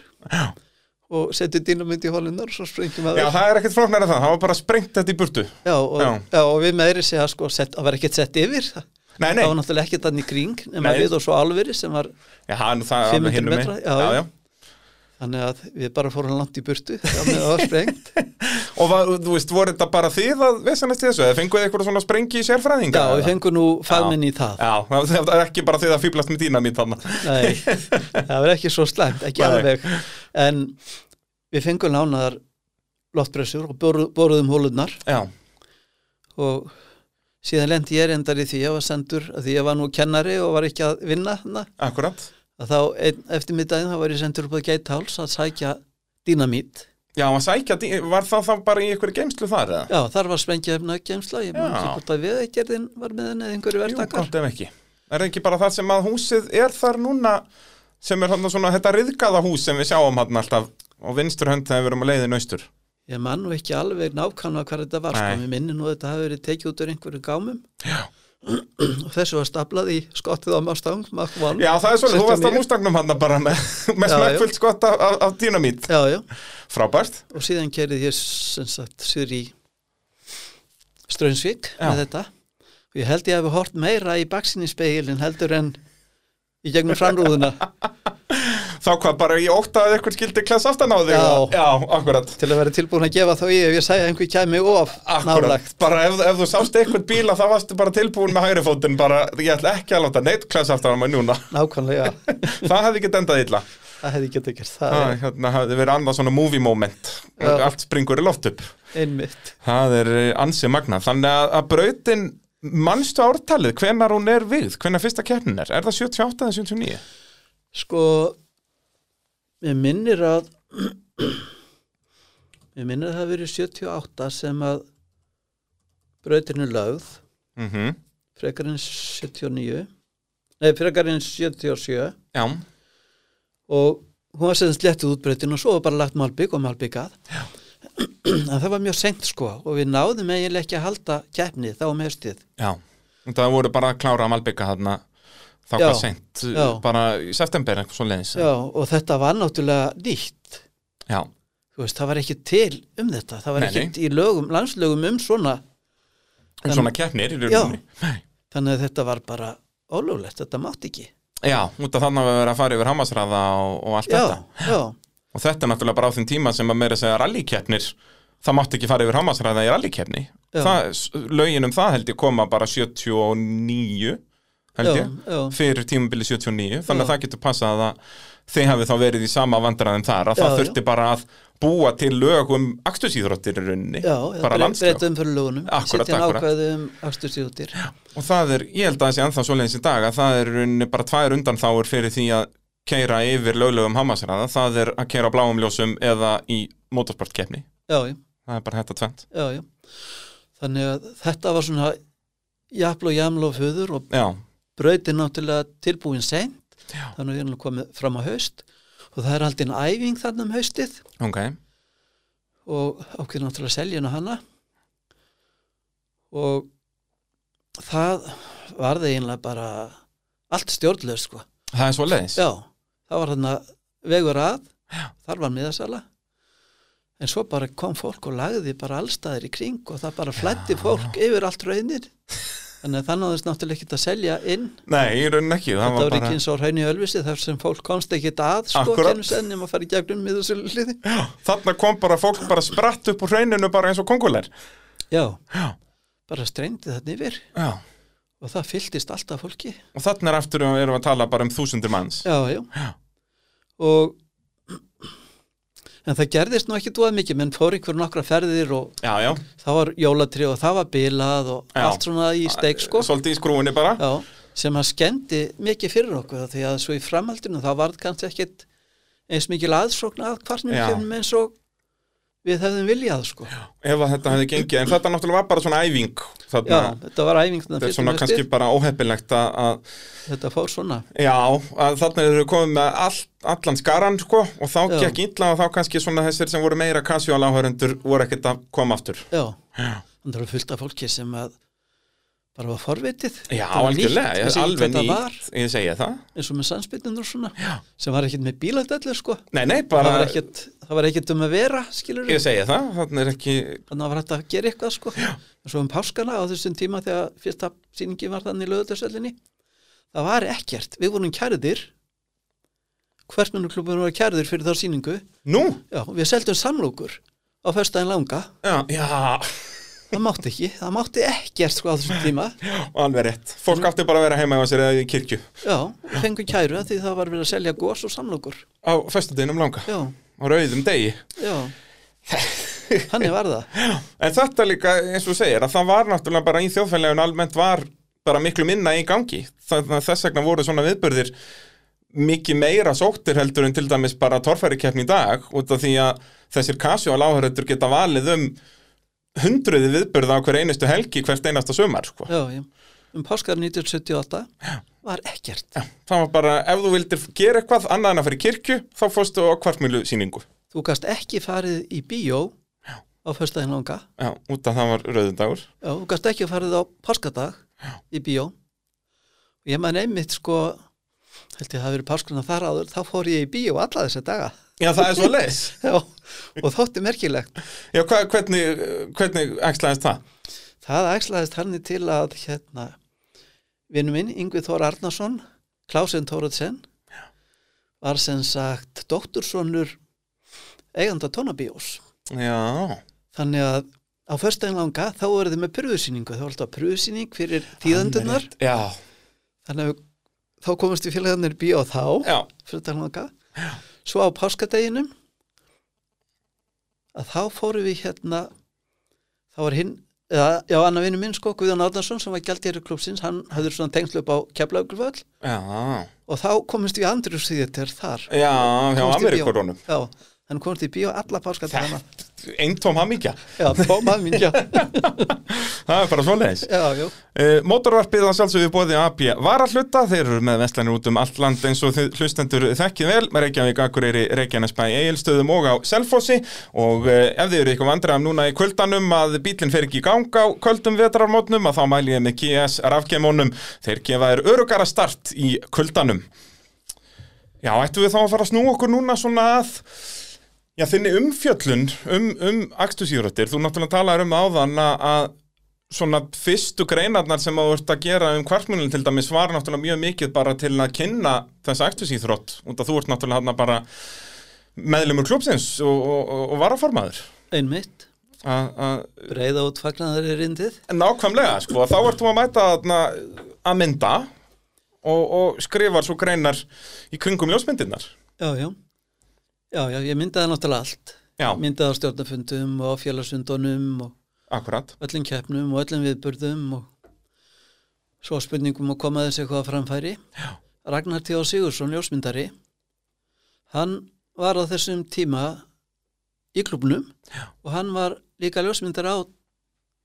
S2: og setjum dýnamynd í hólunar og svo sprengjum að
S1: já, það er ekkert flóknar að það, það var bara sprengt þetta í burtu
S2: já, og,
S1: já.
S2: já. og við meðri segja sko, sett, að vera ekkert sett yfir það,
S1: Nei, nei,
S2: það var náttúrulega ekkert þannig kring nema
S1: Nei.
S2: við og svo alveri sem var
S1: já, nú það er alveg
S2: 500
S1: hinum megin.
S2: metra, já,
S1: já,
S2: já.
S1: já.
S2: þannig að við bara fórum langt í burtu þegar með það var sprengt
S1: Og var, þú veist, voru þetta bara þið að vesanast í þessu, eða fenguð þið eitthvað svona sprengi í sérfræðinga?
S2: já, við fengum nú fagmenn í það
S1: Já, það er ekki bara þið að fýblast með dýna mín þarna
S2: Nei, það var ekki svo slæmt, ekki
S1: Nei.
S2: alveg en við fengum lánaðar loftbressur og boru- boruðum hólunar
S1: Já,
S2: og síðan lendi ég reyndar í því ég var sendur að því ég var nú kennari og var ekki að vinna hana
S1: akkurat
S2: að þá ein, eftir middaginn þá var ég sendur upp á Geitháls að sækja dýnamít
S1: Já, að sækja, dý- var það þá bara í einhverju geimslu þar eða?
S2: já þar var sprengja efna geimsla ég maður
S1: Já.
S2: ekki hvort að veðegerðin var með henni eða einhverju
S1: Jú,
S2: verðtakar
S1: gott ef ekki Er það ekki bara það sem að húsið er þar núna sem er hann svona þetta riðgaða hús sem við sjáum hann alltaf á vinstur hönd þegar við erum að leiðin austur
S2: Ég man nú ekki alveg nákvæmlega hvað þetta var, sko,
S1: Nei.
S2: mér minni nú að þetta hafi verið tekið út úr einhverjum gámum
S1: Já.
S2: og þessu var staplað í skottið á Mustang, Mach 1.
S1: Já, það er svona, þú varst á
S2: 69.
S1: mústagnum hann bara með, með
S2: Já, já.
S1: smekkfullt skott af, af, af dynamít
S2: Já, já,
S1: Frábært
S2: og síðan kerið ég sem sagt sér í Strönsvík
S1: Já.
S2: með þetta og ég held ég hefði hort meira í baksinni speilin heldur en í gegnum framrúðuna
S1: Þá hvað bara ég ótta að eitthvað skildi klass aftan á þig
S2: Já.
S1: og- Já, akkurat
S2: til að vera tilbúin að gefa þá í ef ég sagði að einhver kæmi of
S1: Akkurat,
S2: nálægt
S1: bara ef, ef þú sást eitthvað bíla þá varstu bara tilbúin með hægri fótinn bara, ég ætla ekki að láta neitt klass aftan á mig núna
S2: nákvæmlega,
S1: Það hefði ekki endað illa
S2: það hefði getað gert það
S1: Það hérna, hefði verið annað svona movie moment
S2: Já.
S1: Allt springur í loft upp
S2: er einmitt
S1: Það er eh, ansið magnað. Þannig að, að brautin, mannstu ártalið, hvenar hún er við, hvenar fyrsta keppnin er? Er það 78 eða 79?
S2: sko ég minnir að ég minnir að það hafi verið 78 sem að brautinu lögð
S1: Mm
S2: Mhm. frekar en 79 nei frekar en 77
S1: Já.
S2: og hún var sem slettið útbreytin og svo var bara lagt malbygg og malbyggað en það var mjög sengt sko og við náðum eiginlega ekki að halda keppni þá um höstið
S1: Já. Og Það voru bara að klára að malbygga þarna þá
S2: Já.
S1: hvað seint, eh,
S2: Já.
S1: bara í september eitthvað svo leiðis.
S2: Já, og þetta var náttúrulega nýtt
S1: Já.
S2: þú veist, það var ekki til um þetta það var
S1: Nei, nei.
S2: ekki í lögum, landslögum um svona
S1: Um svona keppnir í rauninni. Já.
S2: þannig að þetta var bara ólöglegt, þetta mátt ekki
S1: Já, út af þannig að við verið að fara yfir hamasræða og, og allt
S2: Já,
S1: þetta.
S2: já,
S1: Og þetta er náttúrulega bara á þeim tíma sem að meira segja rallykeppnir, það mátti ekki fara yfir hamasræða í rallykeppni.
S2: Já.
S1: Það- s- Lögin um það held ég koma bara 79, held
S2: já,
S1: ég.
S2: já,
S1: fyrir tímabili 79 þannig
S2: Já.
S1: að það getur passað að þeir hafi þá verið í sama vandræðin þar að það
S2: Já, já.
S1: þurfti bara að búa til lög um akstursýþróttir í rauninni
S2: já,
S1: bara
S2: já
S1: landslög
S2: breytum fyrir lögunum
S1: Akkúrat,
S2: setja
S1: akkúrat.
S2: nákvæði um aksturstjóttir
S1: og það er, ég held að það sé anþá svoleiðins í dag að það er í rauninni bara tvær undanþáur fyrir því að keira yfir löglegum hamasræða það er að keira á bláum ljósum eða í motorsportkeppni
S2: Já, já
S1: það er bara þetta tvent
S2: já, já. þannig að þetta var svona jafl og jaml og föður og
S1: já,
S2: brautin náttúrulega tilbúin seint
S1: Já.
S2: þannig að við erum komið fram á haust og það er haldin æfing þarna um haustið
S1: ok,
S2: og ákveður náttúrulega seljun á hana og það varði eiginlega bara allt stjórnlega sko
S1: það er svoleiðis
S2: já, það var þarna vegur að já. þar var miðasala en svo bara kom fólk og lagði bara allstaðir í kring og það bara flætti fólk yfir allt raunin þannig að þannig að þess náttúrulega ekkert að selja inn
S1: nei, í rauninni ekki, það
S2: þetta
S1: var
S2: var
S1: bara
S2: ekki eins og á hraun í Ölvisi þar sem fólk komst ekkert að sko
S1: Akkúrat.
S2: kennum senn nema að fara í gegnum miðasölu hliði
S1: þarna kom bara fólk bara spratt upp úr hrauninu bara eins og konguleir
S2: já,
S1: Já.
S2: bara strengdi þarna yfir
S1: já
S2: og það fylltist alltaf fólki
S1: Og þarna er aftur að við erum að tala bara um þúsundir manns.
S2: já, já,
S1: Já.
S2: og en það gerðist nú ekki dvað mikið menn fór ykkur nokkra ferðir og
S1: Já, já.
S2: það var jólatri og það var bilað og
S1: Já.
S2: allt svona í steik sko
S1: Svolítið í skrúinni bara.
S2: já, sem hann skemmdi mikið fyrir okkur því að svo í framhaldinu það varð kannski ekkit eins mikil aðsókn að hvarnum
S1: Já.
S2: kemum eins og við hefðum viljað sko já,
S1: Ef að þetta hefði gengið. En þetta náttúrulega var bara svona æfing. Þarna,
S2: þetta var æfing þarna
S1: þetta er
S2: fyrst
S1: svona
S2: um
S1: kannski
S2: haustið.
S1: bara óheppilegt að, að,
S2: þetta fór svona
S1: já, að þarna eru komið með all, allan skaran, sko, og þá
S2: Já.
S1: gekk illa og þá kannski svona þessir sem voru meira casual áhörundur voru ekkert að koma aftur.
S2: já,
S1: Já.
S2: þannig að fylgta fólki sem að bara var forvitið
S1: Já,
S2: Þetta var
S1: algjörlega,
S2: nýtt,
S1: ég
S2: vissi
S1: er
S2: ekki
S1: alveg
S2: hvað þetta
S1: nýtt,
S2: var.
S1: ég segja það.
S2: eins og með sannsbytnum og svona
S1: Já.
S2: sem var ekkit með bíladellur sko
S1: Nei, nei,
S2: það,
S1: bara,
S2: var ekkit, það var ekkit um að vera skilur
S1: ég segja það, þarna er ekki,
S2: þannig að var hægt að gera eitthvað sko og svo um páskana á þessum tíma þegar fyrsta sýningi var þannig í lögutasöllinni það var ekkert, við vorum kærðir hversmennuklubbun var kærðir fyrir þá sýningu
S1: nú,
S2: já, við seldum samlókur á föstaðin langa,
S1: já, já,
S2: það mátti ekki það mátti ekkert sko á þessum tíma
S1: alveg rétt. Fólk átti bara að vera heima á sér eða í kirkju
S2: já, fengum kæru af því það var verið að selja gos og samlókur
S1: á föstudeginum langa.
S2: já,
S1: á rauðum degi
S2: já þannig var það,
S1: en þetta líka eins og þú segir að það var náttúrulega bara í þjóðfælegun almennt var bara miklu minna í gangi þannig að þess vegna voru svona viðburðir mikið meira sóttir heldur en til dæmis bara torfærikeppni í dag út af því að þessir casual áhörður geta valið um hundruði viðburða á hver einustu helgi hvert einasta sumar sko.
S2: já, já um páskar 1978 var ekkert.
S1: Það var bara, ef þú vildir gera eitthvað annað en að fara í kirkju, þá fórstu á kvartmjölu sýningu.
S2: Þú gast ekki farið í bíó á föstudaginn langa.
S1: Já, út af það var rauðundagur.
S2: Já, þú gast ekki farið á páskadag í bíó. Ég man einmitt sko, held ég að það hafi verið páskurna þar áður, þá fór ég í bíó alla þessa daga.
S1: Já, það er svo leis.
S2: Já, og þótti merkilegt.
S1: Já, hva, hvernig, hvernig æxlaðist það?
S2: Það æslaðist hann til að hérna, vinnu minn, Yngvi Þór Arnason, Klausin Tóratsen, var sem sagt doktursonur eiganda tónabíós.
S1: Já,
S2: Þannig að á föstudaginn langa þá voru þið með pröfusýningu, þá var alltaf pröfusýning fyrir tíðendurnar,
S1: Alveg rétt. Já,
S2: þannig að þá komast við félagarnir í bíó þá.
S1: já,
S2: föstudaginn langa svo á páskadeginum að þá fórum við hérna þá var hinn eða, já, annar vinnu minn sko, Guðjón Árnason sem var gælt í klubsins, hann hafður svona tengslu upp á Keflaugurvöll
S1: já,
S2: og þá komist við Andrjus þýðir þar
S1: já, hjá
S2: Komst í
S1: Ameríkorunum.
S2: bíó. já, hann komst í bíó alla páskadegina
S1: Eintóm hamingja,
S2: já, bóma mín, já,
S1: það er bara svo leis.
S2: já, já
S1: Uh, Mótorvarpið að sjálfsögðu bóði AB varahluta, þeir eru með veslanir út um allt land eins og þið hlustendur þekkið vel með Reykjavík, Akureyri, Reykjanesbæ, Egilstöðum og á Selfossi og uh, ef þið eru eitthvað vandræðum núna í kvöldanum að bílinn fer ekki í gang á kvöldum vetrarmótnum að þá mæli ég með GS rafgemónum, þeir gefa þér örugara start í kvöldanum. Já, ættum við þá að fara að snúa okkur núna svona að Já, þinni umfjöllun um, um akstusíróttir, þú náttúrulega talaður um áðan að- að svona fyrstu greinarnar sem að þú ert að gera um kvartmunum til dæmis var náttúrulega mjög mikið bara til að kynna þessa aktusíþrótt og þú ert náttúrulega hann bara meðlumur klúpsins og, og, og, og varaformaður
S2: einmitt,
S1: A- a-
S2: breyða út fagnaðar er rindið
S1: en nákvæmlega sko, þá ert þú að mæta þarna að mynda og, og skrifar svo greinar í kringum ljósmyndirnar
S2: já, já, já, já, ég myndaði náttúrulega allt
S1: Já.
S2: myndaði á stjórnafundum og á félagsfundunum og
S1: akkurat,
S2: öllum keppnum og öllum viðburðum og svo spurningum að koma þessi eitthvað á framfæri Já. Ragnar T. Sigursson, ljósmyndari hann var á þessum tíma í klubnum Já. og hann var líka ljósmyndari á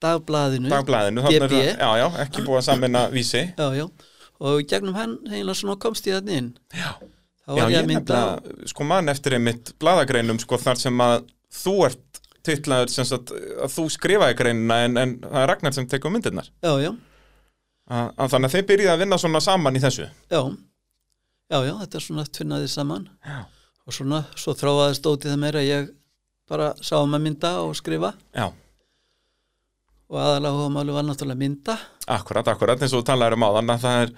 S2: dagblaðinu
S1: dagblæðinu þarna
S2: DB.
S1: er- já, já, ekki búið að samina vísi
S2: Já, já. og í gegnum hann eiginlega svona komst ég þannig inn
S1: Já.
S2: þá var
S1: Já,
S2: ég að mynda
S1: nefnilega, sko mann eftir einmitt bladagreinum sko þar sem að þú ert titlaður sem sagt að þú skrifaði greinina en, en það er Ragnar sem tekur myndirnar
S2: Já, já,
S1: að, að þannig að þeir byrjaði að vinna svona saman í þessu
S2: já Já, já, þetta er svona tvinnaði saman
S1: Já.
S2: og svona, svo þráaðist ótið það meira ég bara sá um að mynda og skrifa
S1: Já,
S2: og aðalega hóðamáli var náttúrulega mynda
S1: akkurat, akkurat eins og þú talaður um áðan að það er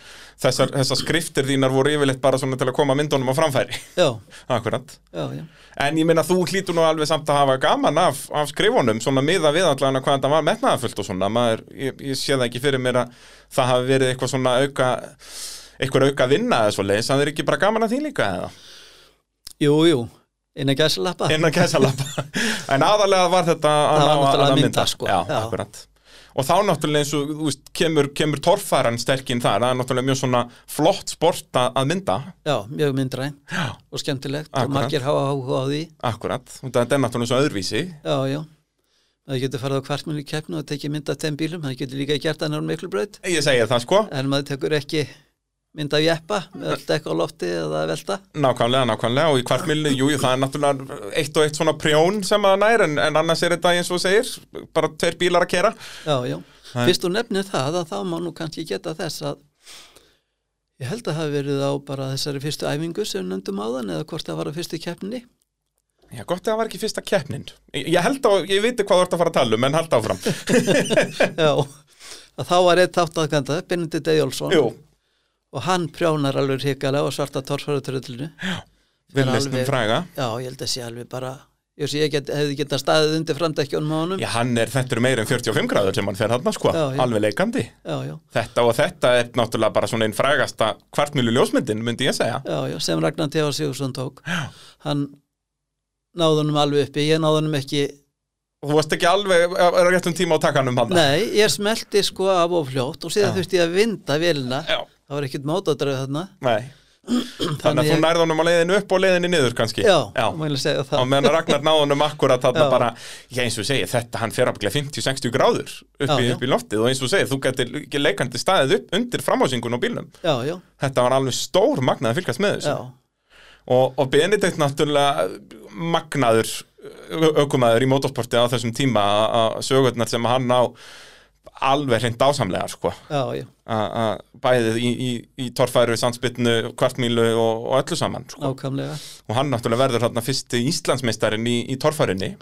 S1: þessar, þessar skriftir þínar voru yfirleitt bara svona til að koma myndunum á framfæri
S2: já,
S1: Akkurat
S2: já, já,
S1: En ég meina þú hlýtur nú alveg samt að hafa gaman af, af skrifunum, svona miða við allan að hvað þetta var metnaðarfullt og svona, maður, ég, ég sé það ekki fyrir mér að það hafi verið eitthvað svona auka, eitthvað auka vinna eða svo leiðis, það er ekki bara gaman að því líka eða,
S2: jú, jú innan gæsalappa,
S1: innan gæsalappa. en aðalega var þetta að
S2: Það var
S1: ná
S2: náttúrulega
S1: að- að
S2: að mynda, sko.
S1: Já,
S2: Já.
S1: akkurat. Og þá náttúrulega eins og, þú veist, kemur, kemur torfæran sterkinn þar, það er náttúrulega mjög svona flott sport að, að mynda.
S2: já, mjög myndræn
S1: Já.
S2: og skemmtilegt
S1: Akkurat.
S2: og margir hafa áhuga á því
S1: Akkurat, þetta er náttúrulega svo öðruvísi.
S2: já, já, maður getur farið á kvartmjölu keppnu og tekið mynda af þeim bílum maður getur líka gert annar miklu braut
S1: Ég segi það sko.
S2: en maður tekur ekki mynda af jeppa með allt ekki á lofti eða að velta
S1: Nákvæmlega, nákvæmlega og í kvartmilni, jú, jú, það er náttúrulega eitt og eitt svona prjón sem að nær en, en annars er þetta eins og þú segir, bara tveir bílar að kera
S2: Já, já.
S1: Það er-
S2: Fyrst þú nefnir það að þá má nú kannski geta þess að ég held að hafi verið á bara þessari fyrstu æfingu sem við nefndum áðan eða hvort það var á fyrstu keppni.
S1: Já, gott að það var ekki fyrsta keppnin Ég ég held að, ég viti hvað þú ert að fara að tala um, en held áfram
S2: Já, að þá var eitt þáttaðkanda, Benedikt Eyjólfsson
S1: Jú,
S2: og hann prjónar alveg hrikalega á svarta torfaratröllinu.
S1: við lesnum fræga
S2: Já, ég held að sé alveg bara, ég sé ég get, hefði getað staðið undir framdækjónum á honum.
S1: Já, hann er, þetta eru meir en 45 gráður sem hann fer hann, sko,
S2: Já, já.
S1: alveg leikandi
S2: Já, já,
S1: Þetta og þetta er náttúrulega bara svona einn frægasta kvartmilu ljósmyndin, myndi ég segja
S2: já, já, sem Ragnar T.A. Sigursson tók. Já. Hann náðunum alveg uppi, ég náðunum ekki
S1: Þú varst ekki alveg, er á réttum tíma á takanum hann
S2: Nei, ég smelti sko af og fljótt og síðan
S1: Já.
S2: þurfti ég að vinda velina
S1: Já,
S2: það var ekkert mátadröð þarna
S1: nei Þannig að þú
S2: Þannig-
S1: nærði honum á leiðinu upp og leiðinu niður kannski
S2: já,
S1: Já.
S2: mæli segja
S1: Á
S2: það
S1: meðan að Ragnar náði honum akkurat þarna
S2: Já.
S1: bara, ég eins og segi, þetta hann fer aflega 50-60 gráður upp í,
S2: Já, já.
S1: upp í loftið og eins og segi, þú getur ekki leikandi staðið upp undir framhásingun á bílnum.
S2: já, já,
S1: Þetta var alveg stór magnað að fylgast með þessu.
S2: já,
S1: Og, og Benedikt náttúrulega eh, magnaður ö- ökumaður í motorsporti á þessum tíma að- að sögurnar sem hann á alveg hreint dásamlega sko
S2: já, já,
S1: að- að bæðið í, í, í torfæru, sandspytnu, kvartmílu og, og öllu saman sko.
S2: nákvæmlega
S1: og hann náttúrulega verður þarna fyrsti Íslandsmeistarin í, í torfærunni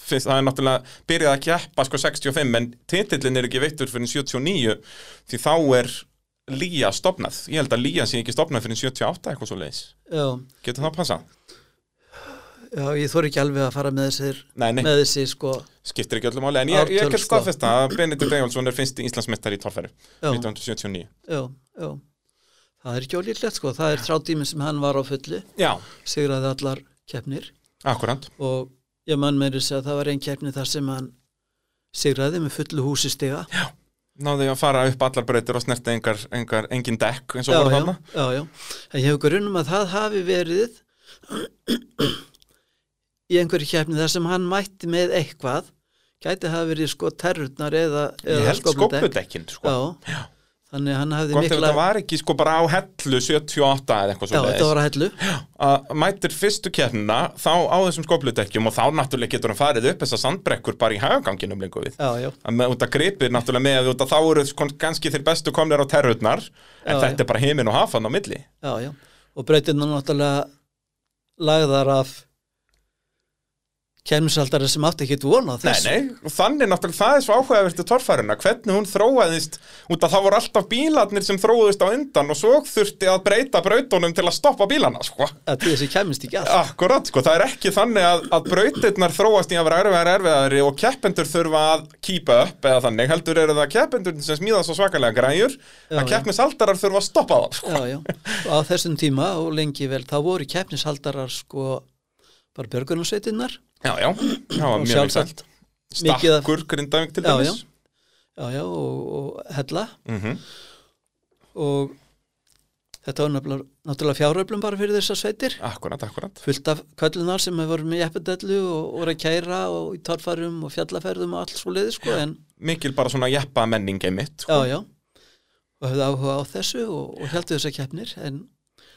S1: Fyrst, það er náttúrulega byrjað að keppa sko 65 en titillin er ekki veittur fyrir 79 því þá er Lía stopnað, ég held að Lía sé ekki stopnað fyrir 78 eitthvað svo leiðis
S2: já,
S1: getur það passað?
S2: já, ég þóri ekki alveg að fara með þessir
S1: Nei, nei,
S2: með þessi, sko,
S1: skiptir ekki öllum álega en ég, ég
S2: Ártöl,
S1: get
S2: sko.
S1: staðfesta að Benedikt Eyjálsson er fyrsti Íslandsmeistari í torfæru
S2: já,
S1: 1979
S2: já, já það er ekki ólíklegt, sko, það er þrjátími sem hann var á fullu,
S1: Já,
S2: sigraði allar keppnir
S1: akkurant
S2: og ég mann með þess að það var einn keppni þar sem hann sigraði með fullu húsi stiga
S1: náði að fara upp allar breytir og snerti engar, engar, engin dekk eins og
S2: já,
S1: voru
S2: já,
S1: þarna
S2: já, já. en ég hef grunum að það hafi verið í einhverju keppni þar sem hann mætti með eitthvað gæti hafa verið sko terrutnar eða,
S1: ég
S2: eða
S1: held skopudekkin sko.
S2: já. þannig að hann hafði
S1: hvort ef
S2: mikla
S1: þetta var ekki sko bara á hellu 78 eða eitthvað
S2: já,
S1: svo
S2: þetta
S1: leiðis
S2: var að hellu
S1: að mætir fyrstu kérna þá á þessum skopudekkjum og þá náttúrulega getur hann farið upp þessar sandbrekkur bara í hagaganginum lengur við
S2: já, já,
S1: Að með út að gripir náttúrulega með út að þá eru kon- kannski þeir bestu komnir á terrutnar en
S2: Já,
S1: þetta
S2: já.
S1: er bara heiminn og hafan á milli
S2: já, já. og breytirna náttúrulega lagðar af keppnisaldari sem átti ekki
S1: Nei,
S2: vona þess
S1: nei, og þannig náttúrulega það er svo áhugavertu torfæruna, hvernig hún þróaðist út að það voru alltaf bílarnir sem þróaðist á undan og svo þurfti að breyta brautunum til að stoppa bílana, sko.
S2: að þessi kemist ekki að
S1: Akkurat, sko, það er ekki þannig að, að brautirnar þróast í að vera erfiðar erfiðari og keppendur þurfa að keepa upp eða þannig, heldur eru það keppendur sem smíða svo svakalega græjur,
S2: Já,
S1: að
S2: já.
S1: keppnisaldarar þurfa að stoppa það, sko.
S2: já, já. og á þessum tíma og lengi vel þá voru keppnishaldarar sko bara björgunarsveitinnar
S1: Já, já, já, mjög
S2: og
S1: vinsælt.
S2: sjálfsagt mikið af-
S1: Stakkur, grindavík til
S2: Já,
S1: dæmis.
S2: já. já, já, og, og hella
S1: Mhm.
S2: og þetta var nafnilega- náttúrulega fjáröflum bara fyrir þessar sveitir
S1: Akkurat, akkurat.
S2: fullt af köllunar sem hefur voru með jeppadellu og og voru að kæra og í torfarum og fjallaferðum og allt svo leiði sko en
S1: Mikil bara svona jeppa sko. menningi mitt,
S2: já, já og höfðu áhuga á þessu og, og heldur þessar keppnir en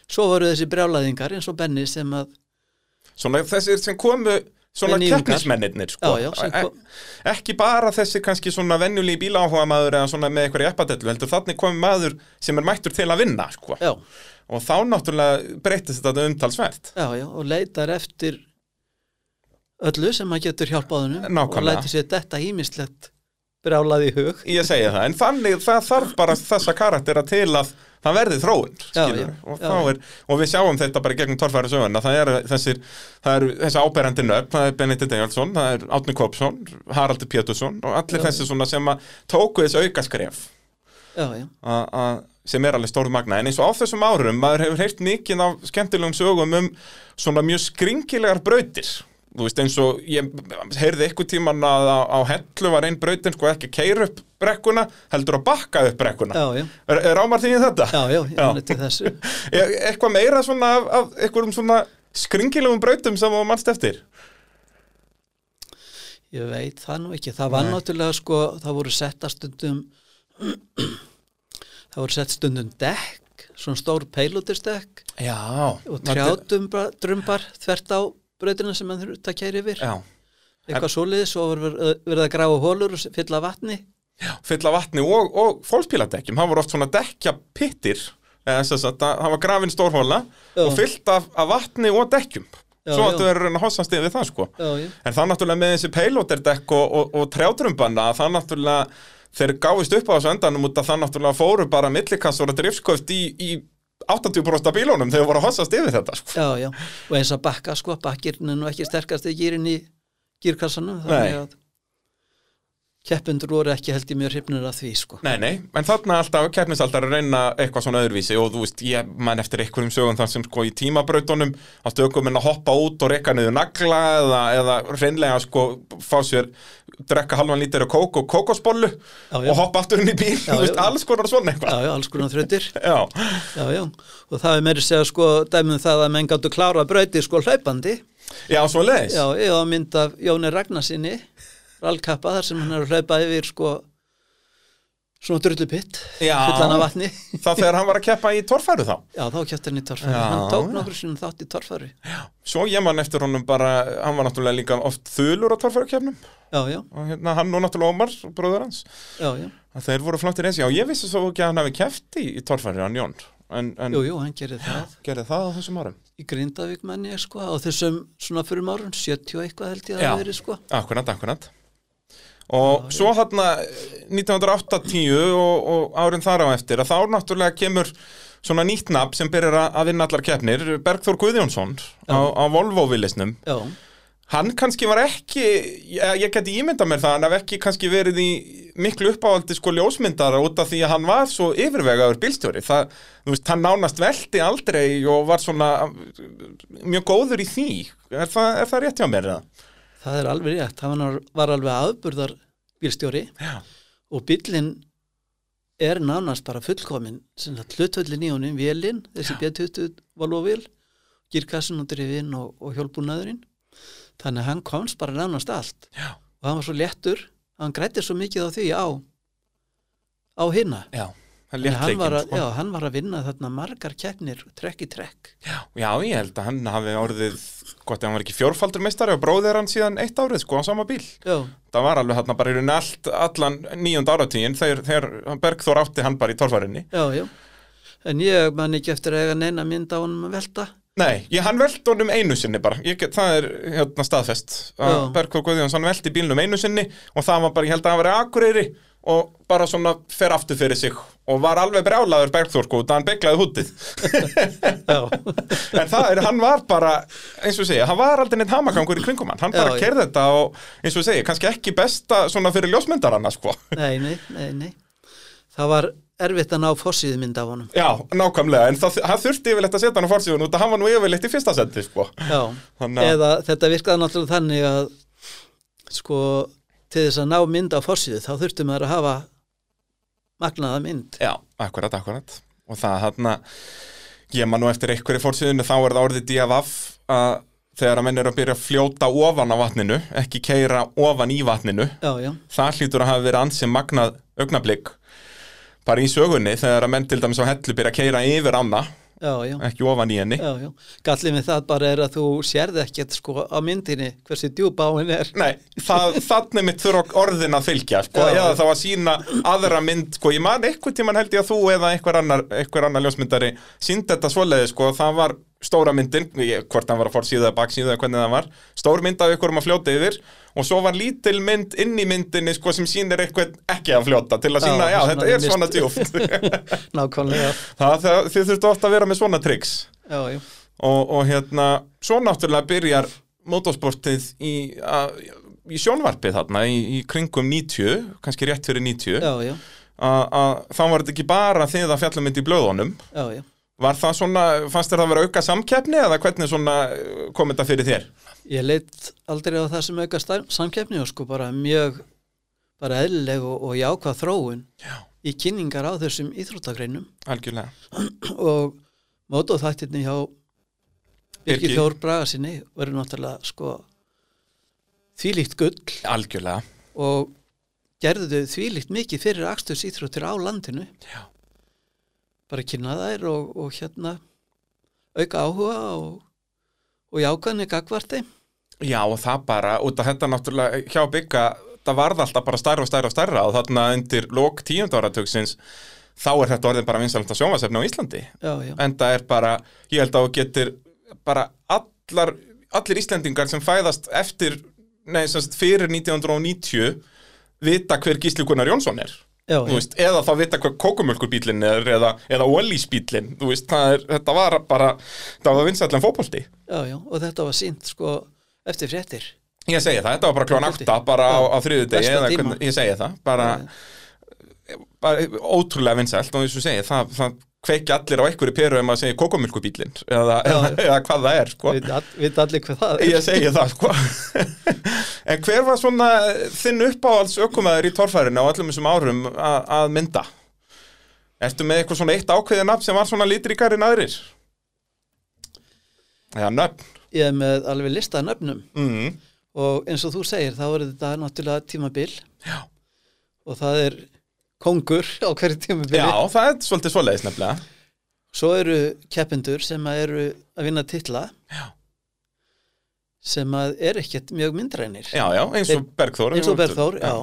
S2: svo voru þessi brjálaðingar eins og Benni sem að
S1: svona þessir sem komu svona
S2: Venjungar.
S1: keppnismennirnir sko.
S2: já, já, sem kom,
S1: E- ekki bara þessir kannski svona venjulegi bíláhuga maður eða svona með eitthvað jeppadellu heldur þannig komi maður sem er mættur til að vinna sko.
S2: já,
S1: og þá náttúrulega breytist þetta umtalsvert
S2: já, já, og leitar eftir öllu sem maður getur hjálpað honum og
S1: Nákvæmlega.
S2: lætir sér detta ímislegt brjálað í hug
S1: ég segi það, en þannig það þarf bara þessa karaktera til að það verði þróun
S2: Já,
S1: skilurðu.
S2: já,
S1: og,
S2: já.
S1: þá er, og við sjáum þetta bara í gegnum torfæri söguna það eru þessir, það eru þessi áberandi nöfn, það er Benedikt Egilson það er Átni Kópsson, Haraldur Pétursson og allir
S2: Já.
S1: þessir svona sem að tóku þessi aukaskref
S2: já, já,
S1: a- a- sem er alveg stór magna en eins og á þessum árum, maður hefur heyrt mikið af skemmtilegum sögum um svona mjög skringilegar brautir þú veist eins og ég heyrði eitthvað tíman að á, á hellu var einn brautin sko ekki keir upp brekkuna heldur að bakka upp brekkuna
S2: já, já,
S1: er, er ámar þín í þetta?
S2: já, já, ég
S1: Já.
S2: muni til þessu
S1: Er, eitthvað meira svona af, af eitthvað svona skringilegum brautum sem þú mannst eftir?
S2: ég veit það nú ekki, það var
S1: Nei.
S2: náttúrulega sko, það voru setta stundum það voru sett stundum dekk, svona stór peilutisdekk
S1: Já
S2: og trjátumbar, drumbar þvert á brautina sem mann þurft að kæri yfir
S1: Já,
S2: eitthvað svoleiðis og voru verið- verið að grafa hólur og fylla vatni
S1: fylla vatni og, og fólkspíladekkjum, það voru oft svona dekkja pittir eða þess að það það var grafin stórhóla
S2: Já.
S1: og fyllt af, af vatni og dekkjum
S2: Já,
S1: svo
S2: já.
S1: áttu verður en að hossast yfir það sko
S2: já, já,
S1: en það náttúrulega með þessi peiloterdekk og, og, og trjátrumbanna að það náttúrulega þeir gáfist upp á þessu endanum út að það náttúrulega fóru bara millikassur og driftsköft í, í 80% af bílunum þegar voru að hossast yfir þetta sko.
S2: já, já og eins að bakka sko, bakkirinn er nú ekki sterkast í gýrin í gýrkassanum þannig
S1: Nei.
S2: að keppendur voru ekki held ég mjög hrifnir af því sko.
S1: Nei, nei, en þarna alltaf keppnisaldar að reyna eitthvað svona öðruvísi og þú veist, ég man eftir einhverjum sögum þar sem sko í tímabrautunum ástu okkur að hoppa út og reyka niður nagla eða, eða reynlega sko fá sér, drekka halvan lítir af kók og kókosbollu
S2: Já, já.
S1: og hoppa aftur inn í bíl, þú veist,
S2: já.
S1: alls konar svona eitthvað.
S2: Já, já, alls konar þrautir
S1: Já,
S2: Já, já, og það er meiri segja sko dæmum það að menn gáttu klára brauti sko hlaupandi
S1: já, svo leiðis.
S2: Já, ég á mynd af Jóni Ragnarsinni rallkappa þar sem hann er að hlaupa yfir sko svona drullupitt
S1: Já.
S2: fullan af vatni
S1: Það þegar hann var að keppa í torfæru þá.
S2: Já, þá kjæfti hann í torfari,
S1: Já,
S2: hann
S1: já.
S2: tók nokkur sinni þátt í torfari
S1: Svo ég man eftir honum bara, hann var náttúrulega líka oft þulur á torfærukefnum
S2: Já, já,
S1: og hérna hann og náttúrulega Ómar, bróður hans.
S2: já, já,
S1: að þeir voru flottir eins, já ég vissi svo ekki að hann hafi keft í, í torfæri hann Jón en, en
S2: jú, jú, hann gerir það
S1: gerði það á þessum árum
S2: í Grindavík menn ég sko á þessum svona fyrir márun, 70 og eitthvað held ég að
S1: Já.
S2: það verið sko
S1: akkurat, akkurat og svo eh, hann 1980 og, og árin þar á eftir að þá náttúrulega kemur svona nýtt nafn sem byrjar að- að vinna allar keppnir Bergþór Guðjónsson á, á Volvo-villisnum
S2: Já,
S1: hann kannski var ekki ég, ég geti ímyndað mér það, hann hef ekki kannski verið í miklu uppáhaldi sko ljósmyndara út af því að hann var svo yfirvegaður bílstjóri, það, þú veist, hann nánast velti aldrei og var svona uh, mjög góður í því er það, er það rétt hjá mér eða?
S2: það er alveg rétt hann var- var alveg aðburðar bílstjóri
S1: Já,
S2: og bíllinn er nánast bara fullkomin sem það hlutvöldin í honum, vélinn þessi B20 valóvél girkassin og drifinn og, og hjólbúnaðurinn þannig að hann komst bara nánast allt
S1: já,
S2: og hann var svo léttur, hann grætti svo mikið á því á, á hinna
S1: já hann,
S2: Þannig að hann, var að,
S1: sko.
S2: já, hann var að vinna þarna margar keppnir trekk í trekk
S1: já. já, ég held að hann hafi orðið gott ef hann var ekki fjórfaldur meistari og bróðir hann síðan eitt árið sko á sama bíl
S2: já,
S1: það var alveg hann bara í raunin allt allan nýjund áratígin þegar, þegar Bergþór átti hann bara í torfarinni
S2: já, já en ég man ekki eftir að eiga neina mynd á honum að velta
S1: Nei, ég, hann velt honum einu sinni bara ég get, Það er hérna staðfest
S2: Já.
S1: Bergþór Guðjóns, hann velti bílnum einu sinni og það var bara, ég held að hann verið akureyri og bara svona fer aftur fyrir sig og var alveg brjálaður Bergþór sko, það hann beklaði hútið
S2: já,
S1: en það er, hann var bara, eins og ég segja hann var aldrei neitt hamagangur í kringum hann hann bara
S2: Já, já.
S1: kerði þetta og eins og ég segja kannski ekki besta svona fyrir ljósmyndaranna sko.
S2: nei, nei, nei, nei það var erfitt að ná fossíðu mynd af honum
S1: Já, nákvæmlega, en það, hann þurfti yfirleitt að setja hann á fórsíðun út að hann var nú yfirleitt í fyrsta sendi sko.
S2: Já,
S1: Þannig að-
S2: eða þetta virkaði náttúrulega þannig að sko til þess að ná mynd á forsíðu þá þurftum maður að hafa magnaða mynd
S1: Já, akkurat, akkurat og það hann ég man nú eftir einhverju fórsíðinu þá er það orðið DFF að þegar að menn eru að byrja að fljóta ofan á vatninu ekki keira ofan í vatninu
S2: Já, já,
S1: það hlýtur að hafa verið ansið magnað augnablík bara í sögunni þegar að menn til dæmis á hellu byrja að keira yfir anna
S2: já, já,
S1: ekki ofan í henni
S2: já, já. Gallið með það bara er að þú sérð ekkert sko á myndinni hversu djúpa á henni er
S1: Nei, það, þannig mitt þurfa orðin að fylgja sko,
S2: Já.
S1: eða þá að sína aðra mynd sko, ég man einhvern tíman held ég að þú eða einhver annar, einhver annar ljósmyndari sínd þetta svoleiði, sko, það var stóra myndin, ég, hvort hann var að fór síða eða baksíða eða hvernig það var, stór mynd af ykkur um að fljóta yfir og svo var lítil mynd inn í myndinni sko, sem sýnir eitthvað ekki að fljóta til að
S2: Já,
S1: sína, já,
S2: svona
S1: þetta er
S2: mist.
S1: svona djúft
S2: Nákvæmlega,
S1: það, það, þið þurftu ofta að vera með svona triks
S2: já, já,
S1: og, og hérna, svo náttúrulega byrjar motorsportið í, a, í sjónvarpið þarna í, í kringum 90, kannski rétt fyrir 90
S2: já, já,
S1: að þá var þetta ekki bara þið að fjallum myndi í blöðunum
S2: já, já.
S1: var það svona, fannst þér það að vera auka samkeppni eða hvernig svona eh, kom þetta fyrir þér?
S2: Ég leitt aldrei á það sem auka stæ- samkeppni og sko bara mjög bara eðlileg og, og jákvað þróun
S1: Já.
S2: í kynningar á þessum íþróttagreinum
S1: Algjörlega
S2: og mótóþættirni hjá Birgi
S1: Birgi.
S2: Þór Braga sinni verður náttúrulega sko þvílíkt gull
S1: Algjörlega
S2: og gerðu þau þvílíkt mikið fyrir aksturs íþróttir á landinu
S1: Já.
S2: bara kynna þær og, og hérna auka áhuga og, og jákvæðinni gagvarti
S1: Já og það bara, út að þetta náttúrulega hjá bygga, það varð alltaf bara stærra og stærra og stærra og þarna undir lok tíund áratugsins þá er þetta orðin bara vinsalanda sjónvarsefni á Íslandi
S2: já, já,
S1: en það er bara, ég held að þú getur bara allar, allir Íslendingar sem fæðast eftir, nei, sem sagt, fyrir 1990 vita hver Gísli Gunnar Jónsson er
S2: já,
S1: þú veist, eða þá vita hver kókumölkurbílinn er eða, eða Wallis-bílinn, þú veist, það er, þetta var bara, það var vinsætlan fótbolti
S2: já, já og þetta var sínt sko eftir fréttir
S1: Ég segi það, þetta var bara klón
S2: Kvöldi.
S1: 8 bara á, á þriðudegi
S2: Besta
S1: eða
S2: tíma.
S1: hvernig- Ég segi það, bara, Eh, bara ótrúlega vinsælt og eins og segi það, það kveikja allir á einhverju peru um ef maður segir kókomjölkubílinn eða,
S2: Já.
S1: eða, eða hvað það er sko.
S2: Við veit allir hvað það er
S1: Ég segi það sko. En hver var svona þinn uppáhalds ökumæður í torfærinu á öllum þessum árum að, að mynda? Ertu með eitthvað svona eitt ákveðið nafn sem var svona litrikari en aðrir? Já, nöfn
S2: Ég er með alveg listað nöfnum
S1: mm.
S2: og eins og þú segir þá er þetta náttúrulega tímabil
S1: Já.
S2: og það er kongur á hverju tímabili
S1: Já, það er svolítið svoleiðis nefnilega
S2: Svo eru keppendur sem að eru að vinna titla
S1: Já.
S2: sem að er ekkert mjög myndrænir
S1: Já, já, eins og Bergþór
S2: eins og Berþór, já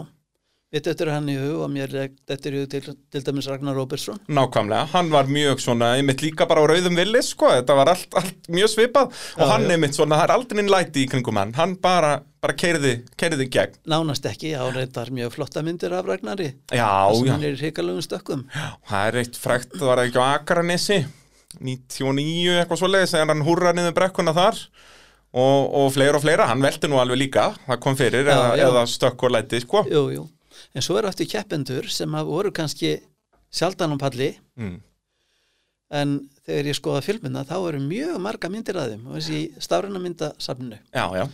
S2: Við dættur hann í hug og mér dættur í hug til, til dæmis Ragnar Róbertsson
S1: Nákvæmlega, hann var mjög svona, einmitt líka bara á rauðum villi, sko, þetta var allt, allt mjög svipað og
S2: Já,
S1: hann
S2: já.
S1: einmitt svona, það er aldrei einn læti í kringum hann, hann bara, bara keiriði, keiriði gegn.
S2: nánast ekki, á reyndar mjög flotta myndir af Ragnari
S1: Já,
S2: þar sem
S1: já,
S2: hann er í hrikalegum stökkum
S1: það er eitt frækt, það var ekki á Akranesi, 99 eitthvað svoleiðis, en hann húrra niður brekkuna þar og, og fleira og fleira, hann velti nú alveg líka, það kom fyrir,
S2: Já,
S1: eða,
S2: já.
S1: eða stökk og læti, sko.
S2: jú, jú. en svo eru aftur keppendur sem að voru kannski sjaldan á palli
S1: Mm.
S2: en þegar ég skoða filmina þá eru mjög marga myndir að þeim og þessi stafræna myndasafninu
S1: Já, já,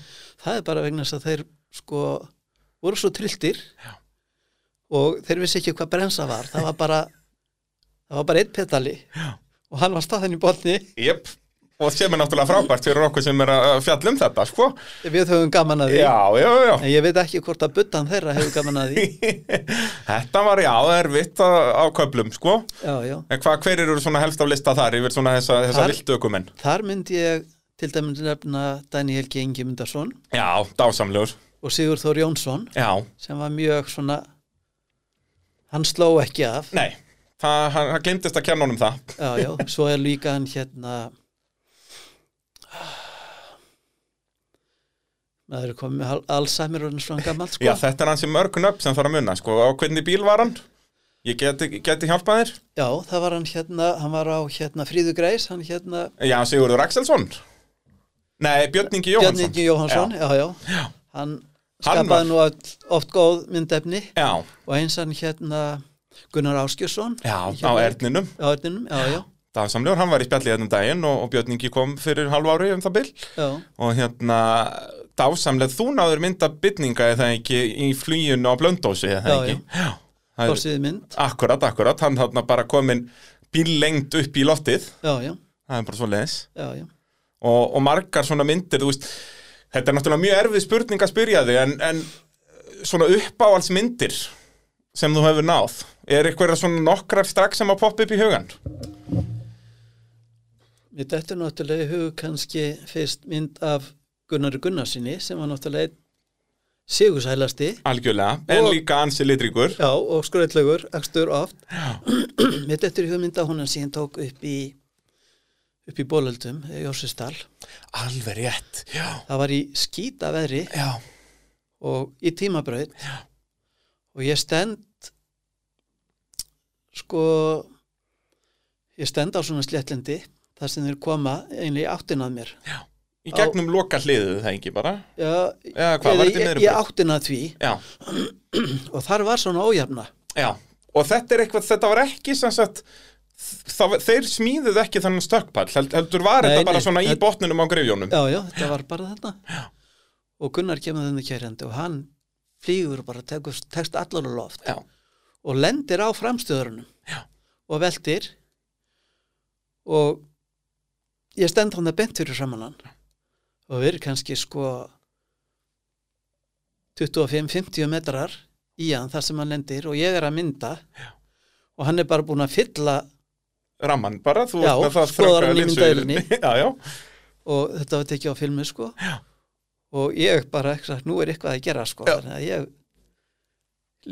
S2: það er bara vegna þess að þeir sko voru svo trilltir
S1: Já.
S2: og þeir vissi ekki hvað bremsa var það var bara, það var bara eitt petali Já. og hann var staðan í botni
S1: jöp. Og sem er náttúrulega frábært fyrir okkur sem er að að fjalla um þetta, sko.
S2: við höfum gaman að því
S1: Já, já, já.
S2: en ég veit ekki hvort að buttan þeirra hefur gaman að því
S1: Þetta var já, erfitt á, á köflum sko.
S2: já, já.
S1: En hvað, hver eru svona helst af lista þar yfir svona þessa, þessa
S2: Þar-
S1: viltökumenn?
S2: þar myndi ég til dæmis nefna Dani Helgi Ingimundarsson
S1: Já, dásamlegur
S2: og Sigur Þór Jónsson
S1: Já,
S2: sem var mjög svona hann sló ekki af
S1: nei, það, hann, hann glemtist að kenna honum það
S2: já, já, svo er líka hann hérna maður er komið með al- Alzheimer og hann svona gammal sko
S1: Já, þetta er hans í mörgun upp sem þarf að munna sko. Á hvernig bíl var hann? Ég geti, geti hjálpað þér
S2: Já, það var hann hérna, hann var á hérna Fríðu Græs, hann hérna
S1: Já, Sigurður Axelsson Nei, Björn Ingi
S2: Björn
S1: Jóhansson
S2: Ingi Jóhansson, já, já, hann
S1: Hann var-
S2: skapaði nú all- oft góð myndefni
S1: Já,
S2: og eins hann hérna Gunnar Áskjörsson
S1: já, á
S2: hérna,
S1: Erninum
S2: á Erninum, já, já,
S1: Dásamlegur, hann var í spjallið þennum daginn og, og Björn Ingi kom fyrir halv ári um það bil
S2: já,
S1: og hérna dásamlega, þú náður mynda bytninga eða ekki í flýjun á blöndósi eða
S2: Já,
S1: ekki já. Það er-
S2: fórsýði mynd,
S1: Akkurat, akkurat, hann þarna bara komin bíllengt upp í loftið
S2: já, já,
S1: það er bara svo leðis
S2: já, já,
S1: og, og margar svona myndir, þú veist þetta er náttúrulega mjög erfið spurning að spyrja þig en, en svona uppáhaldsmyndir sem þú hefur náð er eitthvað svona nokkrar strax sem að poppa upp í hugan?
S2: Mér dættur náttúrulega í hug kannski fyrst mynd af Gunnari Gunnarsinni sem var náttúrulega einn sigursælasti
S1: Algjörlega, en
S2: Og-
S1: líka ansi litrikur
S2: já, og skröðlegur, akstur oft. Mér dættur í hug mynd af hún hann síðan tók upp í upp í Bólöldum, Jórsistal.
S1: Alveg rétt, já,
S2: Það var í skýta veðri
S1: já
S2: og í tímabraut já. og ég stend sko ég stend á svona sléttlendi þar sem þeir koma einlega í áttin að mér.
S1: Í gegnum loka hliðu það ekki bara
S2: Já,
S1: Já, hvað, var
S2: eða
S1: þetta í
S2: ég,
S1: miðri
S2: ég
S1: braut?
S2: áttin að því
S1: Já,
S2: og þar var svona ójafna
S1: já Og þetta er eitthvað, þetta var ekki sem sagt það, Þeir smíðuð ekki þannig stökkpall held, Heldur var
S2: Nei,
S1: þetta bara
S2: nei,
S1: svona í
S2: þetta-
S1: botninum á greifjónum
S2: já, já, þetta var bara þetta já. og Gunnar kemur þenni kærandi og hann flýgur bara, tekur, tekst allar á loft
S1: Já,
S2: og lendir á framstöðurunum
S1: Já.
S2: og veltir og ég stend hann að bent fyrir saman hann og við erum kannski sko 25-50 metrar í hann þar sem hann lendir og ég er að mynda já. og hann er bara búin að fylla
S1: ramman bara þú
S2: Já,
S1: ert með það
S2: skoðar
S1: þrönga
S2: hann í
S1: linsuvélinni.
S2: myndavélinni.
S1: Já, já,
S2: og þetta var tekið á filmu sko já. og ég bara ekki, nú er eitthvað að gera sko
S1: Já.
S2: þannig að ég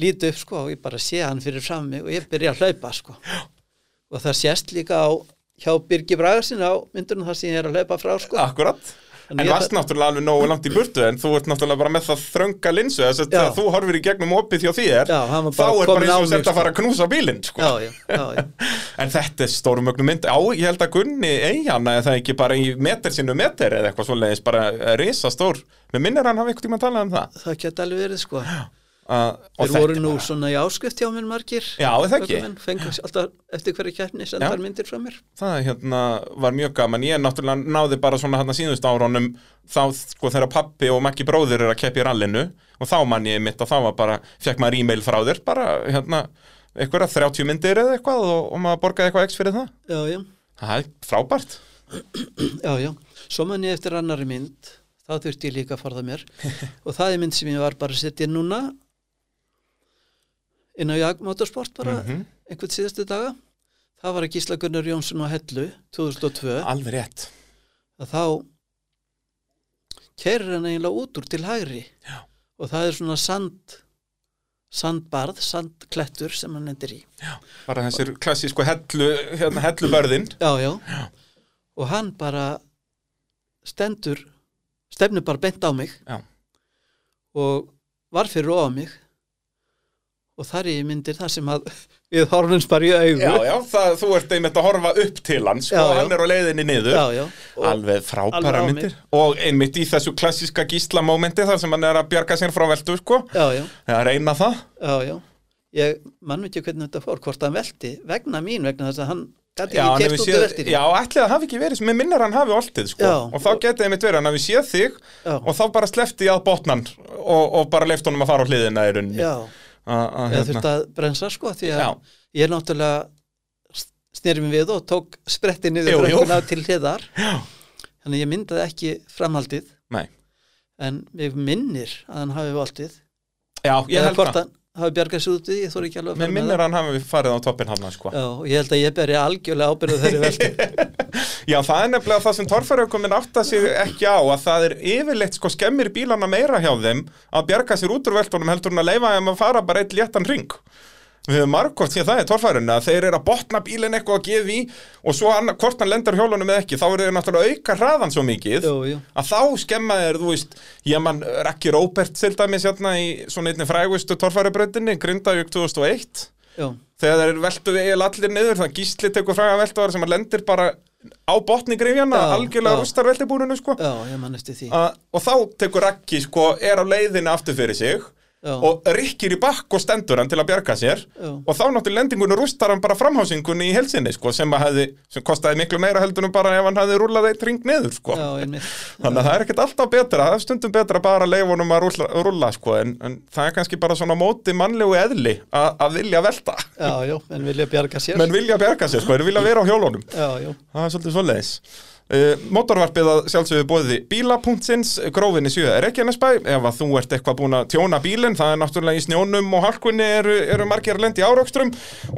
S2: líti upp sko og ég bara sé hann fyrir fram mig og ég byrja að hlaupa sko já. og það sést líka á hjá Birgi Bragarsin á myndunum þar sem ég er að hlaupa frá sko
S1: akkurat En varst náttúrulega alveg nógu langt í burtu en þú ert náttúrulega bara með það þrönga linsu þess að
S2: Já.
S1: þú horfir í gegnum opið hjá þér
S2: Já, hann var
S1: þá
S2: bara
S1: er bara eins
S2: kominn
S1: og
S2: á mig,
S1: þetta að
S2: sko.
S1: fara að knúsa bílinn sko.
S2: já, já, já, já.
S1: en þetta er stórmögnu mynd á, ég held að Gunni eigin eða það ekki bara í meter sinu meter eða eitthvað svoleiðis, bara risa stór með minnir hann hafi einhvern tímann talað um það
S2: það geti alveg verið sko
S1: uh, og
S2: þeir
S1: þetta
S2: voru
S1: er
S2: nú
S1: bara-
S2: svona í áskrift hjá mér margir
S1: Já, er það ekki?
S2: ökumenn, fengu alltaf eftir hverja kjærni
S1: Já.
S2: sendar myndir frá mér
S1: það hérna var mjög gaman ég náttúrulega náði bara svona hérna síðust árónum þá sko þegar pappi og makki bróðir er að keppi í rallinu og þá mann ég mitt að þá var bara, fekk maður e-mail frá þér bara hérna einhverja 30 myndir eða eitthvað og, og maður borgaði eitthvað x fyrir það
S2: já, já,
S1: það er frábært
S2: já, já svo mann ég eftir annari mynd það þurfti ég líka að forða mér og það er mynd sem ég var bara að setja inn núna inn á Jag Motorsport bara
S1: Mhm.
S2: einhvern síðustu daga það var að Gísla Gunnar Jónsson á Hellu 2002
S1: alveg rétt
S2: að þá kerir hann eiginlega út úr til hægri Já. og það er svona sand sandbarð, sandklettur sem hann endur í
S1: bara þessir klassísku hellu hérna hellubörðin
S2: já, já. og hann bara stendur stefnir bara bent á mig
S1: Já.
S2: og var fyrir ofað mig og þar er ég myndir þar sem að við horfumst bara í augu
S1: já já, það, þú ert einmitt að horfa upp til hans
S2: Já,
S1: og
S2: já.
S1: hann er á leiðinni niður
S2: já, já. Og,
S1: Alveg frábæra
S2: alveg á
S1: myndir Og einmitt í þessu klassíska gíslamómenti þar sem hann er að bjarga sér frá veldu sko
S2: já, já,
S1: Eða reyna það
S2: já, já ég mann ekki hvernig þetta fór hvort hann velti vegna mín, vegna þess að hann gæti
S1: Já,
S2: ekki
S1: hann hefur
S2: kert út
S1: séð,
S2: af veltir
S1: já, ætli það hafi ekki verið sem minnir hann hafi oltið sko.
S2: Já.
S1: og þá getið einmitt verið, hann hafi séð þig
S2: Já.
S1: og þá bara slefti ég að botnan og, og bara leift honum að fara á hliðina í rauninni
S2: Já,
S1: Að- að,
S2: eða
S1: hérna.
S2: þurfti að brensa sko því að
S1: Já.
S2: ég náttúrulega sneri mig við og tók spretti
S1: Jú,
S2: niður
S1: jú.
S2: brekkuna til hliðar
S1: Já.
S2: þannig að ég myndaði ekki framhaldið
S1: Nei.
S2: en mig minnir að hann hafi valdið
S1: Já, ég
S2: eða
S1: held
S2: hvort
S1: það
S2: hann hafi bjargað sér út í því, ég þóri ekki alveg að
S1: Mér
S2: fara með
S1: minnir hann hafi farið á toppin hann sko.
S2: það Já, og ég held að ég beri algjörlega ábyrðu þeirri veldi
S1: Já, það er nefnilega það sem torfærauguminn átta sig ekki á að það er yfirleitt sko skemmir bílana meira hjá þeim að bjarga sér út úr veltunum heldur en að leifa þeim að fara bara eitt léttan ring Við höfum margótt sér það í torfærunni að þeir eru að botna bílinn eitthvað að gefa í og svo hann, hvort hann lendar hjólunum eða ekki þá eru þeir náttúrulega að auka hraðan svo mikið
S2: Jú, jú.
S1: að þá skemma þeir, þú veist, ég mann Raki Róbert til dæmis hérna í svona einni frægustu torfærubrautinni, Grindavík 2001
S2: Já,
S1: þegar þeir veltu við eiginlega allir niður þannig að gísli tekur fræga veltuðar sem að lendir bara á botni grifjana,
S2: Já,
S1: algjörlega
S2: já.
S1: rústar veltibúrinu sko
S2: já, ég mann eftir því
S1: uh, og þá tekur Raggi sko er á leiðinni aftur fyrir sig
S2: Já.
S1: og rikkir í bakk og stendur hann til að bjarga sér
S2: Já.
S1: og þá náttúrulega lendingunni rústar hann bara framhásingunni í helsinni sko sem að hefði, sem kostaði miklu meira heldur en bara ef hann hefði rúlað eitt ring niður sko
S2: Já, einmitt
S1: Þannig að það er ekkert alltaf betra, það er stundum betra bara að leifa honum að rúlla, rúlla sko, en, en það er kannski bara svona á móti mannlegu eðli a, að vilja velta.
S2: Já, já, en vilja bjarga sér
S1: menn vilja berga sér, sko, þeir vilja vera á hjólunum
S2: Já, já,
S1: það er svolítið svoleiðis uh, Mótorvarpið að sjálfsögðu bóði bíla.sins grófinni 7 er ekki næsbæ ef að þú ert eitthvað búin að tjóna bílinn það er náttúrulega í snjónum og harkunni eru, eru margir að lendi áraukstrum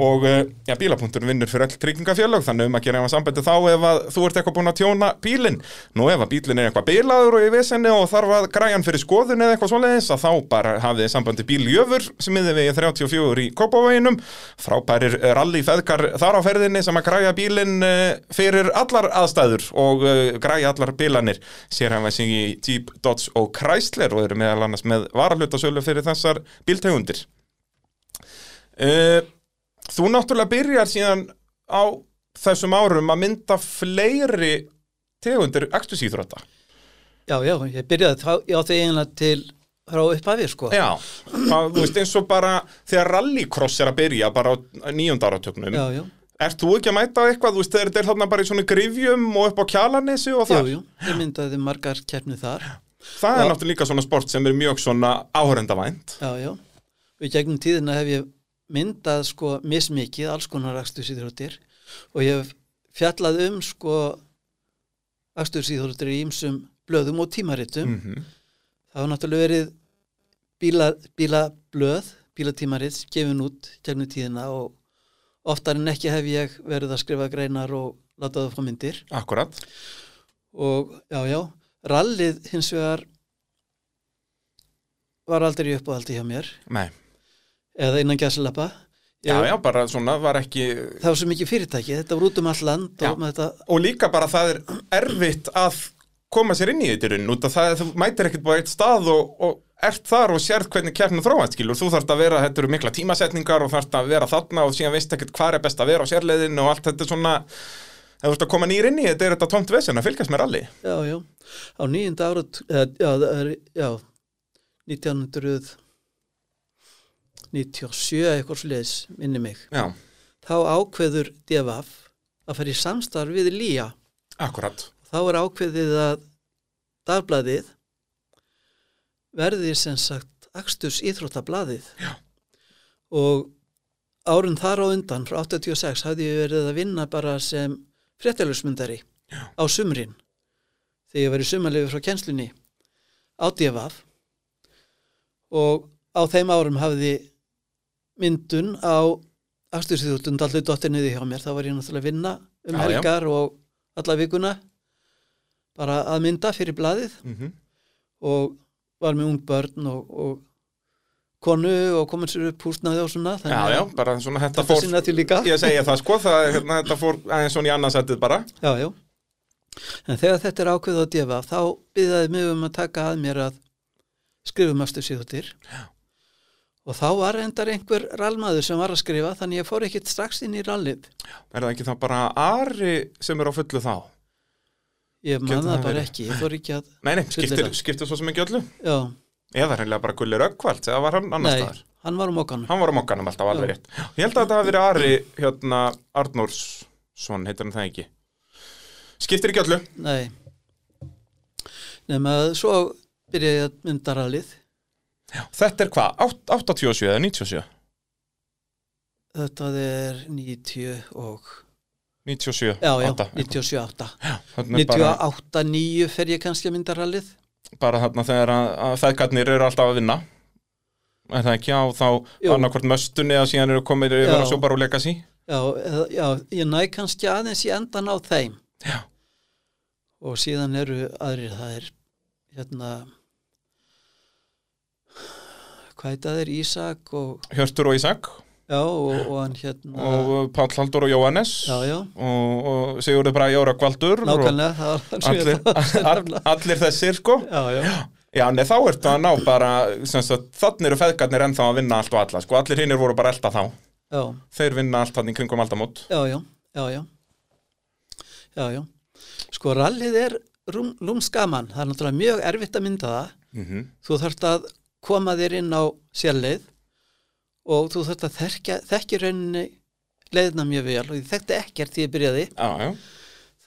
S1: og uh, ja, bíla.sinn vinnur fyrir all tryggingafjölög þannig um að gera eitthvað sambandi þá ef að þú ert eitthvað búin að tjóna bílinn nú ef að bílinn er eitthvað bilaður og í vesenni og þarf að græja hann fyrir skoðun eða eitthvað svoleiðis að þá bara hafið þið sambandi bíljöfur sem yfir vegið 34 í Kópavoginum frábærir rallyfeðkar þar á ferðinni sem að græja bílinn eh, fyrir allar aðstæður og eh, græja allar bílanir sér hann sig í Jeep, Dodge og Chrysler og eru meðal annars með varalutasölu fyrir þessar bíltegundir Eh, Þú náttúrulega byrjar síðan á þessum árum að mynda fleiri tegundir aktusíþrótta
S2: já, já, ég byrjaði þá, já, því eiginlega til frá upphafi, sko
S1: Já, það, þú veist eins og bara þegar rallycross er að byrja bara á nýjönda áratögnum
S2: já, já,
S1: Ert þú ekki að mæta á eitthvað, þú veist þegar þetta er þarna bara í svona grifjum og upp á kjalanesi og
S2: jú,
S1: það
S2: jú, ég myndaði margar keppni þar
S1: Það er náttúrulega líka svona sport sem er mjög svona áhörendavænt
S2: Já, já. Og í gegnum tíðina hef ég myndað sko mismikið alls konar akstursýþróttir og ég hef fjallað um sko akstursýþróttir í ýmsum blöðum og tímaritum.
S1: mm -hmm.
S2: Það hafa náttúrulega verið bíla, bílablöð, bílatímarit gefin út gegnum tíðina og oftar en ekki hef ég verið að skrifa greinar og láta það fá myndir
S1: Akkurat
S2: og já, já, rallið hins vegar var aldrei upp á aldi hjá mér
S1: Nei.
S2: eða innan gæslappa
S1: Já, já, bara svona var ekki
S2: það var svo mikið fyrirtæki, þetta var út um all land
S1: Já.
S2: og með þetta,
S1: Og líka bara það er erfitt að koma sér inn í þetta í raunin út að það, þú mætir ekkert bara eitt stað og, og ert þar og sérð hvernig kjarnin þróast skilur, þú þarft að vera, þetta eru mikla tímasetningar og þarft að vera þarna og síðan veist ekkert hvað er best að vera á sérleiðinu og allt þetta er svona ef þú ert að koma nýr inn í þetta er þetta tómt vesen að fylgjast með rally
S2: já, já, á nýjunda árat eða, já, það er, já 1997 eitthvað sliðis, minni mig
S1: Já,
S2: þá ákveður DFF að fara í samstarf við Lía
S1: akkurat
S2: þá er ákveðið að dagbladið verði sem sagt Aksturs íþróttablaðið Já. og árun þar á undan frá 86 hafði ég verið að vinna bara sem fréttalusmyndari Já. á sumrin þegar ég var í sumarlegu frá kjenslunni á DFF og á þeim árum hafði myndun á Aksturs íþróttund allir dottirniði hjá mér þá var ég náttúrulega að vinna um
S1: Já, já.
S2: helgar og alla vikuna bara að mynda fyrir blaðið
S1: mm
S2: og var með ung börn og, og konu og komin sér upp húsnaði og svona
S1: Já, já, bara svona þetta
S2: þetta
S1: fór
S2: sinna til líka
S1: ég segja það sko, það, er hérna, þetta fór aðeins svona í annarsættið bara
S2: já, já. en þegar þetta er ákveð á djöfa þá byrðaði mig um að taka að mér að skrifum aftur síðutir og þá var endar einhver rallmaður sem var að skrifa þannig ég fór ekkit strax inn í rallið
S1: er það ekki það bara Ari sem er á fullu þá
S2: ég man
S1: Getur
S2: það
S1: það
S2: bara
S1: verið?
S2: ekki, ég fór ekki að
S1: Nei, nei,
S2: Fullir
S1: skiptir,
S2: það.
S1: skiptir svo sem ekki öllu
S2: já,
S1: eða hreinlega bara gullir ökkvart eða var hann annars
S2: nei,
S1: staðar
S2: hann var um okkanum
S1: hann var á mokkanum alltaf alveg
S2: Já.
S1: rétt ég held að þetta hafi verið Ari hérna Arnórsson heitir hann það ekki skiptir ekki öllu
S2: Nei. Nefn að svo byrjaði ég að mynda rallið.
S1: þetta er hvað, Átt- 87 eða 97
S2: Þetta er 90 og...
S1: 97,
S2: Já, já,
S1: 8,
S2: 97, 8.
S1: Þarna er bara,
S2: 98, 9 fer ég kannski að mynda rallið.
S1: bara þarna þegar að, að feðgarnir eru alltaf að vinna er það ekki á þá
S2: Jú.
S1: annarkvort möstunni eða síðan eru komið yfir
S2: Já.
S1: að sjópar og legacy
S2: Já, eða- já, ég næ kannski aðeins í endan á þeim.
S1: já,
S2: Og síðan eru aðrir, það er hérna... Hvað heit það er? Ísak og...
S1: Hjörtur og Ísak
S2: Já, og, og hann hérna...
S1: og Páll Haldur og Jóhannes
S2: já, já,
S1: og, og Sigurður Bragi og Rökkvaldur og
S2: nákvæmlega, það var hann sem ég
S1: allir,
S2: ætlaði að
S1: all,
S2: nefna.
S1: allir þessir sko
S2: Já, já,
S1: Já, nei, þá ertu að ná bara, sem sagt, þannig eru feðgarnir ennþá að vinna allt og alla, sko, allir hinnir voru bara elda þá.
S2: já.
S1: Þeir vinna allt þannig kringum aldamót.
S2: Já, já, já, já. Já, já. Sko rallið er rúm, rúmskaman, það er náttúrulega mjög erfitt að mynda það.
S1: Mm
S2: Þú þarft að koma þér inn á sérleið og þú þarft að þekki, þekki rauninni leiðina mjög vel og ég þekkti ekkert því ég byrjaði.
S1: Já, já,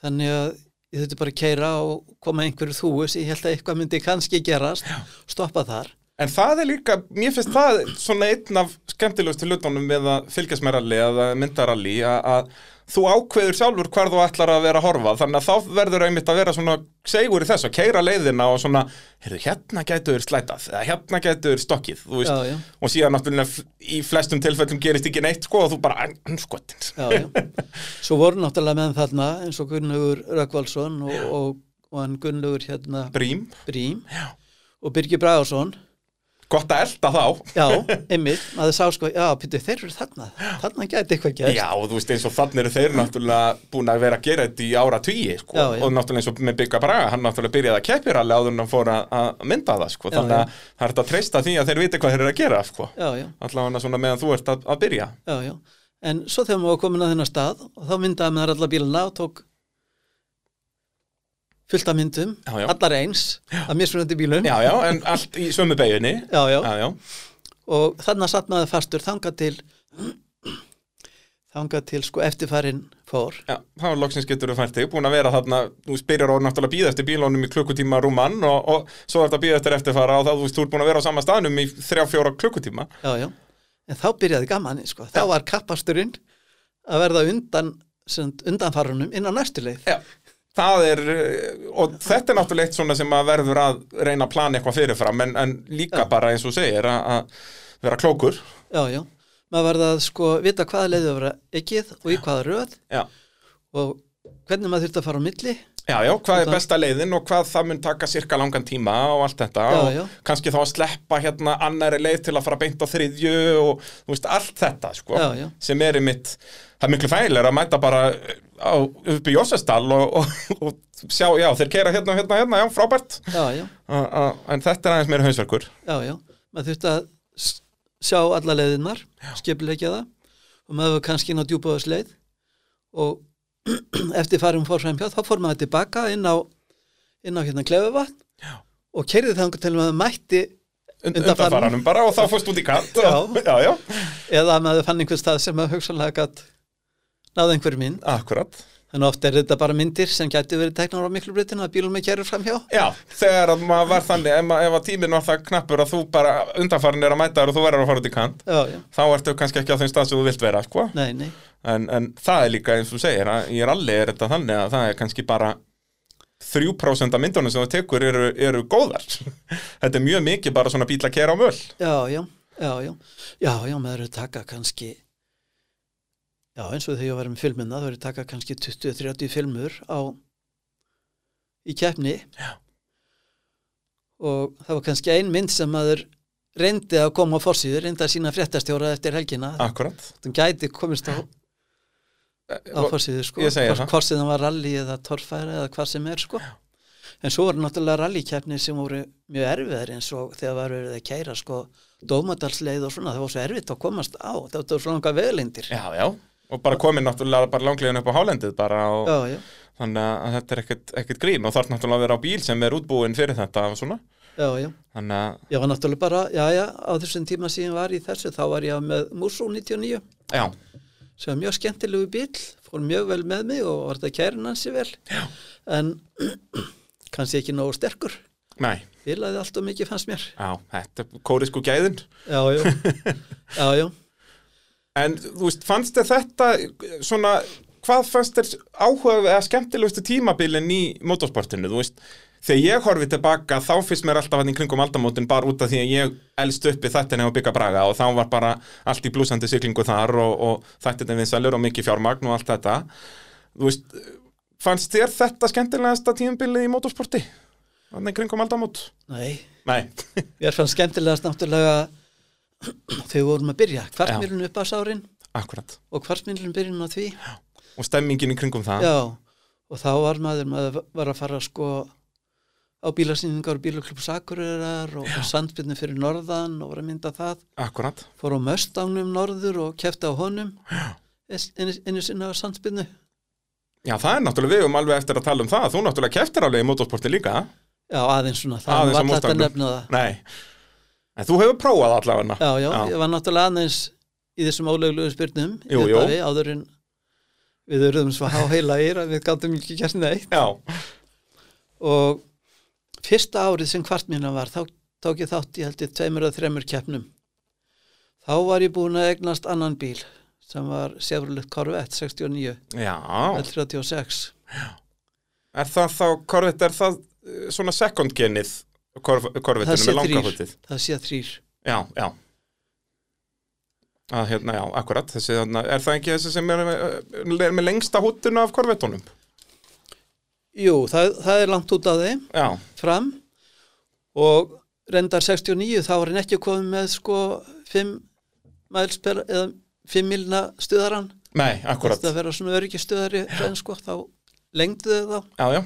S2: Þannig að ég þurfti bara að keira og koma að einhverju þúu sem ég held að eitthvað myndi kannski gerast, stoppa þar.
S1: En það er líka, mér finnst það svona einn af skemmtilegustu hlutunum með að fylgjast með rally eða myndaralli að, að þú ákveður sjálfur hvar þú ætlar að vera að horfa þannig að þá verður einmitt að vera svona segur í þess að keira leiðina og svona heyrðu, hérna gætuður slætað eða hérna gætuður stokkið, þú veist
S2: Já, já.
S1: og síðan náttúrulega f- í flestum tilfellum gerist ekki neitt sko og þú bara, "En, en skotin
S2: já, já. Svo voru náttúrulega menn þarna eins og Gunnlaugur Rökkvalsson og, og, og hann Gunnlaugur hérna
S1: Brím,
S2: Brím já. og Birgir Bragason
S1: gott að elda þá
S2: já, einmitt, maður sá sko já, pýttu, þeir eru þarna, þarna gæti eitthvað gerst
S1: Já, og þú veist eins og þannig eru þeir náttúrulega búin að vera að gera þetta í ára tugi sko.
S2: Já, já.
S1: og náttúrulega eins og með Bygga Braga hann náttúrulega byrjaði að keppir alveg áður en hann fór að- að mynda það sko.
S2: Já,
S1: þannig
S2: já.
S1: að það er þetta að treysta því að þeir viti hvað þeir eru að gera sko.
S2: já, já,
S1: allavega svona meðan þú ert að, að byrja
S2: já, já en svo þegar maður var komin að þennar stað og þá myndaði maður alla bílana og tók fullt af myndum
S1: Já, já.
S2: allar eins, af mismunandi bílum
S1: Já, já, en allt í sömu beginni
S2: já, já.
S1: Já, já,
S2: og þarna satt maður fastur þangað til þangað til sko eftirfarin fór
S1: já, þá loksins getur þú fært þig búin að vera þarna, þú spyrir og náttúrulega býða eftir bílónum í klukkutíma rúmann og, og svo er þetta býða eftir eftirfara og þá þú veist, þú ert búin að vera á sama staðnum í þrjá, fjóra klukkutíma
S2: já, já. en þá byrjaði gaman sko. þá var kappasturinn að verða undan sem, undanfarunum inn á næstu leið
S1: Já, það er eh, og þetta er náttúrulega eitt svona sem að verður að reyna að plana eitthvað fyrirfram en, en líka bara eins og þú segir að- að vera klókur
S2: já, já, maður verða að sko vita hvaða leið það vera ekkið og í hvaða röð
S1: Já,
S2: og hvernig maður þurfti að fara á milli
S1: já, já hvað er
S2: Það-
S1: besta leiðin og hvað það mun taka cirka langan tíma og allt þetta
S2: Já,
S1: og
S2: já.
S1: kannski þá að sleppa hérna annari leið til að fara beint á þriðju og þú veist, allt þetta sko,
S2: Já, já.
S1: sem er í mitt það er miklu fælir að mæta bara eh, á, upp í Jósestal og, og, og sjá, já, þeir keira hérna, hérna, hérna, já, frábært
S2: já, já,
S1: a, a, en þetta er aðeins meira hausverkur
S2: já, já. maður þurfti að s- sjá alla leiðinnar, skipulegja það og maður var kannski inn á djúpaðarsleið og eftir farum fórsvæmhjá þá fór maður tilbaka inn á inn á hérna klefuvatn
S1: Já.
S2: og kerði þangar til maður mætti
S1: Und-
S2: Undanfaranum.
S1: undanfaranum bara og þá fórst út í kant og, já, já,
S2: eða að maður fann einhver stað sem maður hugsanlega gatt náði einhver mynd
S1: akkurat
S2: þannig ofta er þetta bara myndir sem gæti verið teknar á miklu breytin að bílum með kerður framhjá
S1: já, þegar að maður var þannig ef, ma- ef að tíminn var það knappur að þú bara undanfarin er að mæta þér og þú verður að fara út í kant
S2: já, já,
S1: þá ertu kannski ekki á þeim stað sem þú vilt vera sko.
S2: nei, nei
S1: en, en það er líka eins og þú segir að í rally er þetta þannig að það er kannski bara 3% af myndunum sem þú tekur eru, eru góðar þetta er mjög mikið bara svona bíl að kera á möl
S2: Já, já, já, já, já, já, maður er að taka kannski, já, eins og þegar ég var með filmina, það er að taka kannski 20-30 filmur á, í keppni.
S1: Já.
S2: Og það var kannski ein mynd sem maður reyndi að koma á forsýður, reyndi að sína fréttastjóra eftir helgina,
S1: akkurat
S2: þannig gæti komist á, á
S1: Og-
S2: forsýður, sko.
S1: ég segi
S2: Hvort-
S1: það.
S2: Hvort sem það var rally eða torfæra eða hvað sem er, sko. En svo voru náttúrulega rallykeppni sem voru mjög erfiðar eins og þegar var verið að kæra sko dómadalsleið og svona, það var svo erfitt að komast á, það var svona langar veðlindir.
S1: já, já og bara komin náttúrulega bara langlegin upp á hálendið bara og
S2: Já, já,
S1: þannig að þetta er ekkert, ekkert grín og þarf náttúrulega að vera á bíl sem er útbúin fyrir þetta og svona
S2: já, já.
S1: þannig að,
S2: Ég var náttúrulega bara, já, já, á þessum tíma síðan var ég í þessu, þá var ég með Músú 99
S1: já,
S2: sem var mjög skemmtilegu bíl, fór mjög vel með mig og var þetta kærin hansi vel. Já. En kannski ekki nógu sterkur,
S1: næ,
S2: bilaði allt og mikið fannst mér.
S1: já, þetta er kórisku gæðin
S2: Já, já, já, já.
S1: En þú veist, fannst þér þetta svona, hvað fannst þér áhuga eða skemmtilegustu tímabilin í motorsportinu, þú veist þegar ég horfi tilbaka þá finnst mér alltaf hann í kringum aldamótin bara út af því að ég elst upp í þættinni á Bygga Braga og þá var bara allt í blúsandi siglingu þar og, og þættinni vinsalur og mikið fjármagn og allt þetta þú veist, fannst þér þetta skemmtilegasta tímabilið í motorsporti hann í kringum aldamót?
S2: Nei,
S1: Nei,
S2: Mér fannst skemmtilegast náttúrulega þegar við vorum að byrja, kvartmýrlun upp ásárin
S1: akkurat
S2: og kvartmýrlun byrjun á því
S1: og stemmingin í kringum það
S2: já, og þá var maður maður var að fara sko á bílasýningar og bílaklubb Sakurörar og, og sandbyrnu fyrir norðan og var að mynda það,
S1: akkurat,
S2: fór á möstangnum norður og kefti á honum eins- einu einu sinni á sandbyrnu
S1: Já, það er náttúrulega, við um alveg eftir að tala um það, þú náttúrulega keftir alveg í motorsporti líka,
S2: já, aðeins svona, það
S1: Aðeins á
S2: var alltaf að
S1: Mustangnum.
S2: nefna það
S1: nei, en þú hefur prófað allavega
S2: já, já,
S1: Já.
S2: ég var náttúrulega aðeins í þessum óleglegu spyrnum í
S1: Jú, jú.
S2: upphafi, áður en við urðum svo háheilagir að við gáttum ekki gert neitt
S1: já,
S2: og fyrsta árið sem kvart mína var þá tók ég þátt í held ég tveimur að þremur keppnum þá var ég búin að egnast annan bíl sem var Chevrolet Corvette 69
S1: já,
S2: L36
S1: er það þá, korfitt, er það eh, svona second genið
S2: það
S1: korfittinu
S2: sé
S1: með langa
S2: þrýr
S1: hútið?
S2: það sé þrýr
S1: Já, já, að hérna, já, akkurat, þessi, þarna- er það ekki þessi sem er eh, le- með lengsta hútinu af korfittunum?
S2: jú, það, það er langt út af þeim
S1: Já,
S2: fram og reyndar 69 þá var hann ekki komið með sko 5 miles per eða 5 milna stuðaran
S1: nei, akkurat,
S2: þetta vera svona öryggistuðari hrein sko þá lengdu þau þá
S1: já, já,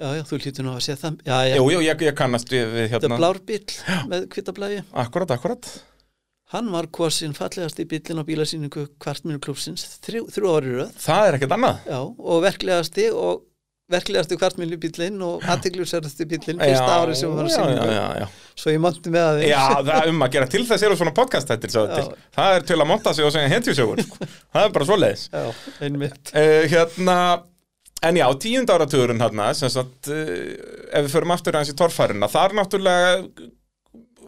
S2: já já þú lítur nú að sé það já já
S1: jú, jú, ég, ég kannast við, við
S2: þetta
S1: hérna,
S2: blár bíl með kvitablægi
S1: akkurat, akkurat,
S2: hann var kosin fallegast í bílinn á bílasýningu kvartminu klúpsins þrjú, þrjú ári röð
S1: það er ekkert annað.
S2: já og verklegasti og verklegasti kvartminu bílinn og aðtegljusærasti bílinn
S1: Já,
S2: fyrsta ári sem hann var á
S1: já, já,
S2: sýningu
S1: já, já.
S2: svo ég monti með aðeins
S1: Já, það er um að gera til þess eru svona podcast hættir svo
S2: Já.
S1: til. Það er til að monta sig og segja hetjusögur. sko. það er bara svoleiðis.
S2: já einmitt
S1: Uh, hérna, en já, tíund áratugurinn hérna, sem sagt, uh, ef við förum aftur aðeins í torfæruna, þar náttúrulega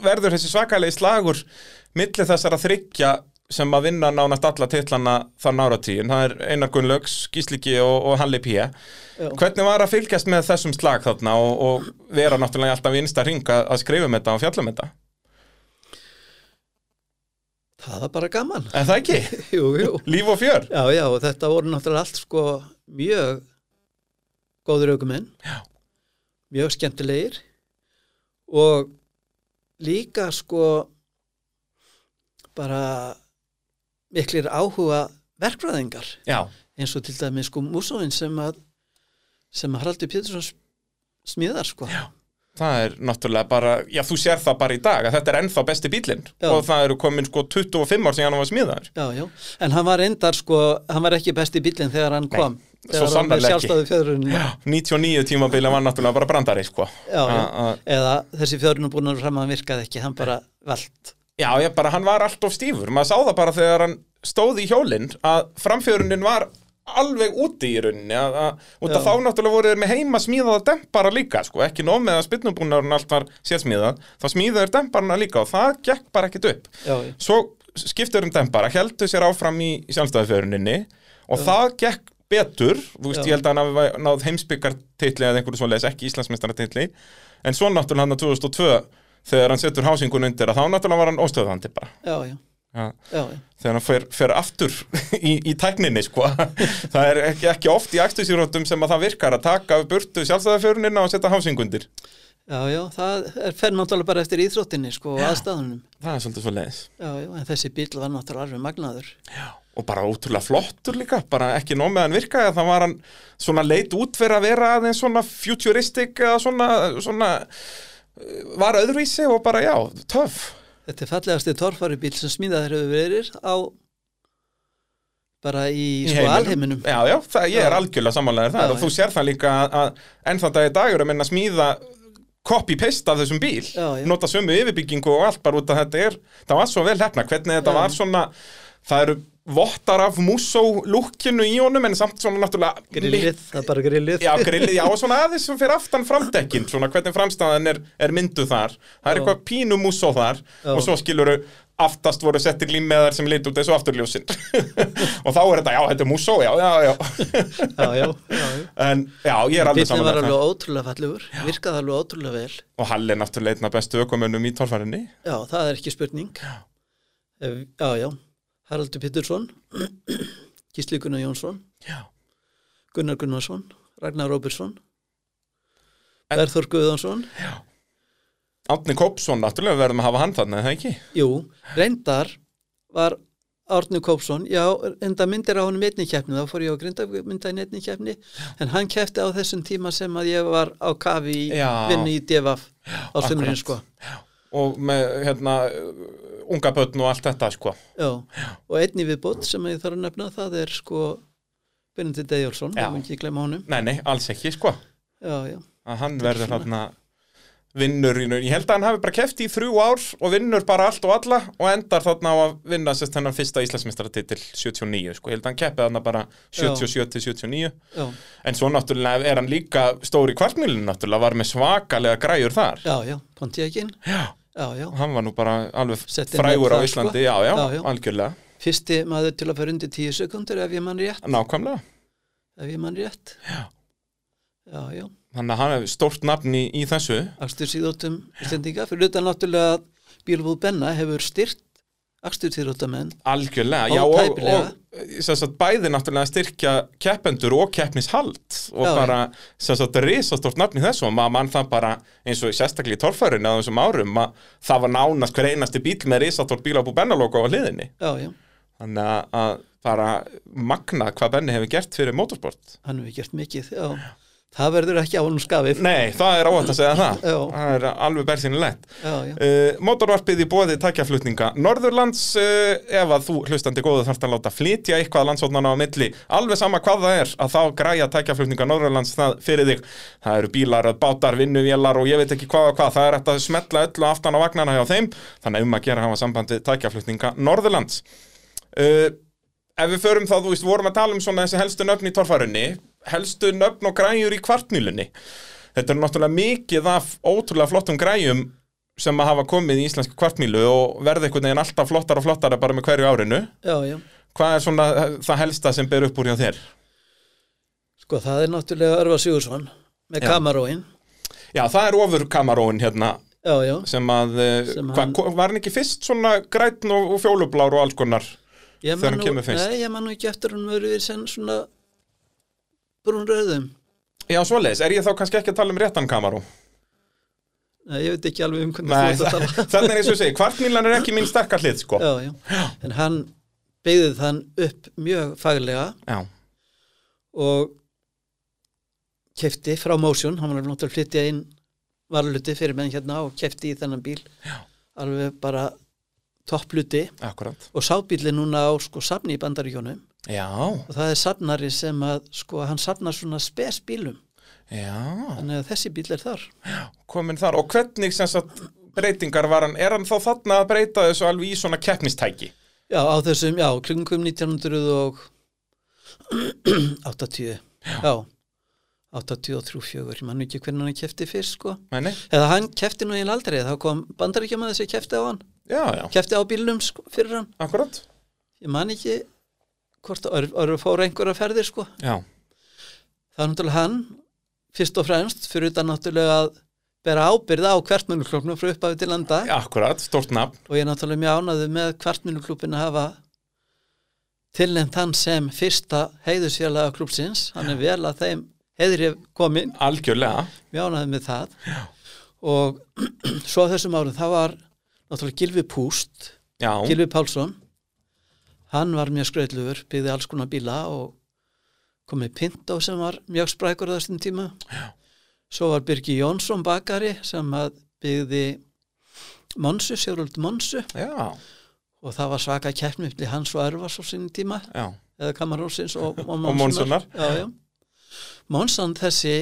S1: verður þessi svakalegi slagur milli þessara þryggja sem að vinna nánast alla titlana þann áratíðin. Það er Einar Gunnlaugs, Gísliki og, og Halli P. Hvernig var að fylgjast með þessum slag þarna og, og vera náttúrulega alltaf í innsta ring að, að skrifa með þetta og fjalla með þetta?
S2: Það var bara gaman.
S1: Er það ekki?
S2: Jú, jú.
S1: Líf og fjör
S2: Já, já, og þetta voru náttúrulega allt sko mjög góður aukuminn. Já. Mjög skemmtilegir og líka sko bara miklir áhuga verkfræðingar.
S1: Já,
S2: eins og til dæmi sko músóin sem að sem að Haraldur Pétursson smíðar sko já,
S1: Það er náttúrulega bara, já þú sér það bara í dag að þetta er ennþá besti bílinn
S2: Já.
S1: og það eru komin sko 25 ár síðan hann var smíðaður
S2: já, en hann var endar sko hann var ekki besti bílinn þegar hann kom
S1: svo
S2: þegar hann var
S1: sannarlega ekki.
S2: sjálfstæðu fjöðrunni já,
S1: 99 tímabilið var náttúrulega bara brandari sko
S2: já,
S1: A- a-
S2: eða þessi fjöðrunum búin að fram að hann virkaði ekki, hann bara vald
S1: Já, ég bara, hann var alltof stífur, maður sá það bara þegar hann stóð í hjólinn að framfjörunin var alveg úti í rauninni að, að, út að
S2: Já.
S1: þá náttúrulega voru þeir með heima smíðaða dempara líka sko, ekki nóg með að spynnubúnaðurinn allt var sérsmíðað, þá smíðaður demparana líka og það gekk bara ekkit upp
S2: já, já,
S1: svo skiptur um dempara, heldur sér áfram í sjálfstæðaföruninni og það gekk betur, þú veist,
S2: Já.
S1: ég held að hann hafi náð heimsbyggartitli eða einhverju svoleiðis, ekki Íslandsmeistaratitli en svo náttúrulega hann að 2002 þegar hann setur hásingun undir að þá náttúrulega var hann óstöðandi bara
S2: já, já,
S1: ja.
S2: já, já.
S1: þegar hann fer, fer aftur í, í tækninni sko, það er ekki, ekki oft í aktusýrótum sem að það virkar að taka burtu sjálfstæðaförunina og setja hásingundir
S2: Já, já, það er fer náttúrulega bara eftir íþróttinni sko og aðstæðunum.
S1: það er svolítið svoleiðis
S2: Já, já, en þessi bíl var náttúrulega alveg magnaður.
S1: og bara ótrúlega flottur líka bara ekki nóg með hann virkaði að það var hann svona leit út fyrir að vera aðeins svona futuristic eða svona, svona eh, var öðruvísi og bara já, töff
S2: Þetta er fallegasti torfari bíl sem smíðaður hefur verið á bara í, sko alheiminum.
S1: já, já, það, ég er
S2: Já.
S1: algjörlega samanlega það
S2: Já,
S1: og þú sér það líka að, að ennþá dag í dag eru að minna smíða copy-paste af þessum bíl
S2: Já, já.
S1: nota sömu yfirbyggingu og allt bara út að þetta er það var svo vel hefna, hvernig þetta
S2: Já.
S1: var svona það eru vottar af músó lúkinu í honum en samt svona náttúrulega
S2: Grillið, það er bara grillið.
S1: Já, grillið, já, og svona aðeins sem fyrir aftan framdekkin, svona hvernig framstæðan er, er myndu þar, það er
S2: Já.
S1: eitthvað pínu músó þar
S2: Já.
S1: og svo skiluru aftast voru settir límmeðar sem leit út eins og afturljósin og þá er þetta, já, þetta er músó, já, já, já
S2: já, já, já, já.
S1: en já, ég er alveg
S2: Bílinn
S1: saman
S2: var alveg ótrúlega fallegur, virkaði alveg ótrúlega vel.
S1: og Hall er náttúrulega einna bestu ökumönnum í torfarinni
S2: Já, það er ekki spurning. Já, já, já. Haraldur Pittursson, Gísli Gunnar Jónsson,
S1: Já.
S2: Gunnar Gunnarsson, Ragnar Róbersson,
S1: En-
S2: Berþór Guðjónsson,
S1: Átni Kópsson, náttúrulega við verðum að hafa hann þarna, er það ekki?
S2: Jú, reyndar var Árni Kópsson, já, enda myndir á honum einni keppni, þá fór ég á Grindavík mynda í einni keppni, en hann keppti á þessum tíma sem að ég var á kafi í
S1: Já.
S2: vinnu í DFF á sömurinn, sko.
S1: og með, hérna, unga börn og allt þetta, sko
S2: Já. Og einni viðbót sem ég þarf að nefna, það er sko Benedikt Eyjálsson,
S1: Já.
S2: það mun ekki glemma honum.
S1: Nei, nei, alls ekki, sko
S2: Já, já,
S1: að hann
S2: Þetta er
S1: verður
S2: svona.
S1: þarna vinnur í raun. Ég held að hann hafi bara keft í þrjú ár og vinnur bara allt og alla og endar þarna á að vinna sérst hennan fyrsta Íslandsmeistaratitil 79, sko. Ég held að hann keppið þarna bara 77 til 79.
S2: já,
S1: En svo náttúrulega er hann líka stóri kvartmjölinu náttúrulega, var með svakalega græjur þar.
S2: já, já, Pontiakin,
S1: Já.
S2: já, já.
S1: Og hann var nú bara alveg
S2: Setti
S1: frægur
S2: met
S1: á
S2: þar,
S1: Íslandi,
S2: sko.
S1: já, já,
S2: Já, já.
S1: algjörlega.
S2: Fyrsti maður til að fara undir tíu sekundur ef ég mann rétt,
S1: Nákvæmlega.
S2: ef ég mann rétt.
S1: Já.
S2: Já, já.
S1: Þannig að hann hefur stórt nafn í, í þessu.
S2: akstursýðóttum Íslendinga fyrir utan náttúrulega að Bílbúð Benna hefur styrt akstursýðóttamenn
S1: Algjörlega, já og,
S2: Ótæpilega.
S1: og sem sagt, bæði náttúrulega styrkja keppendur og keppnishald og
S2: Já,
S1: bara sem sagt, risastort nafn í þessu og maður mann það bara eins og sérstaklega í torfærinu á þessum árum að það var nánast hver einasti bíl með risastort bíl á bú bennalóku á hliðinni
S2: Já, já,
S1: þannig að- að bara magna hvað Benni hefur gert fyrir motorsport
S2: hann hefur gert mikið já. það verður ekki á hann skafið
S1: Nei, það er óvægt að segja það
S2: Já.
S1: það er alveg bersinilegt
S2: Já, já,
S1: Uh, Mótorvarpið í bóði takjaflutninga Norðurlands, uh, ef að þú hlustandi góðu þarft að láta flytja eitthvað landsóknana á milli, alveg sama hvað það er að þá græja takjaflutninga Norðurlands það fyrir þig, það eru bílar, bátar vinnuvélar og ég veit ekki hvað og hvað það er hægt að smetla öllu aftan á vagnana hjá þeim þannig um að gera hafa samband við takjaflutninga Norðurlands uh, Ef við förum þá, þú veist, vorum að tala um svona þessi helstu nöfn í torfarunni helstu nöfn og græjur í kvartnýlunni Þetta er náttúrulega mikið af ótrúlega flottum græjum sem að hafa komið í íslensku kvartmílu og verði einhvern veginn alltaf flottara og flottara bara með hverju árinu.
S2: já, já
S1: Hvað er svona það helsta sem ber upp úr hjá þér?
S2: sko það er náttúrulega Örvar Sigursson með
S1: Já.
S2: kamaróin
S1: Já, það er ofur kamaróin hérna
S2: já, já,
S1: sem að,
S2: Sem
S1: sem
S2: hann-
S1: Hva, var hann ekki fyrst svona grætn og, og fjólublár og alls konar? Þegar
S2: ég man
S1: hann
S2: nú,
S1: kemur fyrst.
S2: nei, ég man nú ekki eftir hann verður sem svona brúnröðum
S1: Já, svoleiðis, er ég þá kannski ekki að tala um réttan kamaró?
S2: nei, ég veit ekki alveg um
S1: Nei,
S2: hvernig þú ert að tala
S1: þannig er eins og ég segi, kvartmílan er ekki mín sterka hlið, sko.
S2: já, já, en hann byggði þann upp mjög faglega
S1: Já,
S2: og kefti frá Motion, hann var náttúrulega að flytja inn varluti fyrir menn hérna og kefti í þennan bíl
S1: Já.
S2: alveg bara toppluti
S1: akkurat.
S2: og sábíli núna á sko safni í bandaríkjónum
S1: Já,
S2: og það er safnari sem að sko hann safnar svona spes bílum
S1: já,
S2: þannig að þessi bíl er þar
S1: komin þar. Og hvernig sem sagt breytingar var hann, er hann þá þarna að breyta þessu alveg í svona keppnistæki?
S2: já á þessum, já, klingum 1900 og 80 já, 83 fjögur, ég mann ekki hvernig hann kefti fyrst sko,
S1: Mæni?
S2: eða hann kefti nú eiginlega aldrei, þá kom bandaríkjamaður sem kefti á hann
S1: Já, já,
S2: kefti á bílnum sko, fyrir hann
S1: akkurat.
S2: ég man ekki hvort að orður fóra einhverja ferðir sko
S1: Já,
S2: það er náttúrulega hann fyrst og fremst fyrir utan náttúrulega að bera ábyrð á kvartmjöluklubnum frá upphafi til landa
S1: akkurat, stórt nafn.
S2: og ég er náttúrulega mjög ánaðu með kvartmjöluklubin að hafa tilnefnt hann sem fyrsta heiðusfélaga klubsins hann er vel að þeim heiðri komin
S1: Algjörlega.
S2: mjög ánaðu með það Já. og svo á þessum árum það var náttúrulega Gilvi Púst
S1: Já,
S2: Gilvi Pálsson hann var mjög skrautlugur, byggði alls konar bíla og kom með Pinto sem var mjög sprækur á þessum tíma Já. svo var Birgi Jónsson bakari sem að byggði Monsu, Siguruld Monsu
S1: já,
S2: og það var svaka keppni upp til hans og Örvars á sinni tíma
S1: já,
S2: eða Kamarósins og, og
S1: Og Monsunar.
S2: Monsunar já, já. Monsan þessi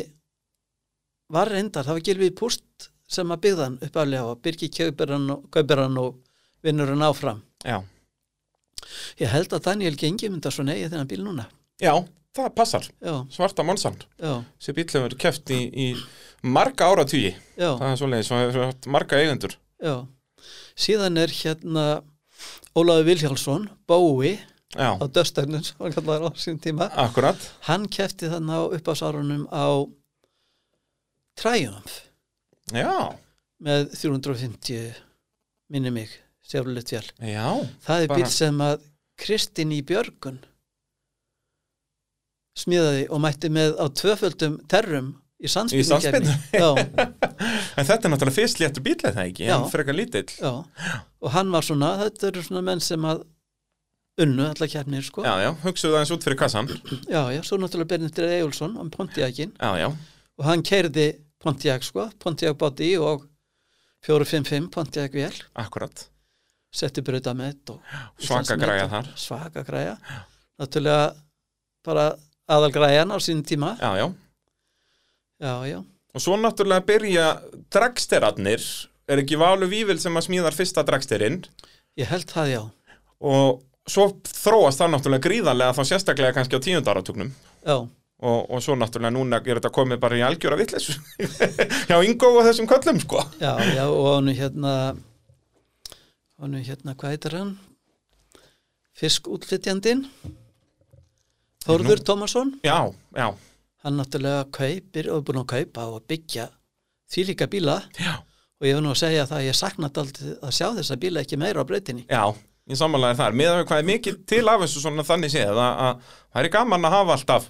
S2: var reyndar, það var Gilvi Púst sem að byggði hann uppaflega og Birgi kaupir hann og, kaupir hann og vinnur hann áfram
S1: já.
S2: Ég held að Daniel Gengi myndar svo neyja þennan bíl núna.
S1: Já, það passar.
S2: Já,
S1: Svarta Monsand.
S2: já,
S1: Þessi bíl hefur keft í, í marga áratugi.
S2: já,
S1: Það er svoleiðis, það hefur haft marga eigendur.
S2: já. Síðan er hérna Ólaður Vilhjálsson, Bói
S1: Já,
S2: á Döstarnum, sem hann kallar á sín tíma.
S1: akkurat.
S2: Hann kefti þannig á uppásárunum á Triumph
S1: Já,
S2: með 350 minni mig, sérulegt fjall.
S1: já,
S2: Það er
S1: Bara-
S2: bíl sem að Kristín í Björgun smíðaði og mætti með á tvöföldum terrum í
S1: í
S2: sandspilningerni.
S1: sannspennu.
S2: Já,
S1: En þetta er náttúrulega fyrst léttur bíl eða ekki,
S2: Já.
S1: en frekar lítill.
S2: Já, og hann var svona, þetta eru svona menn sem að unnu allar kjarnir, sko.
S1: Já, já, hugsuðu það eins út fyrir kassan.
S2: já, já, svo náttúrulega Benedikt Ejjólfsson, hann Pontiacin,
S1: Já, já,
S2: og hann keirði Pontiac, sko, Pontiac Body og 455 Pontiac Vél,
S1: akkurat.
S2: setti brauta með þetta og...
S1: Svaka
S2: Íslandsmet
S1: græja
S2: og-
S1: þar.
S2: Svaka græja, náttúrulega bara aðal græjan á sínum tíma,
S1: Já, já.
S2: já, já,
S1: Og svo náttúrulega byrja dragsterarnir. Er ekki Valur Vível sem að smíðar fyrsta dragsterinn?
S2: ég held það, já,
S1: og svo þróast það náttúrulega gríðarlega þá sérstaklega kannski á tíundaratugnum
S2: já,
S1: og, og svo náttúrulega núna er þetta komið bara í algjöra vitleysu hjá Ingo og þessum köllum sko
S2: já, já, og hann hérna, hann hérna, hvað heitir hann? Fiskútflytjandinn,
S1: Mhm.
S2: Þórður Tómasson,
S1: já, já,
S2: hann náttúrulega kaupir og er búin að kaupa og byggja því líka bíla
S1: já,
S2: og ég vil nú að segja það að ég sakna aldrei að sjá þessa bíla ekki meira á breytinni.
S1: já ég samanlega þar, meðan við hvað er mikið til af þessu svona þannig séð að, að það er gaman að hafa alltaf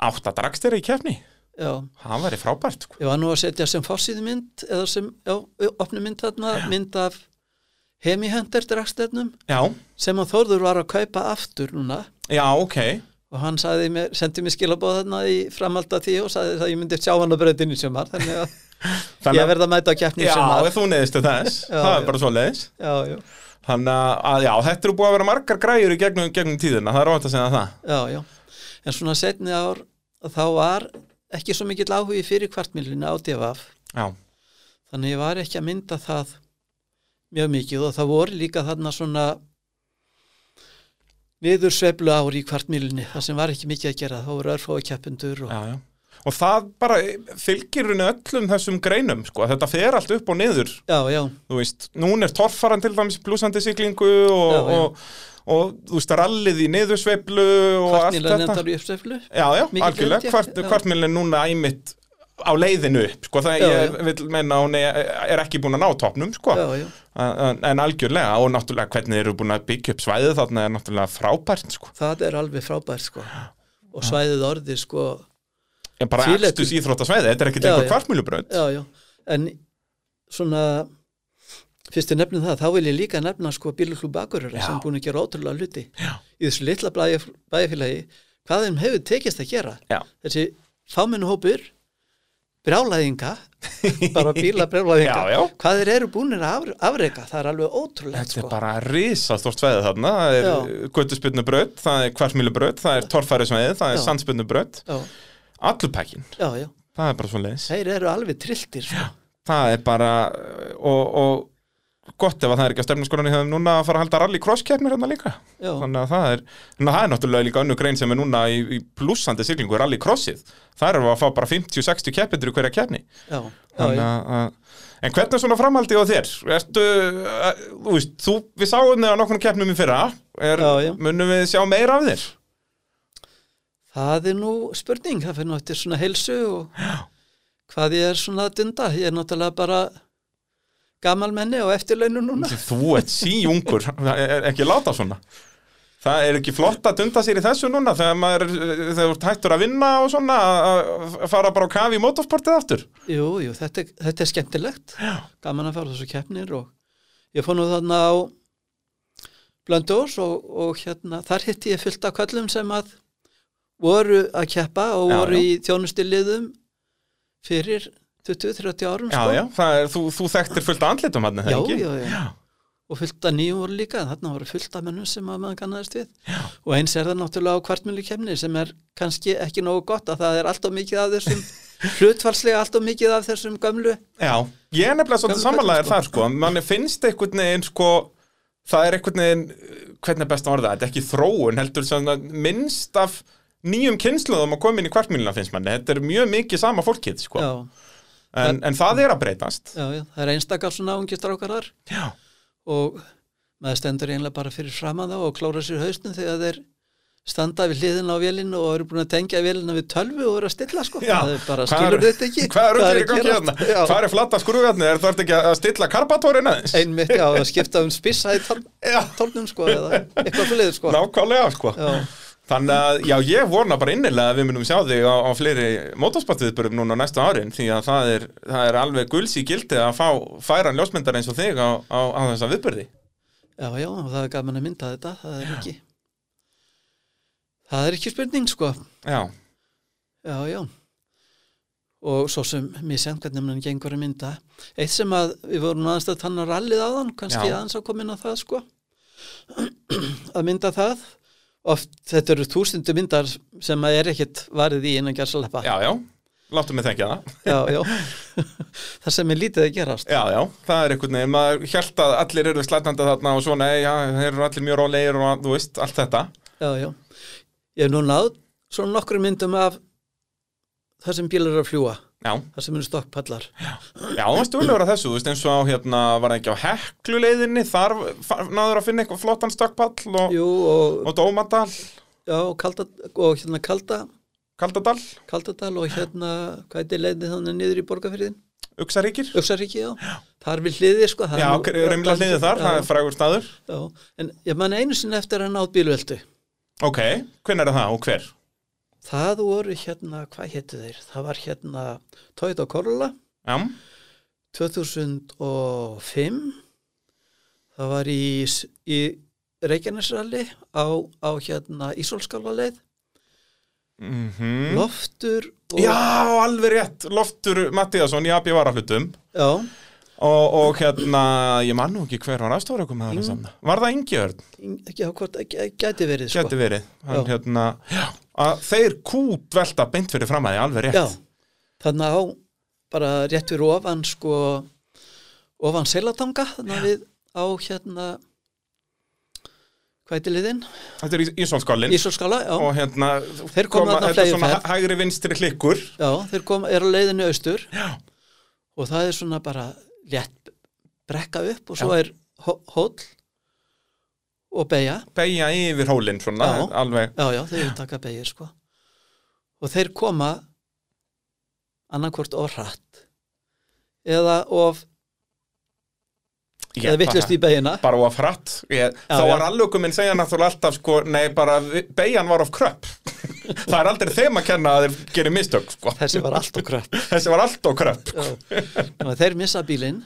S1: átta dragstera í kefni,
S2: Já,
S1: það væri frábært sko.
S2: ég var nú að setja sem fórsýðmynd eða sem, já, opnumynd þarna, mynd af hemihöndir dragstefnum
S1: já,
S2: sem að Þórður var að kaupa aftur núna
S1: já, ok
S2: og hann sagði mér, sendi mér skilabóð þarna í framhalda því og sagði að ég myndi sjá hann á breytinni sem var, þannig að ég verð að mæta á keppni
S1: já,
S2: sem var.
S1: þú neðist til þess,
S2: Já,
S1: það
S2: já.
S1: er bara svo leiðis
S2: Já, já,
S1: þannig að, að já, þetta eru búið að vera margar græjur í gegnum, gegnum tíðina, það er óvænt að segja það
S2: Já, já. En svona setni ár þá var ekki svo mikill áhugi fyrir kvartmilinu á DFF.
S1: já,
S2: Þannig ég var ekki að mynda það mjög mikið og það voru líka þarna svona niður sveiflu ár í kvartmilinu þar sem var ekki mikið að gera. Þá voru örfói keppendur og
S1: já, já. og það bara fylgir henni öllum þessum greinum sko. þetta fer allt upp og niður
S2: já, já,
S1: þú veist, núna er torfaran til dæmis blúsandi siglingu og,
S2: Já, já.
S1: og, og þú veist, rallið í niðursveiflu og allt
S2: kvartmilinu
S1: þetta
S2: endar í uppsveiflu.
S1: já, já,
S2: Mikið
S1: algjörlega,
S2: gleðjafn-
S1: Hvart,
S2: já.
S1: kvartmilin núna æmitt á leiðinu upp, sko, það
S2: Já,
S1: ég vil menna að hún er, er ekki búin að ná topnum, sko
S2: Já, já.
S1: en, en algjörlega, og náttúrulega hvernig þeir eru búin að byggja upp svæðið þarna er náttúrulega frábært, sko
S2: Það er alveg frábært sko. Og svæðið orðið sko,
S1: en bara
S2: Fíla-
S1: efstus íþrótta svæðið, þetta er ekkit
S2: Já,
S1: einhver
S2: já.
S1: kvartmilubraut
S2: já, já. En svona fyrst ég nefnum það, þá vil ég líka nefna sko bíluklub Akureyra
S1: Já.
S2: sem er búin að gera ótrúlega hluti.
S1: já,
S2: í þessu litla bæja- bæjarfélagi hvað þeim hefur tekist að gera
S1: Já.
S2: þessi fámennu hópur brjálæðinga bara bíla brjálæðinga
S1: Já, já.
S2: hvað þeir eru búinir að af- afreka það er alveg ótrúlegt
S1: Þetta er
S2: sko.
S1: bara risastórt svæðið þarna, það er
S2: Já.
S1: göttuspinnubraut, það er kvartmýlubraut, það er torfærisvæðið, það er
S2: Já.
S1: sandspinnubraut,
S2: já,
S1: allur pekkin,
S2: já, já,
S1: það er bara svo leiðis.
S2: þeir eru alveg trilltir sko.
S1: Það er bara, og, og gott ef að það er ekki að stefnaskólanum hefðum núna að fara að halda rally crosskeppnir hérna líka.
S2: já,
S1: Þannig að það er, þannig að það er náttúrulega líka önnu grein sem er núna í, í blúsandi siglingu, rally crossið. Það eru að fá bara 50-60 keppendur í hverja keppni.
S2: já, já,
S1: Þannig
S2: já.
S1: að, að, en hvernig er svona framhaldið á þér? Ertu, að, þú veist, þú, við sáum þig á nokkurnum keppnum í fyrra, er,
S2: Já, já.
S1: munum við sjá meira af þér?
S2: það er nú spurning það fyrir nú eftir svona heilsu og hvað ég er svona að dunda ég er náttúrulega bara gamalmenni og eftirlaunu núna
S1: Þú ert síungur, það er ekki láta svona. Það er ekki flott að dunda sér í þessu núna þegar maður, er- þegar þú ert hættur að vinna og svona, að að fara bara á kafi í motorsportið aftur.
S2: Jú, jú, þetta, er- þetta er skemmtilegt Já. gaman að fara á þessu keppnir og ég fór nú þarna á Blöndós og, og hérna þar hitti ég fullt af köllum sem að voru að keppa og
S1: Já,
S2: voru
S1: já.
S2: í þjónustiliðum fyrir 20-30 árum
S1: Já,
S2: sko.
S1: já, það er, þú, þú þekktir fullt af andlitum hann,
S2: Já,
S1: það ekki?
S2: já, já. og fullt af nýjum voru líka en þarna voru fullt af mönnum sem að maður kannaðist við já. og eins er það náttúrulega á kvartmjölu kemni sem er kannski ekki nógu gott að það er alltaf mikið af þessum hlutfalslega alltaf mikið af þessum gömlu
S1: Já, ég er nefnilega svolítið
S2: Gömlu
S1: samanlæðir
S2: köllum,
S1: þar sko, mann finnst einhvern veginn sko, það er einhvern veginn, hvernig er best að orða það, þetta er ekki þróun, heldur sem að minnst af nýjum kynsluðum að koma inn í kvartmýluna finnst manni, þetta er mjög mikið sama fólkið sko,
S2: Já.
S1: en, en það er að breytast.
S2: já, já, það er einstakar svona ungistrákar þar
S1: Já,
S2: og maður stendur einlega bara fyrir framan þá og klóra sér hausnum þegar þeir standa við hliðin á vélinu og eru búin að tengja vélina við tölvu og eru að stilla sko
S1: já.
S2: það er bara
S1: Hvað
S2: skilur
S1: er-
S2: þetta ekki
S1: Hvað er
S2: að
S1: rugglir í gangi
S2: gerast?
S1: hérna?
S2: Já.
S1: Hvað er flatta skrúðarni, er það ekki að stilla karpatórin aðeins?
S2: einmitt, já, að skipta um spissa í tál-
S1: Já.
S2: tálnum sko eða eitthvað fyrir sko
S1: Nákvæmlega sko.
S2: já,
S1: Þannig að, já, ég vona bara innilega að við munum sjá þig á, á fleiri motorsportviðbörum núna á næstu árin því að það er, það er alveg gulls í gildi að fá færan ljósmyndar eins og þig á, á, á þessa viðbörði.
S2: já, já, og það er gaman að mynda þetta það er ekki það er ekki spurning sko
S1: Já,
S2: já, já og svo sem mér sem hvernig mann gengur að mynda eitt sem að við vorum aðeins að tanna rallið áðan, kannski
S1: Já.
S2: aðeins að koma inn á það sko að mynda það oft þetta eru þúsundu myndar sem að er ekkit varið í innan gersaleppa
S1: já, já, láttu mig þengja það.
S2: já, já. það sem er lítið að gerast
S1: Já, já, það er einhvern veginn, maður held að allir eru slætandi þarna og svona, já, þeir eru allir mjög rólegir og þú veist, allt þetta.
S2: já, já. Ég hef nú náð svona nokkru myndum af þar sem bílar eru að fljúa,
S1: Já,
S2: þar sem eru stokkpallar.
S1: já, það stúlur að þessu, þú veist, eins og á, hérna, var það ekki á hekluleiðinni, þar fa- náður að finna eitthvað flottan stökkpall og,
S2: Jú, og,
S1: og dómadal,
S2: já, og, kalda, og hérna kalda,
S1: kaldadal,
S2: kaldadal og hérna, hvað er leiðin þannig niður í borgarfyrðin?
S1: uksaríkir.
S2: Öksaríki, já. Þar við hliðið, sko. það er
S1: Já,
S2: nú-
S1: reymla hliðið þar, það er
S2: Já,
S1: frægur staður
S2: já, en ég man einu sinni eftir að náð bílveldu.
S1: Ok, hvernig er það og hver?
S2: Það voru hérna, hvað hétu þeir? Það var hérna Toyota Corolla
S1: Já,
S2: 2005 það var í, í Reykjanesralli á, á hérna Ísólskala leið
S1: mm
S2: loftur og,
S1: já alveg rétt, Loftur Mattíasson í AB varahlutum
S2: já,
S1: og, og hérna, ég man nú ekki hver var afstofrökum með það saman Var það Ingjörn,
S2: ing- ekki á hvort ekki- gæti verið sko.
S1: geti verið Hann,
S2: Já.
S1: hérna, að þeir kút velta beint fyrir framæði, alveg rétt
S2: já, þannig á bara rétt fyrir ofan sko ofan seilatanga þannig að við á hérna hvað er liðin?
S1: Þetta er Ísonskálin
S2: Ísólskala, já,
S1: og hérna,
S2: Þeir koma
S1: þetta
S2: þarna
S1: er
S2: fleiri
S1: svona
S2: ferð.
S1: hægri vinstri klikkur
S2: já þeir kom, er á leiðinu austur
S1: Já,
S2: og það er svona bara létt brekka upp og svo
S1: Já.
S2: er hó- hóll og beigja
S1: beigja yfir hólinn svona,
S2: Já.
S1: alveg
S2: já, já, þeir eru taka beigir sko og þeir koma annarkvort of hratt eða of
S1: Ég
S2: eða vittlust
S1: bara-
S2: í beigina
S1: bara of hratt ég,
S2: Já,
S1: þá
S2: já.
S1: var allöku minn segja náttúrulega alltaf sko, nei bara beigjan var of kröpp það er aldrei þeim að kenna að þeir gerir mistök sko.
S2: þessi var allt og kröpp
S1: þessi var allt of kröpp
S2: Nú, þeir missa bílinn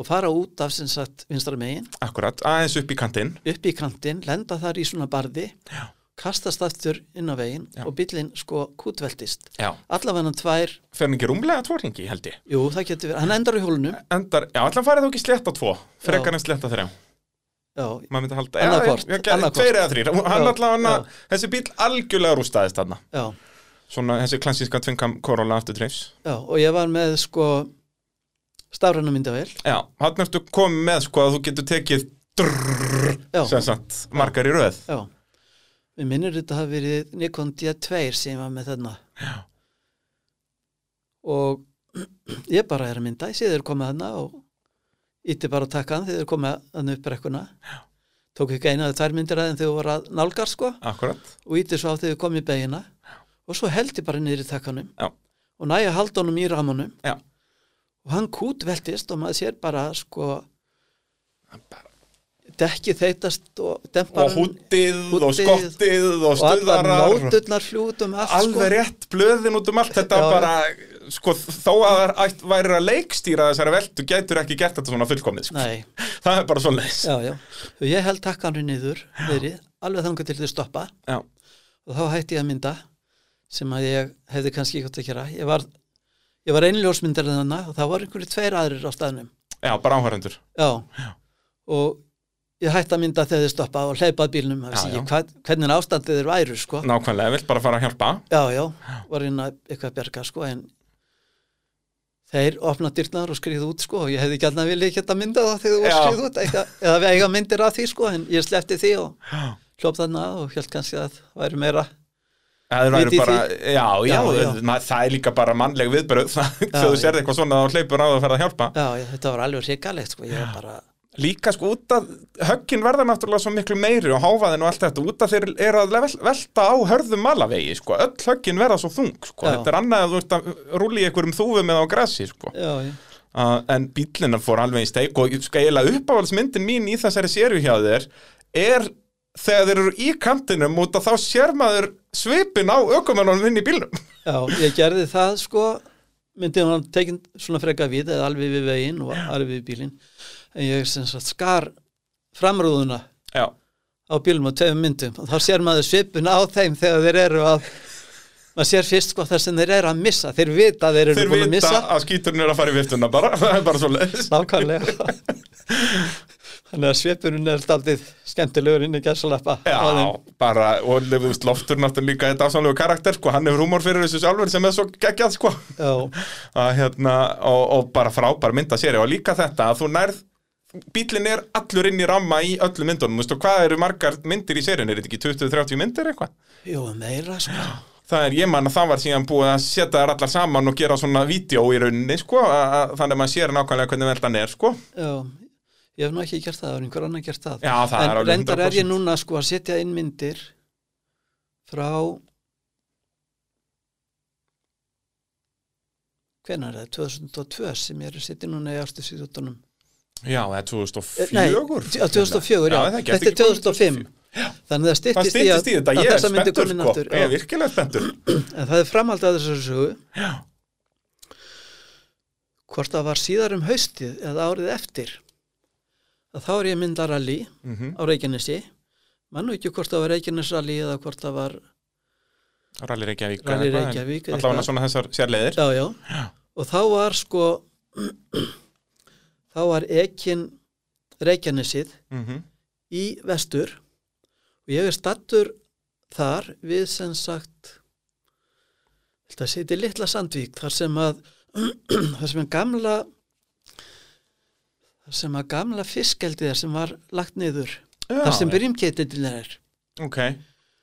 S2: og fara út af sem sagt vinstra megin
S1: akkurat, aðeins upp í kantinn
S2: upp í kantinn, lenda þar í svona barði já. kastast aftur inn á veginn
S1: Já.
S2: og bíllinn sko kútveltist
S1: Já.
S2: allavega hann tvær,
S1: Fer hann ekki rúmlega tvo ringi, held ég.
S2: jú það getur verið hann endar í hólunum,
S1: Endar, já, allan farið þú ekki sletta tvo, frekar
S2: Já.
S1: en sletta þrjá.
S2: já,
S1: Maður myndi halda,
S2: Annað hvort,
S1: já, já,
S2: annað hvort.
S1: tveir eða þrýr. Hann
S2: Já,
S1: allan,
S2: já.
S1: þessi bíl algjörlega rústaðist þarna.
S2: já
S1: Svona þessi klansíska tvingam Corolla aftur dreifs.
S2: Já, og ég var með sko stafræna myndavél
S1: Já, hann ertu komið með sko að þú getur tekið drrrr,
S2: Já.
S1: sem sagt, margar í röð.
S2: Já, við minnir þetta hafi verið Nikon D2 sem ég var með þarna Já Og ég bara er að mynda, ég sé þeir komið þarna og ítti bara að taka hann þegar þeir komið hann upp brekkuna Já Tók ekki eina eða tvær myndir aðeins þegar þú voru að nálgar sko
S1: Akkurat.
S2: og ítti svo á þegar þau komið í beginna og svo held ég bara niður í takkanum
S1: Já.
S2: og næja haldunum í ramunum
S1: Já.
S2: og hann kútveltist og maður sér bara sko dekki þeitast og
S1: Og
S2: demparinn
S1: húttið og
S2: húddið
S1: skottið og
S2: og allar
S1: stuðarar.
S2: nóturnar fljútum allt
S1: Alveg
S2: sko.
S1: rétt blöðin út um allt þetta
S2: Já, já.
S1: bara, sko, þó að það ætt væri að leikstýra þessari veldu getur ekki gert þetta svona fullkomið, sko.
S2: Nei,
S1: Það er bara svona leis.
S2: já, já. Og ég held takkanri niður niðri, alveg þangar til þau stoppa
S1: Já.
S2: og þá hætti ég að mynda sem að ég hefði kannski ekki átt að gera ég var, ég var einljósmyndar þannig og það var einhverju tveir aðrir á staðnum
S1: Já, bara áhærendur.
S2: já. og ég hætti að mynda þegar þau stoppa og hleypað bílnum já,
S1: Já,
S2: ekki,
S1: já.
S2: hvað, hvernig ástandið þeir væru sko.
S1: Nákvæmlega, vilt bara fara að hjálpa.
S2: já, já, var inn að eitthvað að bjarga sko, en þeir opna dyrnar og skriðu út sko, og ég hefði gætna vilja ekki að mynda það þegar þú
S1: Já.
S2: var skrið út eitthvað, eða við eiga myndir af því sko, en ég sleppti því og hljóp þarna og held kannski að það væri meira
S1: Það eru
S2: Viti
S1: bara,
S2: því.
S1: já, já,
S2: Já, já.
S1: Maður, það er líka bara mannleg viðbörð þegar þú
S2: já.
S1: serði eitthvað svona og hleypur á það að fara að hjálpa.
S2: já, ég, þetta var alveg hrikalegt sko, ég var bara,
S1: Líka sko út að höggin verða náttúrulega svo miklu meiri og háfaðin og allt þetta út að þeir eru að level- velta á hörðum malavegi sko, öll höggin verða svo þung sko,
S2: Já.
S1: þetta er annað að þú ert að rúli í einhverjum þúfum eða á grassi sko,
S2: já, já,
S1: uh, en bílina fór alveg í steik og sko eiginlega uppáhaldsmyndin mín í þessari séru hjá þér er þegar þeir eru í kantinum út að þá sér maður svipin á ökumennunum inn í bílnum.
S2: já ég gerði það sko, myndið hann tekin svona freka við, eða alveg við veginn og alveg við bílinn, en ég sem sagt skar framrúðuna
S1: Já,
S2: á bílum á tveim myndum og þá sér maður svipun á þeim þegar þeir eru að maður sér fyrst sko þar sem þeir eru að missa þeir vita að þeir eru
S1: þeir
S2: búin að
S1: vita
S2: missa
S1: að skíturinn er að fara í viftuna bara, það er bara svo
S2: nákvæmlega þannig að svipunum er daldið skemmtilegur inn í gæsalappa
S1: Já, bara, og þú veist, Loftur náttúrulega líka þetta afsánlegu karakter, sko, hann hefur húmor fyrir þessu sjálfur sem er svo geggjað, sko
S2: já,
S1: að, hérna, og, og bara frábær mynda séri og líka þetta að þú nærð bílinn er allur inn í ramma í öllum myndunum, þú veist, og hvað eru margar myndir í sérinu, er þetta ekki 20-30 myndir eitthvað?
S2: jú, meira sko
S1: Það er, ég man að það var síðan búið að setja þær allar saman og gera svona vídeo í rauninni, sko, að, að, þannig að maður sér nákvæmlega hvernig veldan er, sko
S2: já, ég hef nú ekki gert það, það er einhver annar gert það
S1: Já, það er
S2: en
S1: alveg
S2: reyndar er ég
S1: 100%.
S2: núna sko að setja inn myndir frá hvenær er það, 2002 sem ég er að setja núna í ástu síðutunum
S1: Já, það er 2004
S2: Nei, t- á 2004, já,
S1: það ekki,
S2: þetta
S1: ekki
S2: er
S1: komið
S2: 2005 þannig að það
S1: Það
S2: styttist
S1: stýttist í þetta,
S2: að
S1: ég er
S2: þessa myndi
S1: spenntur
S2: komin
S1: sko,
S2: aftur
S1: ég er
S2: já.
S1: virkilega spenntur
S2: en það er framhald að þessari sögu
S1: Já,
S2: hvort það var síðar um haustið eða árið eftir að þá er ég að mynda rally
S1: mhm,
S2: á Reykjanesi mann og ekki hvort það var Reykjanes rally eða hvort það var
S1: Rally Reykjavík
S2: Rally
S1: eða eitthvað, en
S2: Reykjavík eða
S1: Allavega
S2: eitthvað.
S1: svona þessar sérleiðir
S2: já, já. og þá var sko þá var ekin Reykjanesið
S1: Mhm,
S2: í vestur og ég er stattur þar við sem sagt þetta seti litla Sandvík þar sem að þar sem að gamla þar sem að gamla fiskeldið er sem var lagt niður
S1: Já,
S2: þar sem
S1: já.
S2: byrjumkeitillin er
S1: Ok,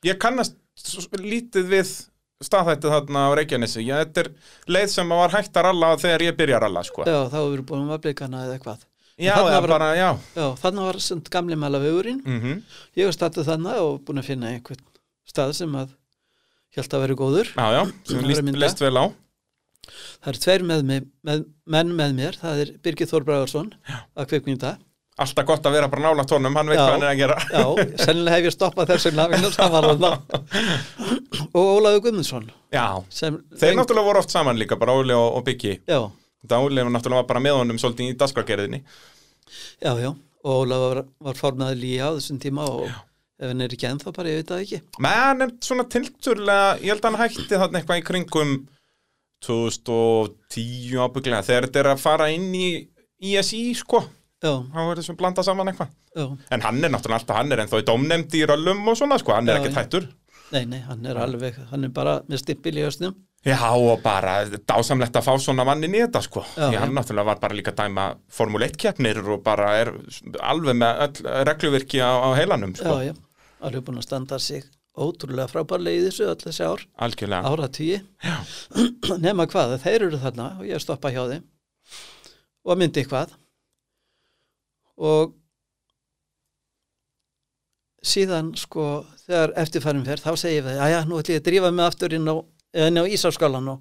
S1: ég kannast s- lítið við staðhættið þarna á Reykjanesi Já, þetta er leið sem var hægt að ralla þegar ég byrja að ralla, sko
S2: já þá erum við búin að blikana eða eitthvað
S1: Já,
S2: þarna
S1: eða
S2: var-
S1: bara, já
S2: já þannig var sem gamli malavegurinn
S1: mhm,
S2: ég er stattur þannig og búin að finna einhvern stað sem að held að vera góður
S1: Já, já,
S2: Það
S1: sem
S2: var að
S1: líst,
S2: mynda.
S1: leist vel á
S2: það er tveir með, með, með, menn með mér það er Birgir Þór Bræðarsson að kvikmynda
S1: Alltaf gott að vera bara nála tónum, hann veit
S2: Já.
S1: hvað hann er að gera
S2: Já, sennilega hef ég stoppað þessu lafinu samanlega og Ólaður Guðmundsson
S1: Já,
S2: sem
S1: þeir náttúrulega voru oft saman líka, bara Óli og, og Byggi
S2: já,
S1: Dáli var náttúrulega bara með honum svolítið í dagskragerðinni
S2: já, já, og Ólaður var, var formaður líja á þessum tíma og ef hann er ekki ennþá bara, ég veit það ekki
S1: menn er svona tilturlega ég held að hann hætti þarna eitthvað í kringum 2010 ábygglega þegar þetta er að fara inn í ISI sko,
S2: já,
S1: þá er þessum blanda saman eitthvað
S2: já,
S1: en hann er náttúrulega alltaf, hann er ennþá í domnefnd í röllum og svona sko, hann er
S2: Já,
S1: ekkert
S2: já.
S1: hættur
S2: nei, nei, hann er alveg hann er bara með stimpil í ösnum
S1: Já og bara dásamlegt að fá svona mannin í þetta sko
S2: Já,
S1: Því hann náttúrulega var bara líka að dæma Formule 1 keppnir og bara er alveg með öll regluvirki á, á heilanum sko
S2: já, já, alveg búin að standa sig ótrúlega frábærlega í þessu öll þessi ár
S1: Algjörlega
S2: áratvíi nema hvað, að þeir eru þarna og ég stoppa hjá þeim og myndi eitthvað og síðan sko þegar eftirfærum fer þá segi ég við, aðja, nú ætlum ég að drífa mig aftur inn á, inn á Ísáskálan og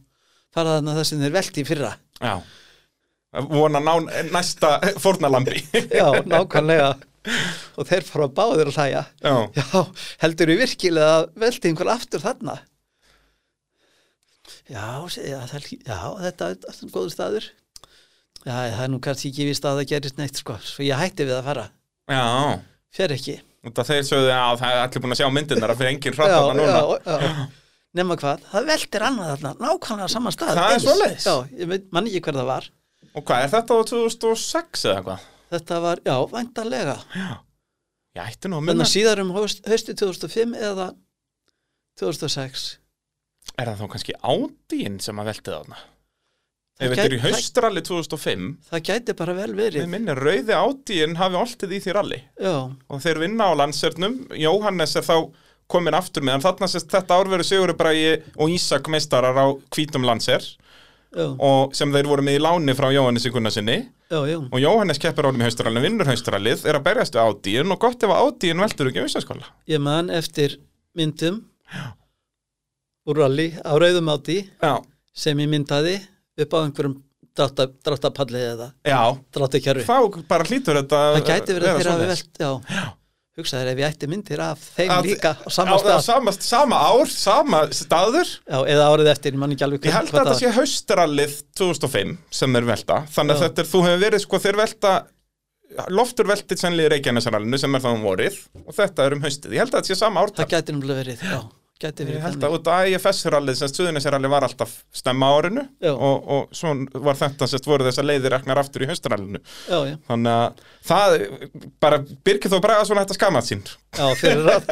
S2: fara þarna það sem þeir velti í fyrra
S1: Já Vona ná næsta fórnalambi
S2: já, nákvæmlega og þeir fara báður að hlæja
S1: Já
S2: já, heldur við virkilega að velti einhver aftur þarna já, segi ég, það, er- já þetta er alltaf góður staður já, það er nú kannski ekki víst að það gerist neitt sko, svo ég hætti við að fara
S1: Já
S2: fer ekki
S1: Út af þeir sögðu að það er allir búin að sjá myndirnar að fyrir engin
S2: já,
S1: hrattana núna
S2: já, já. nema hvað, það veltir annað þarna nákvæmlega saman stað
S1: Það er
S2: eins.
S1: svoleiðis.
S2: já, ég veit- man ekki hver það var
S1: Og hvað, er þetta á 2006 eða hvað?
S2: þetta var, já, væntanlega
S1: Ég ætti nú að
S2: þannig
S1: minna
S2: að síðar um haust, hausti 2005 eða 2006
S1: Er það þá kannski ádýinn sem að veltið þarna?
S2: Það
S1: Ef þetta er í
S2: gæti-
S1: haustralli 2005
S2: það gæti bara vel
S1: Við
S2: verið
S1: minnir rauði ádýinn hafi oltið í því ralli
S2: já,
S1: og þeir vinna á landsernum Jóhannes er þá komin aftur meðan þarna sérst þetta ár veru Sigurbrægi og Ísak meistarar á hvítum landser
S2: já,
S1: og sem þeir voru með í láni frá Jóhannes í Gunnarsinni
S2: já, já
S1: og Jóhannes keppir ánum í haustralinu, vinnur haustralið er að berjast við ádýinn og gott ef að ádýinn veldur ekki auðsaskóla
S2: ég man eftir myndum úr rally á rauðum áti
S1: Já,
S2: sem ég myndaði upp á einhverjum drátta- dráttapalli eða
S1: já,
S2: dráttakjörfi.
S1: þá bara hlýtur þetta
S2: Það gæti verið að þeirra hafi
S1: svoleiðis.
S2: velt, já, hugsaður ef ég ætti myndir af þeim
S1: Að-
S2: líka á sama
S1: Já, það er
S2: stað,
S1: sama, sama ár, sama staður
S2: já, eða árið eftir, ég man ekki alveg
S1: Ég held að þetta sé haustrallið 2005 sem þeir velta, þannig að
S2: Já.
S1: þetta er, þú hefur verið sko, þeir velta loftur veltið sennlega í Reykjanesarallinu sem er þá um vorið og þetta er um haustið, ég held að þetta sé sama
S2: það
S1: ártak
S2: gæti náttúrulega verið, já,
S1: Ég
S2: gæti verið
S1: held að út að IFS-rallið, sem Suðunisarallið var alltaf stemma á árinu
S2: Já.
S1: og, og svo var þetta, sérst voru þessar leiðir reknar aftur í haustrallinu
S2: já, já,
S1: þannig að það, bara Birgir þó bræða svona þetta skammað sín
S2: já, fyrir að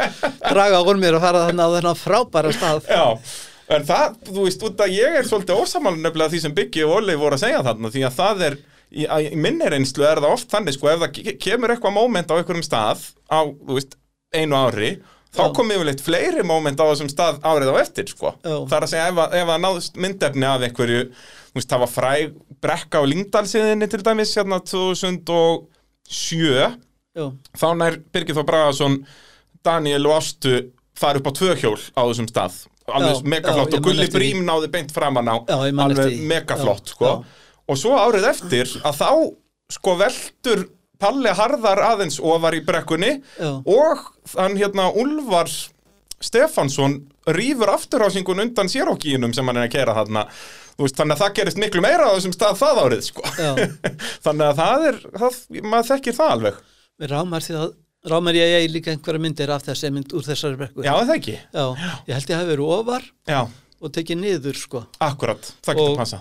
S2: draga úr mér að fara þannig á þennan frábæra stað,
S1: Já, en það, þú veist, út að ég er svolítið ósamal nefnilega því sem Byggi og Óli voru að segja þarna því að það er, í, að- í minni reynslu er það oft þannig, sko, ef það ke- kemur eitthvað moment á einhverjum stað á, þú veist, einu ári þá
S2: Já.
S1: kom yfirleitt fleiri moment á þessum stað árið á eftir, sko
S2: Já.
S1: það er að segja, ef, að- ef að náðust myndefni af einhverju, þú veist, það var fræg brekka á Lyngdalsiðinni til dæmis hérna 2007
S2: já,
S1: þá nær Birgir Þór Bragason Daniel og Ástu fara upp á tvö hjól á þessum stað alveg
S2: Já,
S1: megaflott
S2: já, ég
S1: og
S2: man
S1: Gulli
S2: eftir
S1: Brím náði beint framan á
S2: Já, ég man eftir
S1: alveg
S2: því.
S1: megaflott
S2: Já,
S1: sko. og svo árið eftir að þá sko veltur Palli Harðar aðeins ofar í brekkunni
S2: Já.
S1: og hann hérna Ulvar Stefansson rýfur afturhásingun undan sérókínum sem hann er að kera þarna Þú veist, þannig að það gerist miklu meira á þessum stað það árið sko.
S2: já.
S1: þannig að það er, það, maður þekkir það alveg
S2: Mér rámar því að rámar ég að ég eigi líka einhverja myndir af þess mynd úr þessari brekku.
S1: Já, er það ekki
S2: Já, ég held ég hafi verið ofar
S1: Já,
S2: og tekið niður sko.
S1: akkurat, það getur
S2: Og-
S1: passa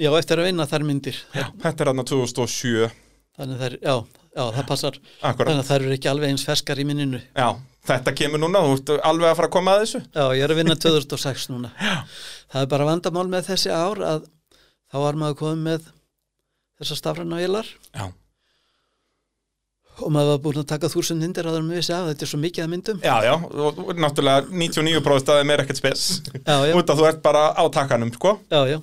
S2: Já, eftir að vinna þær myndir.
S1: Já, þetta er aðna 2007
S2: Þannig þær, já, já, það passar.
S1: Akkurat,
S2: Þannig að þær eru ekki alveg eins ferskar í minninu.
S1: já, þetta kemur núna Þú ert alveg að fara að koma að þessu
S2: Já, ég er að vinna 2006 núna. Það er bara vandamál með þessi ár að þá var maður komið með þessar stafræna vélar
S1: Já,
S2: og maður var búin að taka þúsund myndir áður með vissi af þetta er svo mikið að myndum.
S1: já, já, og og náttúrulega 99 bróðstæðum er ekkert spes
S2: Já, já,
S1: Út að þú ert bara á takkanum, sko
S2: já, já.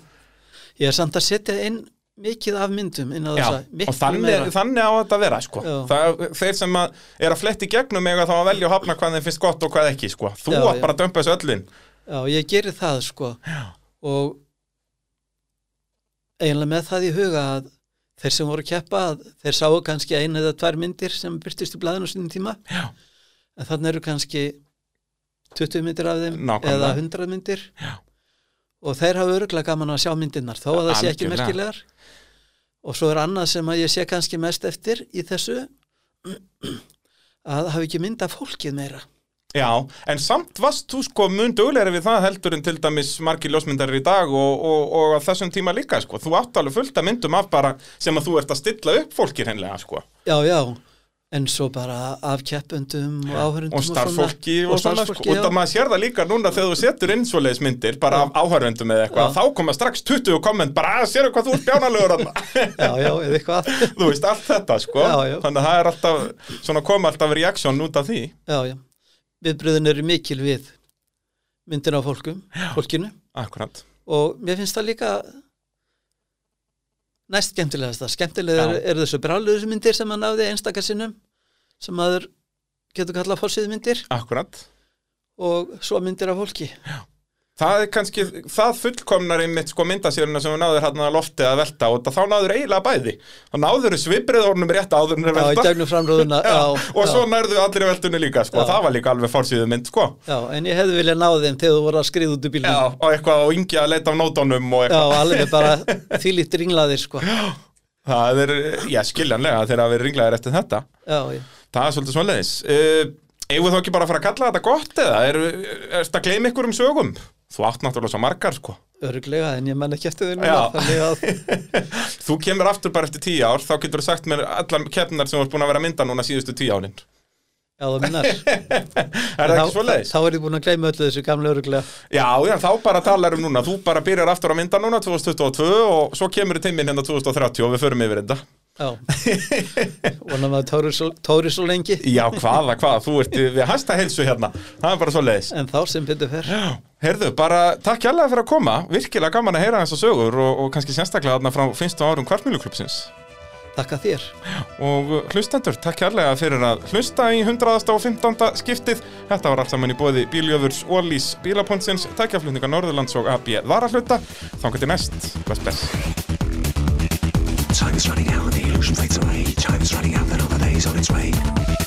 S2: Ég er samt að setja inn mikið af myndum inn á
S1: Já,
S2: þessa. miklu
S1: og þannig,
S2: meira.
S1: þannig á þetta að vera, sko
S2: Já.
S1: það, Þeir sem að er að fletti gegnum eiga þá að velja og hafna hvað þeim finnst gott og hvað ekki, sko Þú
S2: Já,
S1: átt
S2: já.
S1: bara að dömpa þessu öllin
S2: Já, ég geri það sko
S1: Já.
S2: og eiginlega með það í huga að þeir sem voru að keppa að þeir sáu kannski einu eða tvær myndir sem byrtist í blaðinu sinni tíma
S1: Já.
S2: en þannig eru kannski 20 myndir af þeim
S1: Nákvæmlega.
S2: eða 100 myndir
S1: Já.
S2: og þeir hafa öruglega gaman að sjá myndirnar þó að það sé ekki
S1: Algjörlega.
S2: merkilegar og svo er annað sem að ég sé kannski mest eftir í þessu að hafa ekki mynda fólkið meira
S1: Já, en samt varst þú sko mun dögulegri við það heldur en til dæmis margir ljósmyndarir í dag og, og, og á þessum tíma líka sko. Þú átt alveg fullt af myndum af bara sem að þú ert að stilla upp fólki hreinlega sko.
S2: já, já, en svo bara af keppendum og áhörundum
S1: Og starffólki
S2: og,
S1: og svona sko.
S2: starfsfólki,
S1: Og
S2: já.
S1: það maður sér það líka núna þegar þú setur inn svoleiðis myndir bara af áhörvendum eða eitthvað.
S2: Já.
S1: Þá koma strax 20 komment bara að séru hvað þú ert bjánalegur hann.
S2: já, já, eða eitthvað
S1: þú veist allt þetta sko.
S2: Já, já.
S1: Þannig að það er alltaf, svona koma alltaf reaction út af því.
S2: já, já, viðbröðin eru mikil við myndina á fólkum fólkinu
S1: Akkurat.
S2: og mér finnst það líka næst skemmtilegast það skemmtilega
S1: Já.
S2: eru er þessu bráluðismyndir sem maður náði einstaka sinnum sem maður getur kallað fórsviðmyndir
S1: Akkurat.
S2: og svo myndir af fólki
S1: Það er kannski, það fullkomnar einmitt sko myndasýruna sem við náður hérna að lofti að velta og þá náður eiginlega bæði þá náður við svipriðornum rétt áður en að
S2: já, í
S1: velta
S2: gegnum framröðuna já,
S1: og
S2: já,
S1: svo nærðu allir í veltunni líka sko,
S2: Já.
S1: það var líka alveg fórsýðu mynd sko
S2: já, en ég hefði viljað náði þeim þegar þú voru að skriða út úr bílnum
S1: og eitthvað á yngi að leita af nótunum og
S2: já,
S1: eitthvað,
S2: alveg bara þýlít ringlaðir sko já,
S1: það er, já skiljanlega þegar við ringlaðir eftir þetta
S2: já,
S1: það er svolítið svoleiðis uh, eigum við þá ekki bara að fara að kalla þetta gott eða er, er þetta að gleyma ykkur um sögum þú átt náttúrulega svo margar sko
S2: öruglega en ég menn ekki eftir þeim
S1: Já.
S2: þannig að,
S1: Þú kemur aftur bara eftir tíu ár, þá getur þú sagt mér allar keppnar sem þú ert búin að vera að mynda núna síðustu tíu árin.
S2: já, það minnar
S1: Er það ekki svo leiðis?
S2: þá er ég búin að gleyma öllu þessu gamla öruglega
S1: Já, já, þá bara talar um núna. Þú bara byrjar aftur að mynda núna 2022 og svo kemur þú timminn hérna 2030 og við förum yfir þetta.
S2: já, vonan maður tóri svo, tóri svo lengi
S1: Já, hvaða, hvaða, þú ert við hæsta heilsu hérna. Það er bara svo leiðis.
S2: en þá sem betur fer
S1: Já, heyrðu, bara takk hérlega fyrir að koma. Virkilega gaman að heyra þessar sögur og, og kannski sérstaklega þarna frá finnstu árum kvartmjöluklubsins.
S2: Takka þér
S1: Og hlustendur, takk hérlega fyrir að hlusta í 115. skiptið. Þetta var allt saman í bóði Bíljöfurs, Ólís, Bílapuntsins, tækjaflutninga Norðurlands og AB Varahluta. Þangar til næst, bless bless.
S3: Time is running out and the illusion fades away. Time is running out and all the days on its way.